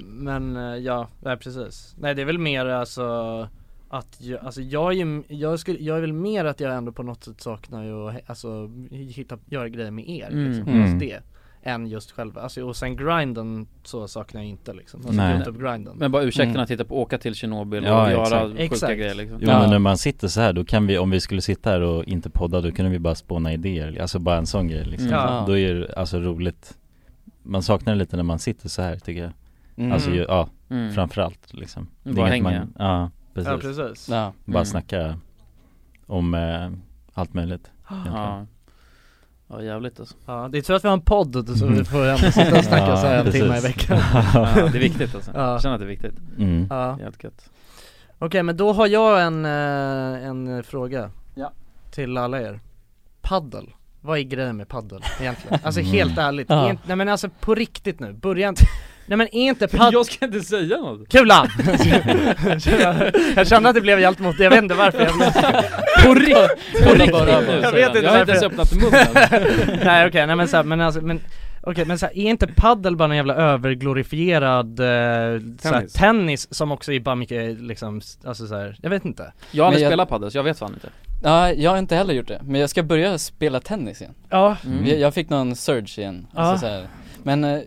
Speaker 3: Men eh, ja, ja, precis. Nej det är väl mer alltså att jag, alltså jag är ju, jag, skulle, jag är väl mer att jag ändå på något sätt saknar ju att he- alltså hitta, göra grejer med er
Speaker 4: Mm.
Speaker 3: liksom,
Speaker 2: Mm.
Speaker 3: just det Än just själva, alltså och sen grinden så saknar jag inte liksom, alltså
Speaker 2: Nej.
Speaker 3: youtube-grinden
Speaker 4: Men bara ursäkterna
Speaker 7: Mm.
Speaker 4: att titta på, åka till Tjernobyl
Speaker 2: Ja,
Speaker 4: och göra
Speaker 2: exakt.
Speaker 4: sjuka
Speaker 3: Exakt.
Speaker 4: grejer liksom
Speaker 2: Jo
Speaker 7: Ja.
Speaker 2: men när man sitter så här då kan vi, om vi skulle sitta här och inte podda då kunde vi bara spåna idéer, alltså bara en sån grej liksom.
Speaker 4: Mm.
Speaker 7: Ja.
Speaker 2: Då är det alltså roligt Man saknar det lite när man sitter så här tycker jag
Speaker 7: Mm.
Speaker 2: Alltså ju, ja,
Speaker 4: Mm.
Speaker 2: framförallt liksom Det är
Speaker 4: Bara
Speaker 2: inget
Speaker 4: hänga.
Speaker 2: man, ja precis,
Speaker 3: Ja precis
Speaker 7: ja.
Speaker 2: bara
Speaker 7: [laughs]
Speaker 4: Mm.
Speaker 2: snacka om eh, allt möjligt egentligen.
Speaker 4: Ja Ja jävligt alltså
Speaker 3: Ja, det är tur att vi har en podd så vi får ändå sitta och snacka
Speaker 2: Ja,
Speaker 3: så här en
Speaker 2: precis.
Speaker 3: timme i veckan
Speaker 4: ja, Det är viktigt alltså,
Speaker 3: Ja.
Speaker 4: jag känner att det är viktigt
Speaker 2: mm.
Speaker 3: Ja,
Speaker 4: Jävligt gött
Speaker 3: Okej men då har jag en, eh, en fråga
Speaker 4: Ja.
Speaker 3: Till alla er Paddel, vad är grejen med paddel egentligen? Alltså
Speaker 2: Mm.
Speaker 3: helt ärligt,
Speaker 7: Ja.
Speaker 3: Är inte- nej men alltså på riktigt nu, börja inte Nej men är inte paddel
Speaker 4: Jag ska inte säga något!
Speaker 3: Kulan! [laughs] jag kände att det blev hjälp mot det, jag vet inte varför jag
Speaker 4: På riktigt! På riktigt
Speaker 7: bara-
Speaker 4: nu!
Speaker 3: Jag
Speaker 4: säger
Speaker 3: vet
Speaker 4: han.
Speaker 3: inte
Speaker 4: jag har inte ens
Speaker 3: varför.
Speaker 4: öppnat [laughs] munnen
Speaker 3: Nej okej, nej men så här, men alltså, men Okej men så här, är inte paddel bara en jävla överglorifierad eh, så här,
Speaker 4: Tennis.
Speaker 3: tennis som också är bara mycket liksom, alltså så här, jag vet inte
Speaker 4: Jag har aldrig
Speaker 7: Men jag-
Speaker 4: spelat padel så jag vet fan inte
Speaker 7: ja, jag har inte heller gjort det, men jag ska börja spela tennis igen
Speaker 3: Ja,
Speaker 7: jag, jag fick någon surge igen, alltså
Speaker 3: Ja.
Speaker 7: så här. Men eh,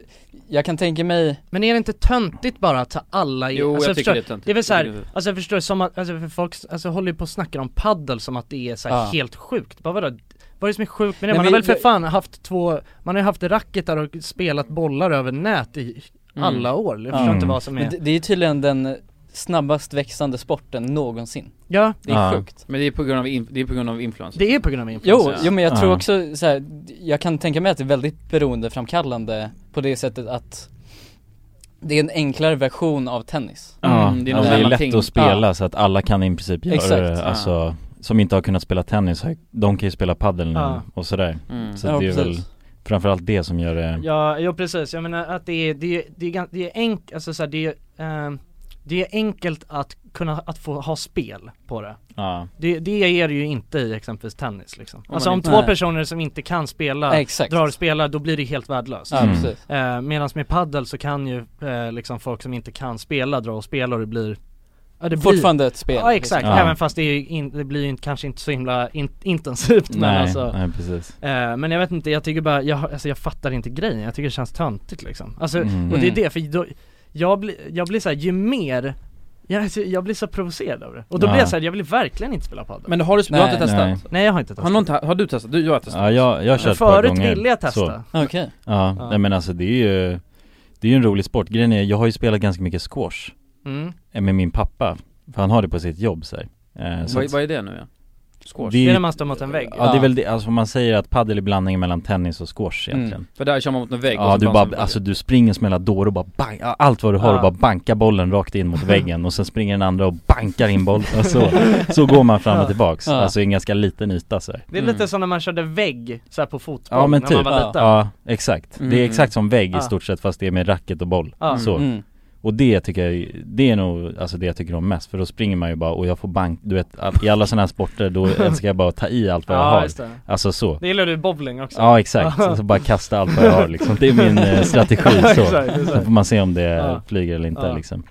Speaker 7: jag kan tänka mig,
Speaker 3: men är det inte töntigt bara att ta alla i,
Speaker 4: Jo
Speaker 3: alltså,
Speaker 4: jag
Speaker 3: förstår-
Speaker 4: tycker det är töntigt
Speaker 3: Det är väl
Speaker 4: Jag tycker
Speaker 3: såhär,
Speaker 4: det är-
Speaker 3: alltså jag förstår som att, alltså för folk alltså, håller ju på och snackar om paddel som att det är så här
Speaker 7: Ja.
Speaker 3: helt sjukt, bara vadå? Vad är det som är sjukt med det?
Speaker 7: Nej,
Speaker 3: Man
Speaker 7: men
Speaker 3: har väl för
Speaker 7: jag-
Speaker 3: fan haft två, man har ju haft racketar och spelat bollar över nät i alla år, jag förstår
Speaker 2: Mm.
Speaker 3: inte vad som
Speaker 7: men
Speaker 3: är
Speaker 7: det, det är ju tydligen den snabbast växande sporten någonsin
Speaker 3: Ja,
Speaker 7: Det är
Speaker 2: Ja.
Speaker 7: sjukt
Speaker 4: Men det är på grund av, in, det är på grund av influencer
Speaker 3: det är på grund av influencer
Speaker 7: Jo,
Speaker 4: Ja.
Speaker 7: jo men jag
Speaker 2: Ja.
Speaker 7: tror också så här, jag kan tänka mig att det är väldigt beroendeframkallande på det sättet att det är en enklare version av tennis
Speaker 2: Ja,
Speaker 4: Mm, det är
Speaker 2: ja,
Speaker 4: något
Speaker 2: det är lätt
Speaker 4: mellanting.
Speaker 2: att spela så att alla kan i princip göra
Speaker 7: Exakt,
Speaker 2: det,
Speaker 7: ja.
Speaker 2: alltså Som inte har kunnat spela tennis, de kan ju spela padel nu
Speaker 3: Ja.
Speaker 2: och sådär
Speaker 4: mm.
Speaker 2: Så det är väl
Speaker 7: precis.
Speaker 2: framförallt det som gör det
Speaker 3: Ja, jo precis, jag menar att det är, det är, det är, gan- det är enkelt, alltså så här, det är, ehm, det är enkelt att kunna, att få ha spel på det
Speaker 2: Ja,
Speaker 3: Det, det är det ju inte i exempelvis tennis liksom
Speaker 4: Om
Speaker 3: Alltså
Speaker 4: man
Speaker 3: om
Speaker 4: inte-
Speaker 3: två
Speaker 7: Nej.
Speaker 3: personer som inte kan spela
Speaker 7: Exakt
Speaker 3: drar och spelar, då blir det helt värdelöst
Speaker 7: Ja
Speaker 2: Mm.
Speaker 7: precis
Speaker 3: Eh, Medan med paddel så kan ju eh, liksom folk som inte kan spela dra och spela och det blir Ja det
Speaker 7: Fortfarande ett spel liksom.
Speaker 3: blir, Ja exakt,
Speaker 2: liksom. Ja.
Speaker 3: även fast det, är ju in, det blir ju inte- kanske inte så himla in, intensivt men
Speaker 2: nej,
Speaker 3: alltså
Speaker 2: nej precis
Speaker 3: eh, Men jag vet inte, jag tycker bara, jag, har- alltså, jag fattar inte grejen, jag tycker det känns töntigt liksom Alltså,
Speaker 2: Mm.
Speaker 3: och det är
Speaker 7: Mm.
Speaker 3: det, för då, jag, blir jag blir såhär, ju mer jag, alltså, jag blir så provocerad av det, och då
Speaker 2: Ja.
Speaker 3: blir jag såhär, jag vill verkligen inte spela padel
Speaker 4: Men har du, du har
Speaker 7: Nej.
Speaker 4: inte testat?
Speaker 2: Nej.
Speaker 3: Nej jag har inte testat
Speaker 4: Har, någon, te- har du testat? Du, jag har testat
Speaker 2: Ja jag, jag har kört
Speaker 3: Men
Speaker 2: ett par
Speaker 3: Förut
Speaker 2: gånger
Speaker 3: ville jag
Speaker 2: så.
Speaker 3: testa
Speaker 7: Okej
Speaker 2: Ja,
Speaker 3: Ja.
Speaker 2: Nej, men alltså det är ju Det är ju en rolig sport, grejen är, jag har ju spelat ganska mycket squash
Speaker 3: mm.
Speaker 2: eh, Med min pappa För han har det på sitt jobb så här. Eh, så
Speaker 4: Vad,
Speaker 2: att-
Speaker 4: vad är det nu ja? Squash?
Speaker 2: ju- Ja, det är
Speaker 4: Ja.
Speaker 2: väl det, alltså man säger att padel är blandningen mellan tennis och squash egentligen
Speaker 4: Mm. För där kör man mot en vägg och
Speaker 2: Ja
Speaker 4: så
Speaker 2: du
Speaker 4: bouncear
Speaker 2: bara,
Speaker 4: den
Speaker 2: alltså du springer som en jävla dåre och bara bang, ja, allt vad du har
Speaker 4: Ja.
Speaker 2: och bara bankar bollen rakt in
Speaker 3: [laughs]
Speaker 2: mot väggen och sen springer den andra och bankar in bollen och så, så går man fram
Speaker 3: Ja.
Speaker 2: och tillbaks,
Speaker 3: Ja.
Speaker 2: alltså i en ganska liten yta så här.
Speaker 3: Det är lite som när man körde vägg så här på fotboll
Speaker 2: Mm. Ja men
Speaker 3: när
Speaker 2: typ,
Speaker 3: man var
Speaker 2: ja.
Speaker 3: liten
Speaker 2: ja exakt. Det är
Speaker 3: Mm.
Speaker 2: exakt som vägg
Speaker 3: Ja.
Speaker 2: i stort sett fast det är med racket och boll,
Speaker 3: Ja.
Speaker 2: så
Speaker 3: Mm.
Speaker 2: Och det tycker jag, är- det är nog alltså det jag tycker om mest för då springer man ju bara och jag får bank, du vet all- i alla sådana här sporter
Speaker 3: [laughs]
Speaker 2: då älskar jag bara att ta i allt vad jag
Speaker 3: Ja,
Speaker 2: har
Speaker 3: just det.
Speaker 2: Alltså så
Speaker 3: Det gillar du i bowling också.
Speaker 2: Ja exakt, så bara kasta allt vad jag har liksom, det är min
Speaker 3: [laughs]
Speaker 2: eh, strategi
Speaker 3: Ja,
Speaker 2: så
Speaker 3: exakt, exakt.
Speaker 2: Sen får man se om det
Speaker 3: Ja.
Speaker 2: flyger eller inte
Speaker 3: Ja.
Speaker 2: liksom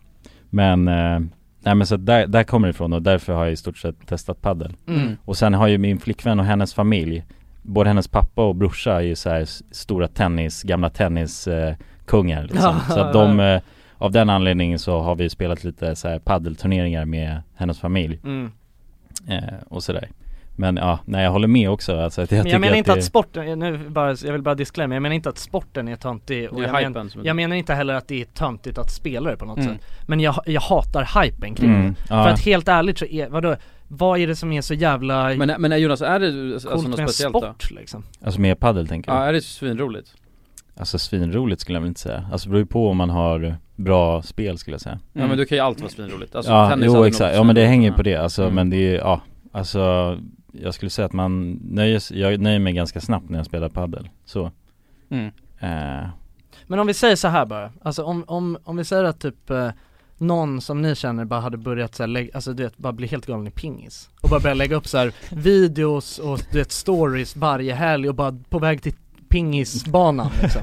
Speaker 2: Men, eh, nej men så att där, där kommer det ifrån och därför har jag i stort sett testat paddel
Speaker 3: Mm.
Speaker 2: Och sen har ju min flickvän och hennes familj Både hennes pappa och brorsa är ju så här s- stora tennis, gamla tenniskungar eh, kungar, liksom.
Speaker 3: [laughs] Ja.
Speaker 2: Så att de, eh, av den anledningen så har vi spelat lite så här paddelturneringar med hennes familj
Speaker 3: Mm.
Speaker 2: eh, Och sådär Men ja, nej jag håller med också alltså, att jag
Speaker 3: men
Speaker 2: tycker
Speaker 3: jag menar inte
Speaker 2: det-
Speaker 3: att sporten, nu bara, jag vill bara disclaima, jag menar inte att sporten är töntig och
Speaker 4: Det är
Speaker 3: jag,
Speaker 4: hypen som är-
Speaker 3: jag menar inte heller att det är töntigt att spela det på något
Speaker 4: Mm.
Speaker 3: sätt Men jag, jag hatar hypen kring
Speaker 4: Mm,
Speaker 3: det
Speaker 4: ja.
Speaker 3: För att helt ärligt så är, vadå, vad är det som är så jävla
Speaker 4: Men, men Jonas, är det alltså
Speaker 3: coolt
Speaker 4: något
Speaker 3: med en
Speaker 4: speciellt då?
Speaker 3: sport liksom?
Speaker 2: Alltså med paddel tänker du?
Speaker 4: Ja, är det svinroligt?
Speaker 2: Alltså svinroligt skulle jag väl inte säga. Alltså det beror ju på om man har bra spel skulle jag säga.
Speaker 4: Ja men då kan ju allt vara svinroligt, alltså
Speaker 2: ja,
Speaker 4: tennis hade
Speaker 2: jo
Speaker 4: nog
Speaker 2: exakt.
Speaker 4: varit
Speaker 2: Ja men det
Speaker 4: svinroligt.
Speaker 2: hänger ju på det. Alltså men det är ju, ja. Alltså jag skulle säga att man nöjer sig, jag nöjer mig ganska snabbt när jag spelar paddel. Så.
Speaker 4: Mm.
Speaker 2: Eh,
Speaker 3: Men om vi säger så här bara, alltså om, om, om vi säger att typ eh, någon som ni känner bara hade börjat så här, lägga, alltså du vet, bara bli helt galen i pingis och bara börja lägga upp
Speaker 7: [laughs]
Speaker 3: så här videos och du vet stories varje helg och bara på väg till pingisbanan liksom.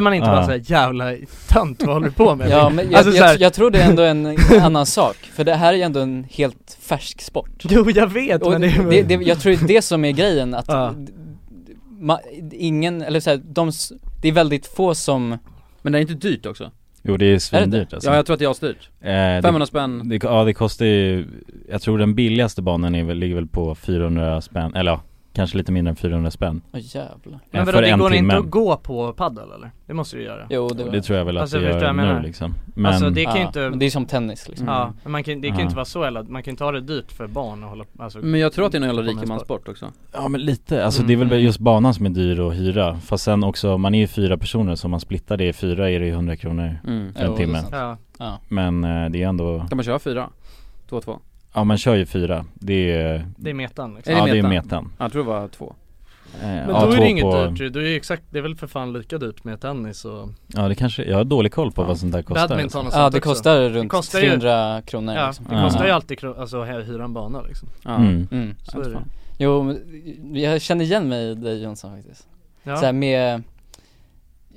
Speaker 2: [laughs]
Speaker 3: man inte
Speaker 7: Ja.
Speaker 3: bara såhär jävla tönt, vad håller du på med?
Speaker 7: Ja men jag,
Speaker 3: Alltså, så här-
Speaker 7: jag, jag tror det är ändå
Speaker 3: [laughs]
Speaker 7: en annan sak, för det här är ju ändå en helt färsk sport
Speaker 3: Jo jag vet
Speaker 7: Och
Speaker 3: men det,
Speaker 7: det, det, Jag tror det är det som är grejen, att
Speaker 3: Ja.
Speaker 7: d- d- ma, ingen, eller så här, de, s- det är väldigt få som
Speaker 4: Men det är inte dyrt också?
Speaker 2: jo det är svindyrt alltså.
Speaker 4: Ja jag tror att det är asdyrt
Speaker 2: Eh, det-
Speaker 4: 500 spänn.
Speaker 2: Det, ja det kostar ju, jag tror den billigaste banan är, väl- ligger väl på 400 spänn, eller ja, kanske lite mindre än 400 spänn.
Speaker 7: Åh jävlar
Speaker 3: Men
Speaker 2: Eh,
Speaker 3: vadå,
Speaker 2: för
Speaker 3: det
Speaker 2: en
Speaker 3: går
Speaker 2: timme.
Speaker 3: inte att gå på paddel eller? Det måste du göra
Speaker 7: Jo det,
Speaker 2: Det tror jag väl att det
Speaker 3: förstår
Speaker 2: gör
Speaker 3: vad jag
Speaker 2: nu,
Speaker 3: menar?
Speaker 2: liksom. Men-
Speaker 3: Alltså det kan ju
Speaker 7: Ja,
Speaker 3: inte
Speaker 7: men det är som tennis, liksom.
Speaker 3: Ja,
Speaker 7: Mm.
Speaker 3: men man kan, det kan ju
Speaker 2: Ja.
Speaker 3: inte vara så jävla, man kan inte ha det dyrt för barn att hålla alltså,
Speaker 4: Men jag tror att det är någon jävla
Speaker 3: på med
Speaker 4: rikemanssport också
Speaker 2: Ja men lite, alltså det är väl
Speaker 3: Mm.
Speaker 2: bara just banan som är dyr att hyra Fast sen också, man är ju fyra personer så om man splittar det i fyra är det ju 100 kronor
Speaker 4: Mm.
Speaker 2: för
Speaker 4: Jo,
Speaker 2: en
Speaker 4: det är
Speaker 2: timme
Speaker 7: liksom.
Speaker 4: sant. Ja. Ja.
Speaker 2: Men eh, det är ändå,
Speaker 4: Kan man köra fyra? Två och två?
Speaker 2: ja man kör ju fyra Det är,
Speaker 3: Det är metan, liksom.
Speaker 2: Ja det är metan
Speaker 4: Ja, Jag tror det var två
Speaker 2: Eh,
Speaker 3: Men
Speaker 2: ja,
Speaker 3: då är
Speaker 2: två
Speaker 3: det inget
Speaker 2: på-
Speaker 3: dyrt ju, då är det exakt, det är väl för fan lika dyrt med tennis och
Speaker 2: Ja det kanske, jag har dålig koll på vad sånt där kostar liksom.
Speaker 3: badminton och sånt
Speaker 7: Ja, det
Speaker 3: också.
Speaker 7: kostar runt
Speaker 3: ju-
Speaker 7: 300 kronor,
Speaker 3: Ja,
Speaker 7: liksom.
Speaker 3: det kostar ju
Speaker 7: Ja.
Speaker 3: alltid kro- alltså här, hyra en bana liksom [laughs]
Speaker 7: Mm.
Speaker 3: Så är det.
Speaker 7: Jo, men jag känner igen mig i dig Jonsson faktiskt
Speaker 3: Ja.
Speaker 7: så här med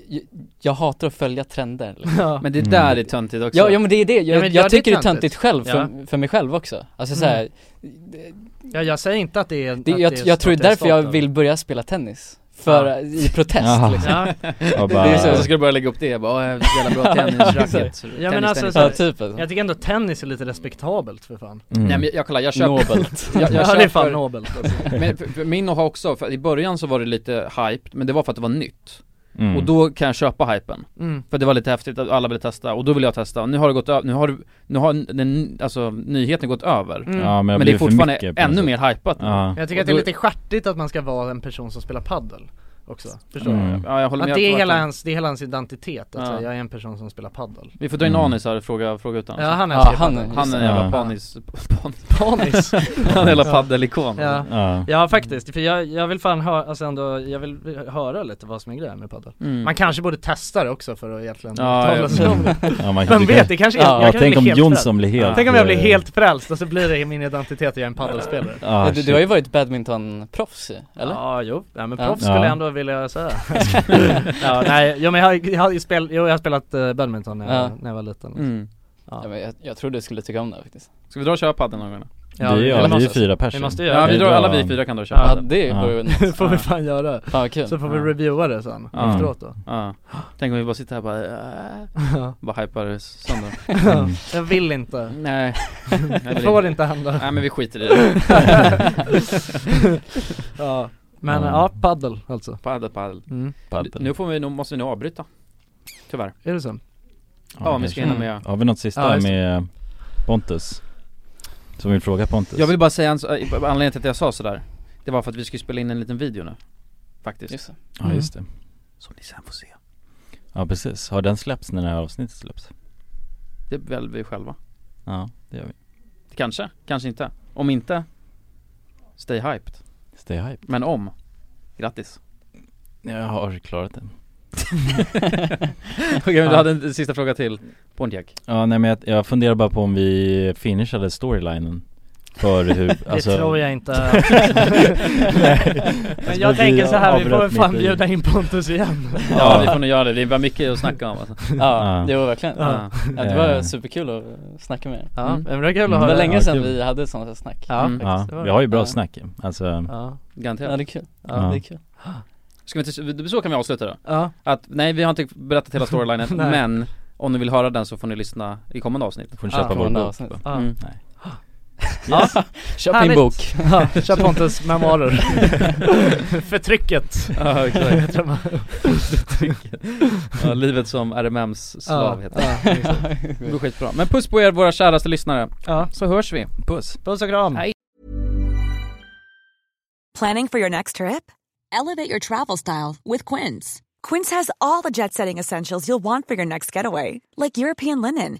Speaker 7: jag, jag hatar att följa trender
Speaker 3: [laughs]
Speaker 7: liksom.
Speaker 4: Ja. Men det där
Speaker 2: Mm.
Speaker 4: är töntigt också.
Speaker 7: Ja, ja men det är det, jag,
Speaker 3: Ja, men gör
Speaker 7: jag
Speaker 3: det
Speaker 7: tycker det är
Speaker 3: töntigt.
Speaker 7: töntigt själv för,
Speaker 3: Ja.
Speaker 7: för mig själv också Alltså så här,
Speaker 3: Mm. Ja jag säger inte att det är
Speaker 7: det,
Speaker 3: att
Speaker 7: jag,
Speaker 3: det är
Speaker 7: jag tror
Speaker 3: att
Speaker 7: det är därför
Speaker 3: stolt
Speaker 7: jag
Speaker 3: över.
Speaker 7: vill börja spela tennis För,
Speaker 3: Ja.
Speaker 7: i protest
Speaker 3: Ja.
Speaker 7: liksom
Speaker 3: Ja.
Speaker 2: Ja,
Speaker 4: bara- Det är så, så ska du bara lägga upp det, jag bara, "Åh, jävla bra tennis, racket,
Speaker 3: [laughs]
Speaker 4: tennis,
Speaker 3: Ja men alltså,
Speaker 4: tennis."
Speaker 3: [laughs] så här,
Speaker 4: Ja, typ, alltså.
Speaker 3: jag tycker ändå tennis är lite respektabelt för fan
Speaker 2: mm.
Speaker 4: Nej men jag, kolla, jag köper
Speaker 7: Nobelt.
Speaker 4: [laughs] jag, jag
Speaker 3: Ja, det är fan
Speaker 4: köper-
Speaker 3: nobelt,
Speaker 4: [laughs]
Speaker 3: alltså.
Speaker 4: Men för, för min har också, för i början så var det lite hype, men det var för att det var nytt
Speaker 2: Mm.
Speaker 4: Och då kan jag köpa hypen,
Speaker 3: Mm.
Speaker 4: för det var lite häftigt att alla ville testa, och då ville jag testa, och nu har det gått över, nu har, nu har den, alltså nyheten gått över
Speaker 3: Mm. Ja, men det
Speaker 2: har
Speaker 4: det är
Speaker 2: blivit för
Speaker 4: fortfarande
Speaker 2: mycket på något
Speaker 4: ännu
Speaker 2: sätt.
Speaker 4: mer hypat nu.
Speaker 2: Ja.
Speaker 3: Men Jag tycker att det är lite stjärtigt att man ska vara en person som spelar paddel också, förstår du?
Speaker 4: Mm. Ja, jag håller med,
Speaker 3: Att det
Speaker 4: jag
Speaker 3: är
Speaker 4: tror
Speaker 3: hela
Speaker 4: verkligen.
Speaker 3: hans, det är hela hans identitet, att
Speaker 4: Ja.
Speaker 3: så här, jag är en person som spelar paddel
Speaker 4: Vi får dra
Speaker 2: Mm.
Speaker 4: in Anis här och fråga, fråga ut honom
Speaker 3: Ja, han
Speaker 4: är
Speaker 3: älskar
Speaker 4: han,
Speaker 3: padel.
Speaker 4: han är en jävla
Speaker 3: Ja.
Speaker 4: panis,
Speaker 3: Panis? [laughs]
Speaker 4: Han är hela
Speaker 3: Ja.
Speaker 4: padelikon
Speaker 3: Ja.
Speaker 2: Ja.
Speaker 3: Ja. faktiskt, för jag, jag vill fan höra, alltså ändå, jag vill höra lite vad som är grejen med padel
Speaker 4: Mm.
Speaker 3: Man kanske borde testa det också för att egentligen
Speaker 2: Ja, [laughs]
Speaker 3: tala
Speaker 2: ja.
Speaker 3: sig om det
Speaker 2: Ja, man-
Speaker 3: Vem
Speaker 2: du
Speaker 3: vet,
Speaker 2: kan-
Speaker 3: det kanske är,
Speaker 2: Ja.
Speaker 3: jag
Speaker 2: Ja,
Speaker 3: kanske
Speaker 2: tänk om
Speaker 3: helt
Speaker 2: Jonsson
Speaker 3: frälst.
Speaker 2: blir helt,
Speaker 3: Tänk om jag
Speaker 2: eh,
Speaker 3: blir helt frälst och så blir det min identitet att jag är en padelspelare
Speaker 2: Ah,
Speaker 7: du, du har ju varit badmintonproffs ju, eller? [laughs]
Speaker 3: Ja, [laughs] jo, nej, men
Speaker 7: Ja.
Speaker 3: proffs
Speaker 7: Ja.
Speaker 3: skulle jag ändå vilja säga [laughs] ja, nej, jo, men jag, har- jag har ju spel, jo, jag har spelat eh, badminton när, jag
Speaker 7: Ja.
Speaker 3: när jag var liten
Speaker 4: Mm.
Speaker 3: Ja.
Speaker 7: men jag, jag tror du skulle tycka om det faktiskt
Speaker 4: Ska vi dra och köra padel någon gång då?
Speaker 2: Ja, vi- Ja, vi är ju fyra personer.
Speaker 3: Vi måste
Speaker 4: Ja,
Speaker 3: göra
Speaker 4: vi
Speaker 3: det
Speaker 4: drar, alla vi fyra kan då köra
Speaker 3: Ja
Speaker 4: padel.
Speaker 3: [laughs] det
Speaker 4: Ja.
Speaker 3: vore
Speaker 4: Det
Speaker 3: får vi fan göra
Speaker 7: Fan, vad
Speaker 3: [laughs]
Speaker 7: kul.
Speaker 3: Så får vi
Speaker 7: Ja.
Speaker 3: reviewa det sen
Speaker 4: Ja.
Speaker 3: efteråt då
Speaker 4: Ja. Tänk om vi bara sitter här och bara, äh,
Speaker 3: Ja.
Speaker 4: bara hypar sönder
Speaker 3: Ja, [laughs] Jag vill inte
Speaker 4: Nej
Speaker 3: Det får inte hända
Speaker 4: Nej men vi skiter i det
Speaker 3: [laughs] Ja, men ja, paddel alltså
Speaker 4: Paddel, paddel
Speaker 3: Mm.
Speaker 2: Paddel.
Speaker 4: Nu får vi, nog, måste vi nog avbryta Tyvärr
Speaker 3: Är det så?
Speaker 4: Ja, men vi ska hinna
Speaker 2: kanske.
Speaker 4: med
Speaker 2: Har vi något sista
Speaker 3: Ja, just det.
Speaker 2: med Pontus? som vill fråga Pontus?
Speaker 4: Jag vill bara säga, en så- eh, anledningen till att jag sa sådär Det var för att vi skulle spela in en liten video nu Faktiskt
Speaker 7: Just det.
Speaker 2: Ja just
Speaker 3: Mm.
Speaker 2: det,
Speaker 4: Som ni sen får se
Speaker 2: ja precis. Har den släppts när det här avsnittet släpps?
Speaker 4: Det väljer vi själva
Speaker 2: Ja, det gör vi.
Speaker 4: Kanske, kanske inte Om inte Stay hyped
Speaker 2: Stay hype.
Speaker 4: Men om Grattis
Speaker 2: Jag har klarat den.
Speaker 4: Okej men du hade en sista fråga till
Speaker 7: [laughs]
Speaker 4: Pontiac
Speaker 2: Ja nej men jag, jag funderar bara på om vi finishade storylinen för hur,
Speaker 3: [laughs]
Speaker 2: alltså-
Speaker 3: Det tror Alltså- [laughs]
Speaker 2: [laughs]
Speaker 3: jag inte. Men jag
Speaker 2: Alltså,
Speaker 3: tänker så här, vi får väl
Speaker 2: avbröt
Speaker 3: fan
Speaker 2: mitt i.
Speaker 3: bjuda in Pontus igen.
Speaker 4: Ja, vi får nog göra det, det är bara mycket att snacka om alltså.
Speaker 7: Ja, det var verkligen
Speaker 3: Ja.
Speaker 7: ja. Det var
Speaker 2: Eh.
Speaker 7: superkul att snacka med er
Speaker 3: Ja,
Speaker 7: Mm.
Speaker 3: men det var kul att
Speaker 7: Det var
Speaker 3: höra.
Speaker 7: länge
Speaker 2: Ja,
Speaker 7: sedan
Speaker 2: kul.
Speaker 7: vi hade sådana här snack
Speaker 3: Ja,
Speaker 7: Mm.
Speaker 2: Ja,
Speaker 3: det var
Speaker 2: vi har ju bra
Speaker 7: Ja.
Speaker 2: snack alltså,
Speaker 3: Ja.
Speaker 7: ja
Speaker 4: Garanterat
Speaker 7: det är kul,
Speaker 2: Ja.
Speaker 7: det är kul
Speaker 4: Ska vi inte, så kan vi avsluta då
Speaker 3: Ja.
Speaker 4: Att, nej vi har inte berättat
Speaker 7: [laughs]
Speaker 4: hela storylinen,
Speaker 3: Nej.
Speaker 4: men om ni vill höra den så får ni lyssna i kommande avsnitt
Speaker 2: får ni köpa
Speaker 7: Ja,
Speaker 2: vår
Speaker 7: kommande
Speaker 2: bok
Speaker 7: avsnitt.
Speaker 3: Ja.
Speaker 7: Mm.
Speaker 2: Nej.
Speaker 7: Ja, köp min
Speaker 3: Härligt.
Speaker 7: bok
Speaker 3: Ja, kör Pontus memoarer. [laughs] Förtrycket.
Speaker 4: Ja [laughs] exakt,
Speaker 3: Heter de.
Speaker 4: ja, livet som RMMs slav heter det.
Speaker 3: Ja, exakt.
Speaker 4: Det går skitbra, men puss på er våra käraste lyssnare,
Speaker 3: Ja.
Speaker 4: så hörs vi Puss
Speaker 3: Puss och kram.
Speaker 1: Planning for your next trip? Elevate your travel style with Quince. Quince has all the jet setting essentials you'll want for your next getaway, like European linen,